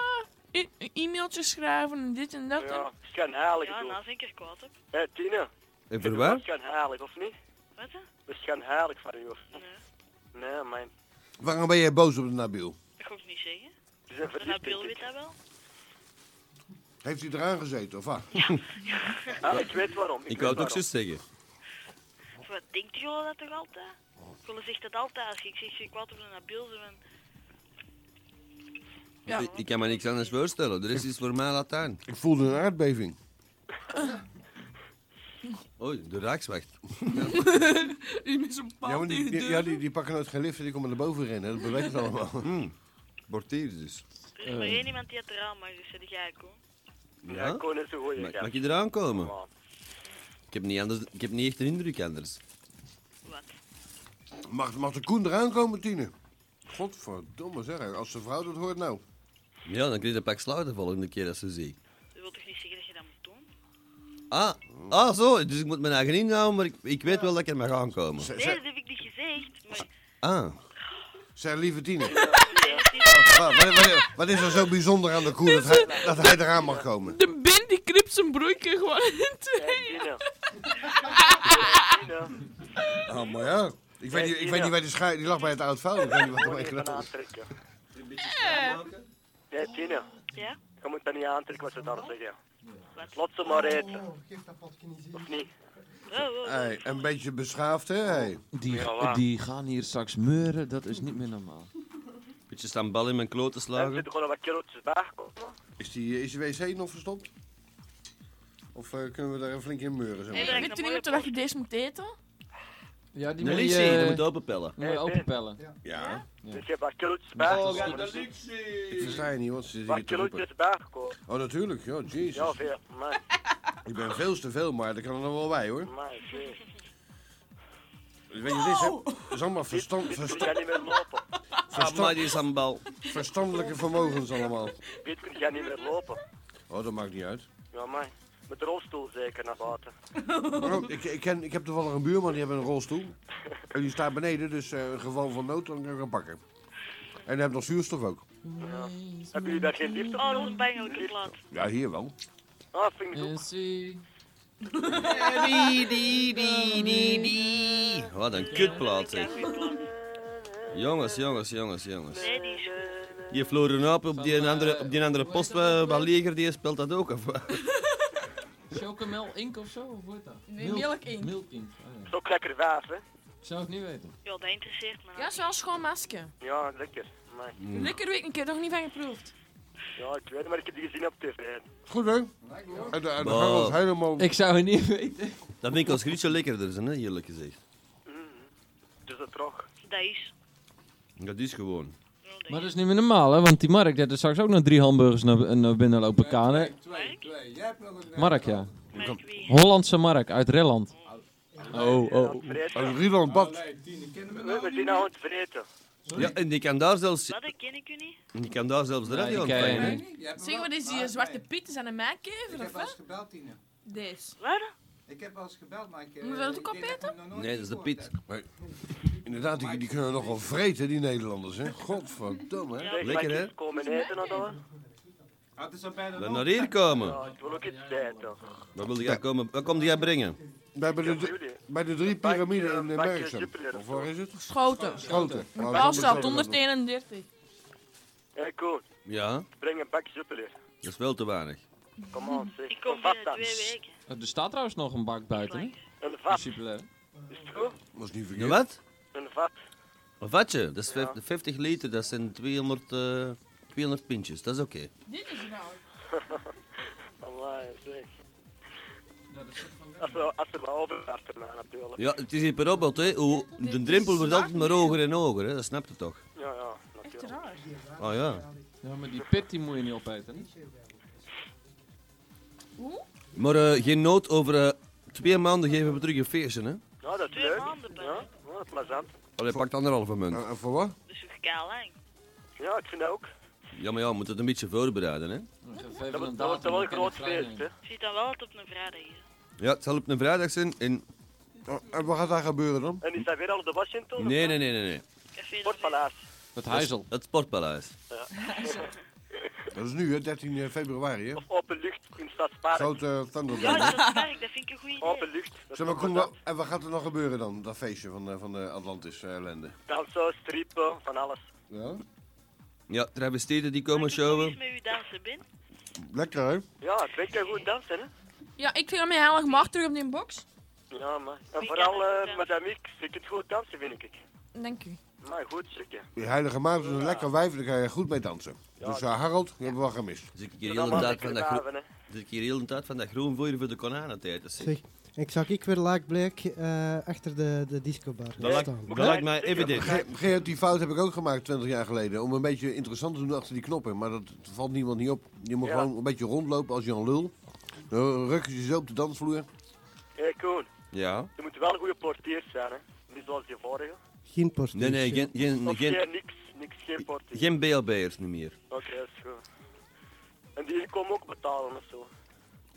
Speaker 3: e- e-mailtjes schrijven en dit en dat.
Speaker 9: Ja, het kan heilig
Speaker 6: Ja,
Speaker 9: doen.
Speaker 6: na zijn keer Nou, kwaad, hè.
Speaker 9: Hé, Tine.
Speaker 2: En
Speaker 9: voor
Speaker 2: waar?
Speaker 9: Het kan heilig, of niet?
Speaker 6: Wat, hè?
Speaker 9: Dat is geen heilig van u, of niet? Nee, man.
Speaker 1: Waarom ben jij boos op de Nabil?
Speaker 6: Dat ga ik niet zeggen.
Speaker 9: Ze zijn
Speaker 6: De
Speaker 9: verliefd,
Speaker 6: Nabil
Speaker 9: denk ik.
Speaker 6: weet dat wel.
Speaker 1: Heeft hij eraan gezeten, of wat?
Speaker 9: Ah, ik weet waarom. weet
Speaker 2: Ik wou het ook
Speaker 9: waarom.
Speaker 2: zo zeggen.
Speaker 6: Of Wat denkt jullie dat toch altijd? Jullie zegt dat altijd. Als ik zeg, ik kwaad op de Nabil, ze van...
Speaker 2: Ik, ik kan me niks anders voorstellen. Er is iets voor mij Latijn.
Speaker 1: Ik voelde een aardbeving.
Speaker 3: (laughs)
Speaker 2: Oei, de Rijkswacht.
Speaker 3: Die is een paal
Speaker 1: Ja, maar die,
Speaker 3: tegen de
Speaker 1: die,
Speaker 3: deur.
Speaker 1: ja, die, die pakken nooit geen lift en die komen naar boven rennen. Dat beweegt het (laughs) allemaal. Eh.
Speaker 2: Portier dus.
Speaker 6: Er is maar één iemand die het eraan mag, dus dat ga ik, hoor.
Speaker 2: Ja,
Speaker 9: ik kon het zo goed,
Speaker 2: Mag,
Speaker 9: ja.
Speaker 2: mag je eraan komen? Ik heb, niet anders, ik heb niet echt een indruk anders.
Speaker 1: Mag, mag de Koen eraan komen, Tine? Godverdomme zeg, als de vrouw dat hoort nou.
Speaker 2: Ja, dan krijg je een pak sluit de volgende keer dat ze zie.
Speaker 6: Dat wil toch niet zeggen dat je dat moet doen?
Speaker 2: Ah, ah, zo. Dus ik moet mijn eigen inhouden, maar ik, ik weet wel dat ik er mag aankomen.
Speaker 6: Nee, dat heb ik niet gezegd, maar...
Speaker 2: Ah.
Speaker 1: Zijn lieve (laughs) Tine.
Speaker 6: Nee, het is-
Speaker 1: Wat, wat- wat- wat is er zo bijzonder aan de Koen dat hij, dat hij eraan mag komen?
Speaker 3: De Ben die knipt zijn broekje gewoon in (laughs) tweeën.
Speaker 1: Ah, maar ja. Ik weet niet, ik weet niet waar die schuil... Oh, Die lag bij het oud vuil. Ik weet niet wat er mee gedaan is.
Speaker 9: aantrekken.
Speaker 3: Eh.
Speaker 9: Nee, Tine.
Speaker 6: Ja?
Speaker 9: Je moet dat niet aantrekken wat ze daar zeggen. Laat ze maar
Speaker 3: Oh,
Speaker 9: eten. Of niet?
Speaker 1: Hey, een beetje beschaafd, hè? Hey.
Speaker 7: Die,
Speaker 9: Ja, voilà.
Speaker 7: die gaan hier straks meuren, dat is niet meer normaal.
Speaker 2: Beetje staan bal in mijn kloten
Speaker 9: Er
Speaker 2: slagen.
Speaker 9: zitten gewoon wat kereltjes bij.
Speaker 1: Is die, eh, is die wc nog verstopt? Of eh, kunnen we daar een flink in meuren? Zeg maar?
Speaker 3: Weet je niet meer dat je deze moet eten?
Speaker 7: Ja, die
Speaker 2: De
Speaker 7: moet
Speaker 1: eh,
Speaker 2: Lixie,
Speaker 7: je eh,
Speaker 2: die moet openpellen.
Speaker 7: moet je openpellen.
Speaker 1: Ja.
Speaker 9: Er zijn Dus wat kereltjes bij.
Speaker 1: Ik versta je niet, want ze zitten
Speaker 9: Wat
Speaker 1: hier te roepen.
Speaker 9: kereltjes bijgekomen.
Speaker 1: Oh, natuurlijk. Ja,
Speaker 9: Ja,
Speaker 1: jezus.
Speaker 9: veel. Maar,
Speaker 1: Ik ben veel te veel, maar dat kan er nog wel bij, hoor. Dus
Speaker 9: maar, veel.
Speaker 1: Weet je, dit is, hè? Dat is allemaal verstand,
Speaker 9: Ik
Speaker 1: versta-
Speaker 9: kan niet meer lopen.
Speaker 2: Ah, maar die is aan bal.
Speaker 1: verstandelijke vermogens allemaal.
Speaker 9: Piet, ik kan niet meer lopen.
Speaker 1: Oh, dat maakt niet uit.
Speaker 9: Ja, man. Met de rolstoel zeker naar buiten.
Speaker 1: Waarom?
Speaker 9: (laughs)
Speaker 1: Ik, ik, ken, ik heb toevallig een buurman, die heeft een rolstoel. En die staat beneden, dus eh in geval van nood, dan kan ik hem pakken. En hij heeft nog zuurstof ook.
Speaker 9: Ja. Hebben jullie daar geen liefde
Speaker 6: Oh, dat is een bangelijke plaat.
Speaker 1: Ja, hier wel.
Speaker 9: Ah, vind ik ook. Eh,
Speaker 2: Wat een kutplaat, zeg. Jongens, jongens, jongens, jongens.
Speaker 6: Nee, die is eh, goed.
Speaker 2: Die Floor Renaap op die andere, op die andere post eh, van Leger, die speelt dat ook. Of, wat?
Speaker 8: Chocomel Ink of zo? Of hoe heet dat?
Speaker 3: Nee,
Speaker 8: Milk-
Speaker 3: Milk Ink.
Speaker 8: Milk Ink.
Speaker 7: oh
Speaker 8: ah, ja.
Speaker 9: Ook lekker vaas, hè?
Speaker 8: Ik zou het niet weten.
Speaker 6: Ja, dat interesseert me.
Speaker 3: Ja, is wel een schoon masker.
Speaker 9: Ja, lekker. Maar,
Speaker 2: Hm.
Speaker 3: Lekker weet ik een keer nog niet van geproefd.
Speaker 9: ja, ik weet het, maar ik heb die gezien op tv.
Speaker 1: Goed, hè? En, en dan gaan we ons
Speaker 2: Bah.
Speaker 1: helemaal...
Speaker 2: Ik
Speaker 1: zou het niet weten.
Speaker 2: Dat vind ik als grietje lekkerder, zijn, hè, eerlijk gezegd.
Speaker 9: Dus dat trog.
Speaker 6: Dat is.
Speaker 2: Dat is gewoon.
Speaker 7: Maar dat is niet meer normaal, hè? Want die Mark die had er straks ook nog drie hamburgers naar, eh, naar binnen lopen kanen.
Speaker 8: Twee, twee. Jij hebt nog een...
Speaker 7: Mark, ja. Hollandse Mark uit Rilland. Oh, oh.
Speaker 1: Als Rieland
Speaker 8: Oh,
Speaker 1: bakt.
Speaker 9: We zijn nou aan het vreten.
Speaker 2: Ja, en die kan daar zelfs,
Speaker 6: Dat ken ik u niet.
Speaker 2: die kan daar zelfs de
Speaker 7: Nee,
Speaker 2: radio
Speaker 7: die ken je
Speaker 2: ontvangen. hè.
Speaker 3: Zeg, wat is die zwarte piet? Is dat een
Speaker 8: Ah, Ik
Speaker 3: mijnkever of
Speaker 8: heb al eens
Speaker 3: wat?
Speaker 8: gebeld, Tine.
Speaker 3: Deze.
Speaker 6: Waar?
Speaker 8: Ik heb al eens gebeld, maar ik... eh,
Speaker 3: Moeten we dat ook
Speaker 8: ik denk ik
Speaker 3: opeten?
Speaker 8: hem nog nooit
Speaker 2: Nee, dat is de
Speaker 8: gehoord
Speaker 2: Piet.
Speaker 8: heb.
Speaker 1: Inderdaad, die, die kunnen nogal vreten, die Nederlanders, hè? Godverdomme, hè?
Speaker 2: Lekker, hè?
Speaker 9: Komen eten of zo?
Speaker 8: Ah, het is al bijna nog.
Speaker 2: Dan naar hier komen.
Speaker 9: Ja, ik wil ook iets bijten.
Speaker 2: Wat wil jij komen? Wat komt jij brengen?
Speaker 1: Bij, bij, de, bij de drie piramiden in de Merksem. Of waar is het?
Speaker 3: Schoten.
Speaker 1: Schoten. Nou, dat
Speaker 3: Paul
Speaker 1: moet
Speaker 3: staat
Speaker 1: ik ook nog doen.
Speaker 3: 131.
Speaker 9: Hé, cool.
Speaker 2: Ja,
Speaker 9: Breng een bakje suppeler.
Speaker 2: dat is wel te weinig.
Speaker 9: Kom aan, zeg. Ik
Speaker 6: kom binnen twee weken.
Speaker 7: Er staat trouwens nog een bak buiten, hè?
Speaker 9: Een vat.
Speaker 7: Superleuk.
Speaker 9: Is het goed?
Speaker 1: Was niet
Speaker 2: Een
Speaker 1: verkeerd.
Speaker 2: wat?
Speaker 9: Een vat.
Speaker 2: Een vatje, dat is vijf- 50 liter, dat zijn 200, eh, 200 pintjes, dat is oké.
Speaker 3: Dit is
Speaker 9: (laughs)
Speaker 3: nou.
Speaker 9: Allee, zeg. Als we, als we maar overwachten, maar natuurlijk.
Speaker 2: Ja, het is hier per opbod, hè. Hoe- De drempel wordt altijd maar hoger en hoger, hè. dat snapt het toch?
Speaker 9: Ja, ja, natuurlijk.
Speaker 3: raar.
Speaker 1: Ah,
Speaker 2: Oh ja.
Speaker 7: Ja, maar die pit die moet je niet opeten, hè?
Speaker 2: Maar eh, geen nood, over eh, twee maanden geven we terug een feestje, hè.
Speaker 9: Ja, Nou, dat is leuk. Ja, ja, plezant.
Speaker 2: Allee, pakt anderhalve munt.
Speaker 1: En voor wat?
Speaker 6: Dus ik ga lang.
Speaker 9: Ja, ik vind dat ook.
Speaker 2: Ja, maar ja, we moeten het een beetje voorbereiden, hè.
Speaker 9: Dat wordt dat wordt wel een groot feest, hè.
Speaker 6: Ik zie dan wel dat het op een vrijdag is.
Speaker 2: Ja, het zal op een vrijdag zijn en...
Speaker 1: En wat gaat daar gebeuren dan?
Speaker 9: En is dat weer al op de Washington?
Speaker 2: Nee, nee, nee, nee, nee.
Speaker 9: Sportpaleis.
Speaker 7: Het
Speaker 2: Huizel. Het sportpaleis.
Speaker 6: (laughs)
Speaker 9: Ja.
Speaker 1: Dat is nu, hè? 13 februari, hè?
Speaker 9: Open lucht in Stadspark.
Speaker 1: Grote Thunderdome.
Speaker 6: Ja, dat is werk, dat vind ik een goede idee.
Speaker 9: Open lucht. Dat
Speaker 1: Zeg maar,
Speaker 9: is
Speaker 1: Koen,
Speaker 9: plezant.
Speaker 1: wat- en wat gaat er nog gebeuren dan? Dat feestje van, eh, van de Atlantis eh, ellende.
Speaker 9: Dansen, strippen, van alles.
Speaker 1: Ja?
Speaker 2: Ja, travestieten die komen
Speaker 6: Iets
Speaker 2: showen.
Speaker 6: met uw dansen, Ben?
Speaker 1: Lekker, hè?
Speaker 9: Ja, ik weet kan goed dansen, hè.
Speaker 3: Ja, ik vind hem heilig macht terug op die box.
Speaker 9: Ja, man. En vooral eh madame Miek, ze kunt goed dansen, vind ik.
Speaker 3: Dank u.
Speaker 9: Maar goed, zeker.
Speaker 1: Die heilige maagd is een lekker wijf, daar kan je goed mee dansen. Dus eh, Harold, je hebt wel gemist.
Speaker 2: Zit ik hier
Speaker 9: Dat
Speaker 2: heel de
Speaker 9: was
Speaker 2: tijd
Speaker 9: lekker
Speaker 2: van dat groen...
Speaker 9: raven, hè.
Speaker 2: Zit ik hier heel de tijd van dat groen voor je voor de konanentijd, dat is
Speaker 4: Zeg, ik zag ik weer laak bleek eh, achter de, de discobar
Speaker 2: Dat lijkt-
Speaker 4: staan.
Speaker 2: dat lijkt mij evident.
Speaker 1: Ge- Gerard, die fout heb ik ook gemaakt 20 jaar geleden. Om een beetje interessant te doen achter die knoppen. Maar dat valt niemand niet op. Je moet
Speaker 9: Ja.
Speaker 1: gewoon een beetje rondlopen als Jan Lul. Dan ruk je je zo op de dansvloer.
Speaker 9: Hé, Koen,
Speaker 2: Ja.
Speaker 9: je moet wel goede portiers zijn, hè. Niet zoals die vorige.
Speaker 4: Geen portier.
Speaker 2: Nee, nee, geen, geen,
Speaker 9: Of geen
Speaker 2: geen,
Speaker 9: niks, niks, geen portier.
Speaker 2: geen BLB'ers niet meer.
Speaker 9: Oké, dat is goed. En die inkomen ook betalen of zo.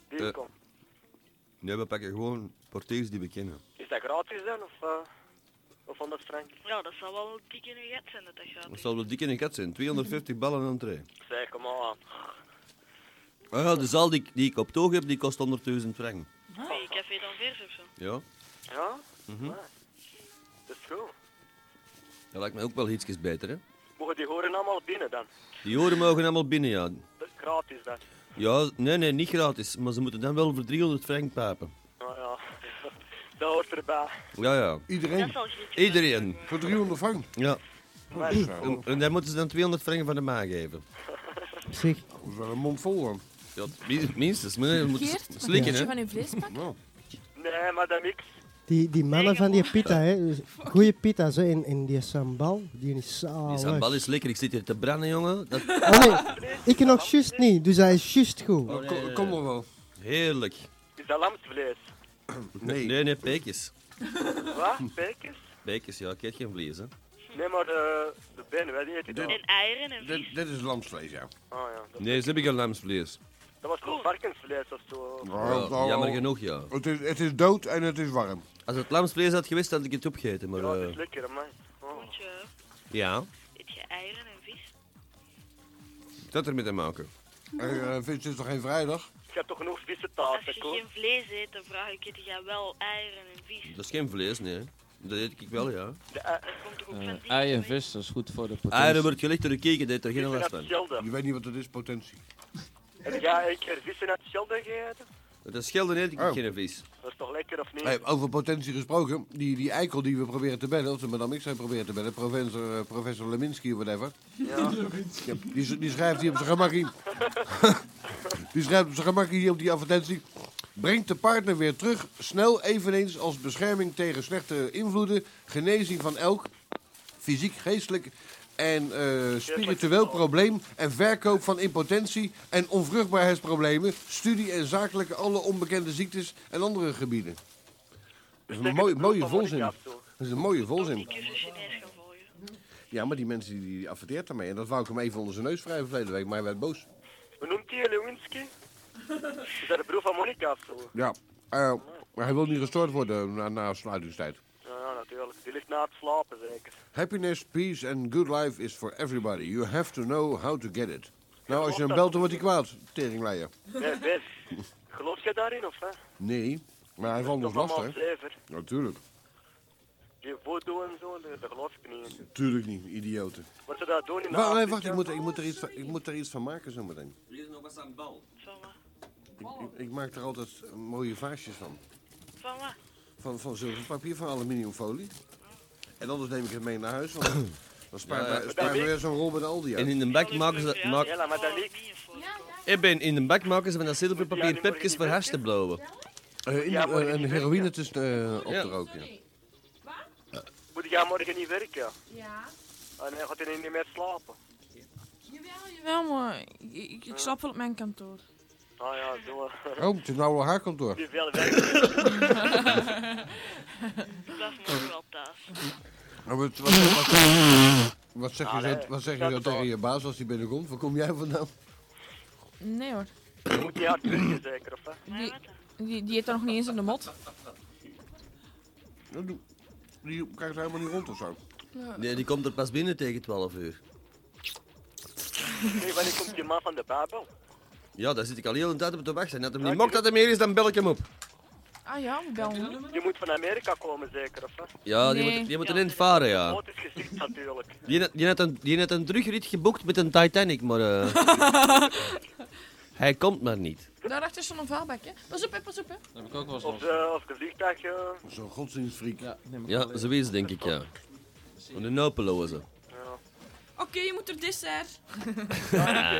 Speaker 9: Die
Speaker 2: Eh.
Speaker 9: inkomen.
Speaker 2: Nee, we pakken gewoon portiers die we kennen.
Speaker 9: Is dat gratis dan, of, eh of anders frank?
Speaker 6: Ja, dat zal wel een dikke nugget zijn dat dat gaat.
Speaker 2: Dat zal wel dik in een kat zijn. 250 ballen aan entree.
Speaker 9: Zeg, kom aan.
Speaker 2: Ah, ja, de zaal die, ik- die ik op het oog heb, die kost 100.000 frank.
Speaker 6: Bij je café dan vers of zo.
Speaker 2: Ja.
Speaker 9: Ja?
Speaker 2: Mhm.
Speaker 9: Maar, Dat is goed.
Speaker 2: Dat lijkt mij ook wel ietsjes beter, hè.
Speaker 9: Mogen die horen allemaal binnen dan?
Speaker 2: Die horen mogen allemaal binnen, ja.
Speaker 9: Dat is gratis dan.
Speaker 2: Ja, nee, nee, niet gratis. Maar ze moeten dan wel voor 300 frank papen.
Speaker 9: Nou ja, (laughs) dat hoort erbij.
Speaker 2: Ja, ja.
Speaker 6: Dat
Speaker 1: Iedereen.
Speaker 6: zal grietje
Speaker 2: Iedereen.
Speaker 1: Voor 300 frank.
Speaker 2: Ja.
Speaker 9: Maar dat is goed.
Speaker 2: En, en daar moeten ze dan 200 frank van de ma geven.
Speaker 4: Zeg,
Speaker 1: Dat is wel een mond vol dan.
Speaker 2: Ja, min- minstens. Maar nee, moeten
Speaker 3: Geert,
Speaker 2: ze
Speaker 3: wat
Speaker 2: slikken,
Speaker 3: vind je
Speaker 2: hè.
Speaker 3: van uw vleespak?
Speaker 1: Nou,
Speaker 9: Nee, maar dat niks.
Speaker 4: die, die mannen van die pita, hè. dus Goeie pita, zo. En, en die sambal, die is
Speaker 2: Die
Speaker 4: zalig.
Speaker 2: sambal is lekker. Ik zit hier te branden, jongen. Dat...
Speaker 4: Oh, nee, ik nog juist niet, dus hij is juist goed.
Speaker 2: Oh, nee,
Speaker 1: ko-
Speaker 2: nee, nee.
Speaker 1: kom maar wel.
Speaker 2: Heerlijk.
Speaker 9: Is dat lamsvlees?
Speaker 1: Nee.
Speaker 2: Nee, nee, peekjes.
Speaker 9: Wat? Bekers?
Speaker 2: Peekjes, ja. Ik eet geen vlees, hè.
Speaker 9: Nee, maar de, de ben, wij die eten dat.
Speaker 6: En eieren en vis.
Speaker 1: Dit, dit is lamsvlees, ja.
Speaker 9: Oh ja, dat,
Speaker 2: Nee, ze hebben geen lamsvlees.
Speaker 9: dat was toch varkensvlees of zo.
Speaker 1: Nou, nou,
Speaker 2: jammer genoeg, ja.
Speaker 1: Het is, het is dood en het is warm.
Speaker 2: Als het lamsvlees had geweest, had ik het opgegeten, maar...
Speaker 9: Ja, dat is
Speaker 2: eh,
Speaker 9: lekker, man. Oh.
Speaker 6: Koentje,
Speaker 2: ja,
Speaker 6: eet je eieren en vis?
Speaker 2: dat ermee te maken.
Speaker 1: Eh, eh, Vindt het toch geen vrijdag?
Speaker 9: Je hebt toch genoeg vissen
Speaker 6: Als
Speaker 9: thuis,
Speaker 6: je
Speaker 9: hè, Koen?
Speaker 6: geen vlees eet, dan vraag ik je, eet jij wel eieren en vis?
Speaker 2: Dat is geen vlees, nee. Dat deed ik wel, ja.
Speaker 11: Eh, ei en vis, dat is goed voor de potentie.
Speaker 2: Eieren wordt gelegd door de keken, dat heeft er geen last van.
Speaker 1: Je weet niet wat het is, potentie.
Speaker 9: Heb jij een keer vissen uit Schelde gegeten?
Speaker 2: Dat is schelden eet ik
Speaker 1: Oh.
Speaker 2: geen vis.
Speaker 9: Dat is toch lekker of niet?
Speaker 1: Hey, over potentie gesproken, die, die eikel die we proberen te bellen, of de madame X zijn proberen te bellen, professor, eh, professor Leminski of whatever.
Speaker 9: Ja.
Speaker 1: Ja, die, sch- die schrijft hier op zijn gemakkie. (laughs) die schrijft op zijn gemakkie hier op die advertentie. Brengt de partner weer terug, snel eveneens als bescherming tegen slechte invloeden, genezing van elk fysiek, geestelijk en eh, spiritueel probleem en verkoop van impotentie en onvruchtbaarheidsproblemen, studie en zakelijke alle onbekende ziektes en andere gebieden. Dat is een mooie, mooie volzin. Dat is een mooie volzin. Ja, maar die mensen die, die adverteert daarmee. En dat wou ik hem even onder zijn neus wrijven verleden week, maar hij werd boos.
Speaker 9: Hoe noemt die Lewinsky? Is dat de broer van Monica of zo?
Speaker 1: Ja, eh, maar hij wil niet gestoord worden na, na sluitingstijd.
Speaker 9: Ja, natuurlijk. Die ligt na het slapen
Speaker 6: (laughs)
Speaker 9: zeker.
Speaker 1: Happiness, peace and good life is for everybody. You have to know how to get it. Nou, als je hem belt, dan wordt hij kwaad, teringleier. (laughs)
Speaker 9: Nee, Bert. Geloof jij daarin of hè?
Speaker 1: Nee, maar hij valt ons
Speaker 9: Allemaal
Speaker 1: lastig.
Speaker 9: zever.
Speaker 1: Natuurlijk.
Speaker 9: Die voodoo en zo, daar daar geloof ik niet in.
Speaker 1: Tuurlijk niet, idioten.
Speaker 9: Wat ze daar doen in
Speaker 1: Wacht, nee,
Speaker 9: Afrika-
Speaker 1: wacht ik, moet, ik, moet er iets van, ik moet er iets van maken zometeen.
Speaker 2: Er is nog wat aan bal.
Speaker 1: Ik, ik, ik maak er altijd mooie vaasjes van.
Speaker 6: Van wat?
Speaker 1: Van, van zilverpapier, van aluminiumfolie. En anders neem ik het mee naar huis, want
Speaker 2: (coughs)
Speaker 1: dan spaart
Speaker 2: Ja,
Speaker 1: mij
Speaker 2: ja.
Speaker 1: spaart mij weer zo'n rol met Aldi uit.
Speaker 2: Eh, En in de bak maken ze... Maak,
Speaker 9: Ja, maar dat niet.
Speaker 2: Ik ben in de bak maken ze van dat zilverpapier pepjes voor hash te blauwen.
Speaker 1: Eh, in de- eh, en heroïne tussen eh, op te roken. ja.
Speaker 9: Moet jij morgen niet werken?
Speaker 3: Ja.
Speaker 9: En hij gaat hij niet meer slapen.
Speaker 3: Jawel, maar ik, ik, ik slaap wel op mijn kantoor.
Speaker 9: Ah ja, zo.
Speaker 1: Oh, het is nou wel haar
Speaker 9: (coughs)
Speaker 1: (coughs) kantoor.
Speaker 9: Die veel
Speaker 1: (laughs)
Speaker 9: werken.
Speaker 1: Maar Oh, Wat, wat, wat, wat zeg je zo, wat zeg je zo
Speaker 9: Nou, dat
Speaker 1: tegen je baas als hij binnenkomt? Waar kom jij vandaan?
Speaker 3: Nee hoor.
Speaker 9: Moet je hard werken zeker of hè?
Speaker 3: Die, die, die heeft er nog niet eens in de mot.
Speaker 1: Dat doe- Die krijgt helemaal niet rond of zo.
Speaker 2: Nee, die komt er pas binnen tegen 12 uur.
Speaker 9: Nee, wanneer komt je man van de Babel?
Speaker 2: Ja, daar zit ik al heel de tijd op te wachten. En als hem niet mokt dat er meer is, dan bel ik hem op.
Speaker 3: Ah ja, we bellen.
Speaker 9: Je moet van Amerika komen zeker of hè?
Speaker 2: Ja, die
Speaker 3: Nee.
Speaker 2: moet, die moet erin varen, ja.
Speaker 9: Het is gezicht natuurlijk.
Speaker 2: Die, net- die, net een, die net een terugrit geboekt met een Titanic, maar... eh, hij komt maar niet.
Speaker 3: Daarachter is zo'n vuilbak, hè. Pas op, hè, pas op, hè.
Speaker 11: Dat heb ik ook wel eens
Speaker 9: Of, eh of de vliegtuig. eh,
Speaker 1: Zo'n godsdienstfreak.
Speaker 11: Ja, neem ik wel
Speaker 2: Ja,
Speaker 11: weer.
Speaker 2: zoiets denk ik, ja. Een nopeloze.
Speaker 3: Oké, je moet er dessert. Ah.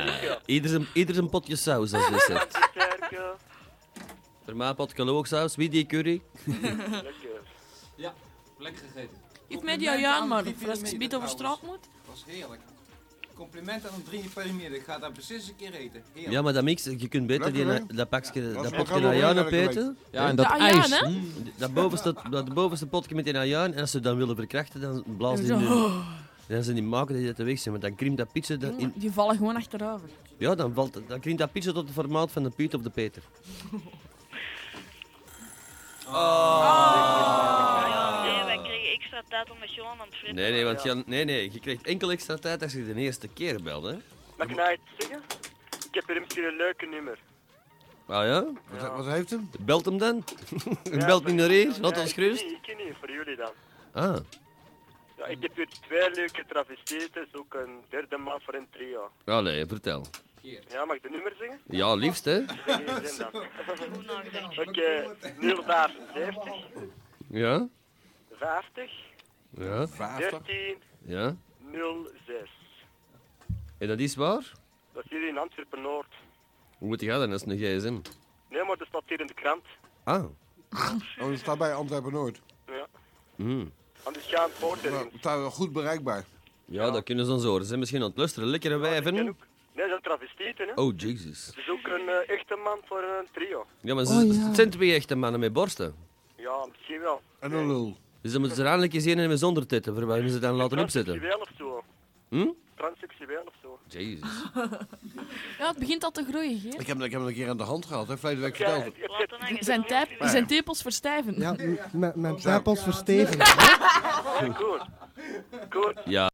Speaker 2: Ieder zijn, ieder zijn potje saus als dessert.
Speaker 9: Sterke.
Speaker 2: Voor mij een pot kaloosaus, wie die curry?
Speaker 9: Lekker.
Speaker 11: Ja, lekker gegeten.
Speaker 3: Geef mij die Ayaan maar, voordat ik gebied over straat moet.
Speaker 7: was heerlijk. Compliment aan een drie piramide. Ik ga daar precies een keer eten. Heerlijk.
Speaker 2: Ja, maar dat mix, je kunt beter die,
Speaker 7: Lekker,
Speaker 2: na- dat pakje, dat
Speaker 7: we gaan wel
Speaker 2: potje najaan
Speaker 7: werken,
Speaker 2: opeten.
Speaker 7: leuk. Ja, en
Speaker 11: dat
Speaker 2: Mm.
Speaker 11: Ja, ijs. ja, hè?
Speaker 2: Dat bovenste, dat bovenste potje met die najaan, en als ze dan willen verkrachten, dan blazen die
Speaker 3: En zo.
Speaker 2: nu. Dan ze niet maken dat die dat te weg zijn, want dan krimpt dat pizza... dan in,
Speaker 3: Die vallen gewoon achterover.
Speaker 2: ja, dan, valt, dan krimpt dat pizza tot het formaat van de Piet of de Peter.
Speaker 3: Ah.
Speaker 9: Ah.
Speaker 6: Nee, wij kregen extra tijd om met Johan aan het vrienden.
Speaker 2: Nee, nee, want Jan, nee, nee, je krijgt enkel extra tijd als je de eerste keer belt, hè.
Speaker 9: Mag ik nou iets zeggen? Ik heb hier misschien een leuke nummer.
Speaker 2: Ah ja?
Speaker 1: Wat, wat heeft hem?
Speaker 2: Belt hem dan. (laughs) belt niet naar hier, laat
Speaker 9: Ja,
Speaker 2: ons
Speaker 9: ik weet
Speaker 2: gerust.
Speaker 9: niet, Ik ken niet, voor jullie dan.
Speaker 2: Ah.
Speaker 9: Ja, ik heb hier twee leuke travestieten, zoek een derde man voor een trio.
Speaker 2: Allee, vertel.
Speaker 9: Ja, mag ik de nummer zingen?
Speaker 2: (laughs) Ja, liefst, hè.
Speaker 9: Zeg geen zin dan. Oké, 075,
Speaker 2: Ja?
Speaker 9: 50,
Speaker 2: Ja?
Speaker 9: 13,
Speaker 2: Ja?
Speaker 9: 06.
Speaker 2: En dat is waar?
Speaker 9: Dat is hier in Antwerpen Noord.
Speaker 2: Hoe moet je dat dan? Dat is een gsm.
Speaker 9: Nee, maar dat staat hier in de krant.
Speaker 2: Ah.
Speaker 1: Oh, dat staat bij Antwerpen Noord.
Speaker 9: Ja.
Speaker 2: Hm.
Speaker 9: Anders gaan poorten.
Speaker 1: Maar het staat wel goed bereikbaar.
Speaker 2: Ja, dat kunnen ze ons horen. Ze zijn misschien aan het luisteren. Lekkere wijven.
Speaker 9: Nee, dat zijn travestieten, hè?
Speaker 2: Oh, Jesus.
Speaker 9: Ze zoeken een eh, echte man voor een trio.
Speaker 2: Ja, maar ze, het zijn twee echte mannen met borsten.
Speaker 9: Ja, misschien wel.
Speaker 1: En een lul.
Speaker 2: Dus dan moeten ze er eindelijk eens een hebben zonder titten, voor waarom ze dan laten opzetten.
Speaker 9: Transseksueel of zo.
Speaker 2: Hm?
Speaker 9: Transseksueel of zo.
Speaker 2: Jezus.
Speaker 3: Ja, het begint al te groeien, hè.
Speaker 1: Ik heb, hem- ik heb hem een keer aan de hand gehad, hè, verleden week verteld.
Speaker 3: Zijn, tijp, zijn tepels verstijven.
Speaker 2: (laughs)
Speaker 4: Ja, m- m- mijn tepels versteven.
Speaker 9: Goed. Goed.
Speaker 2: Ja.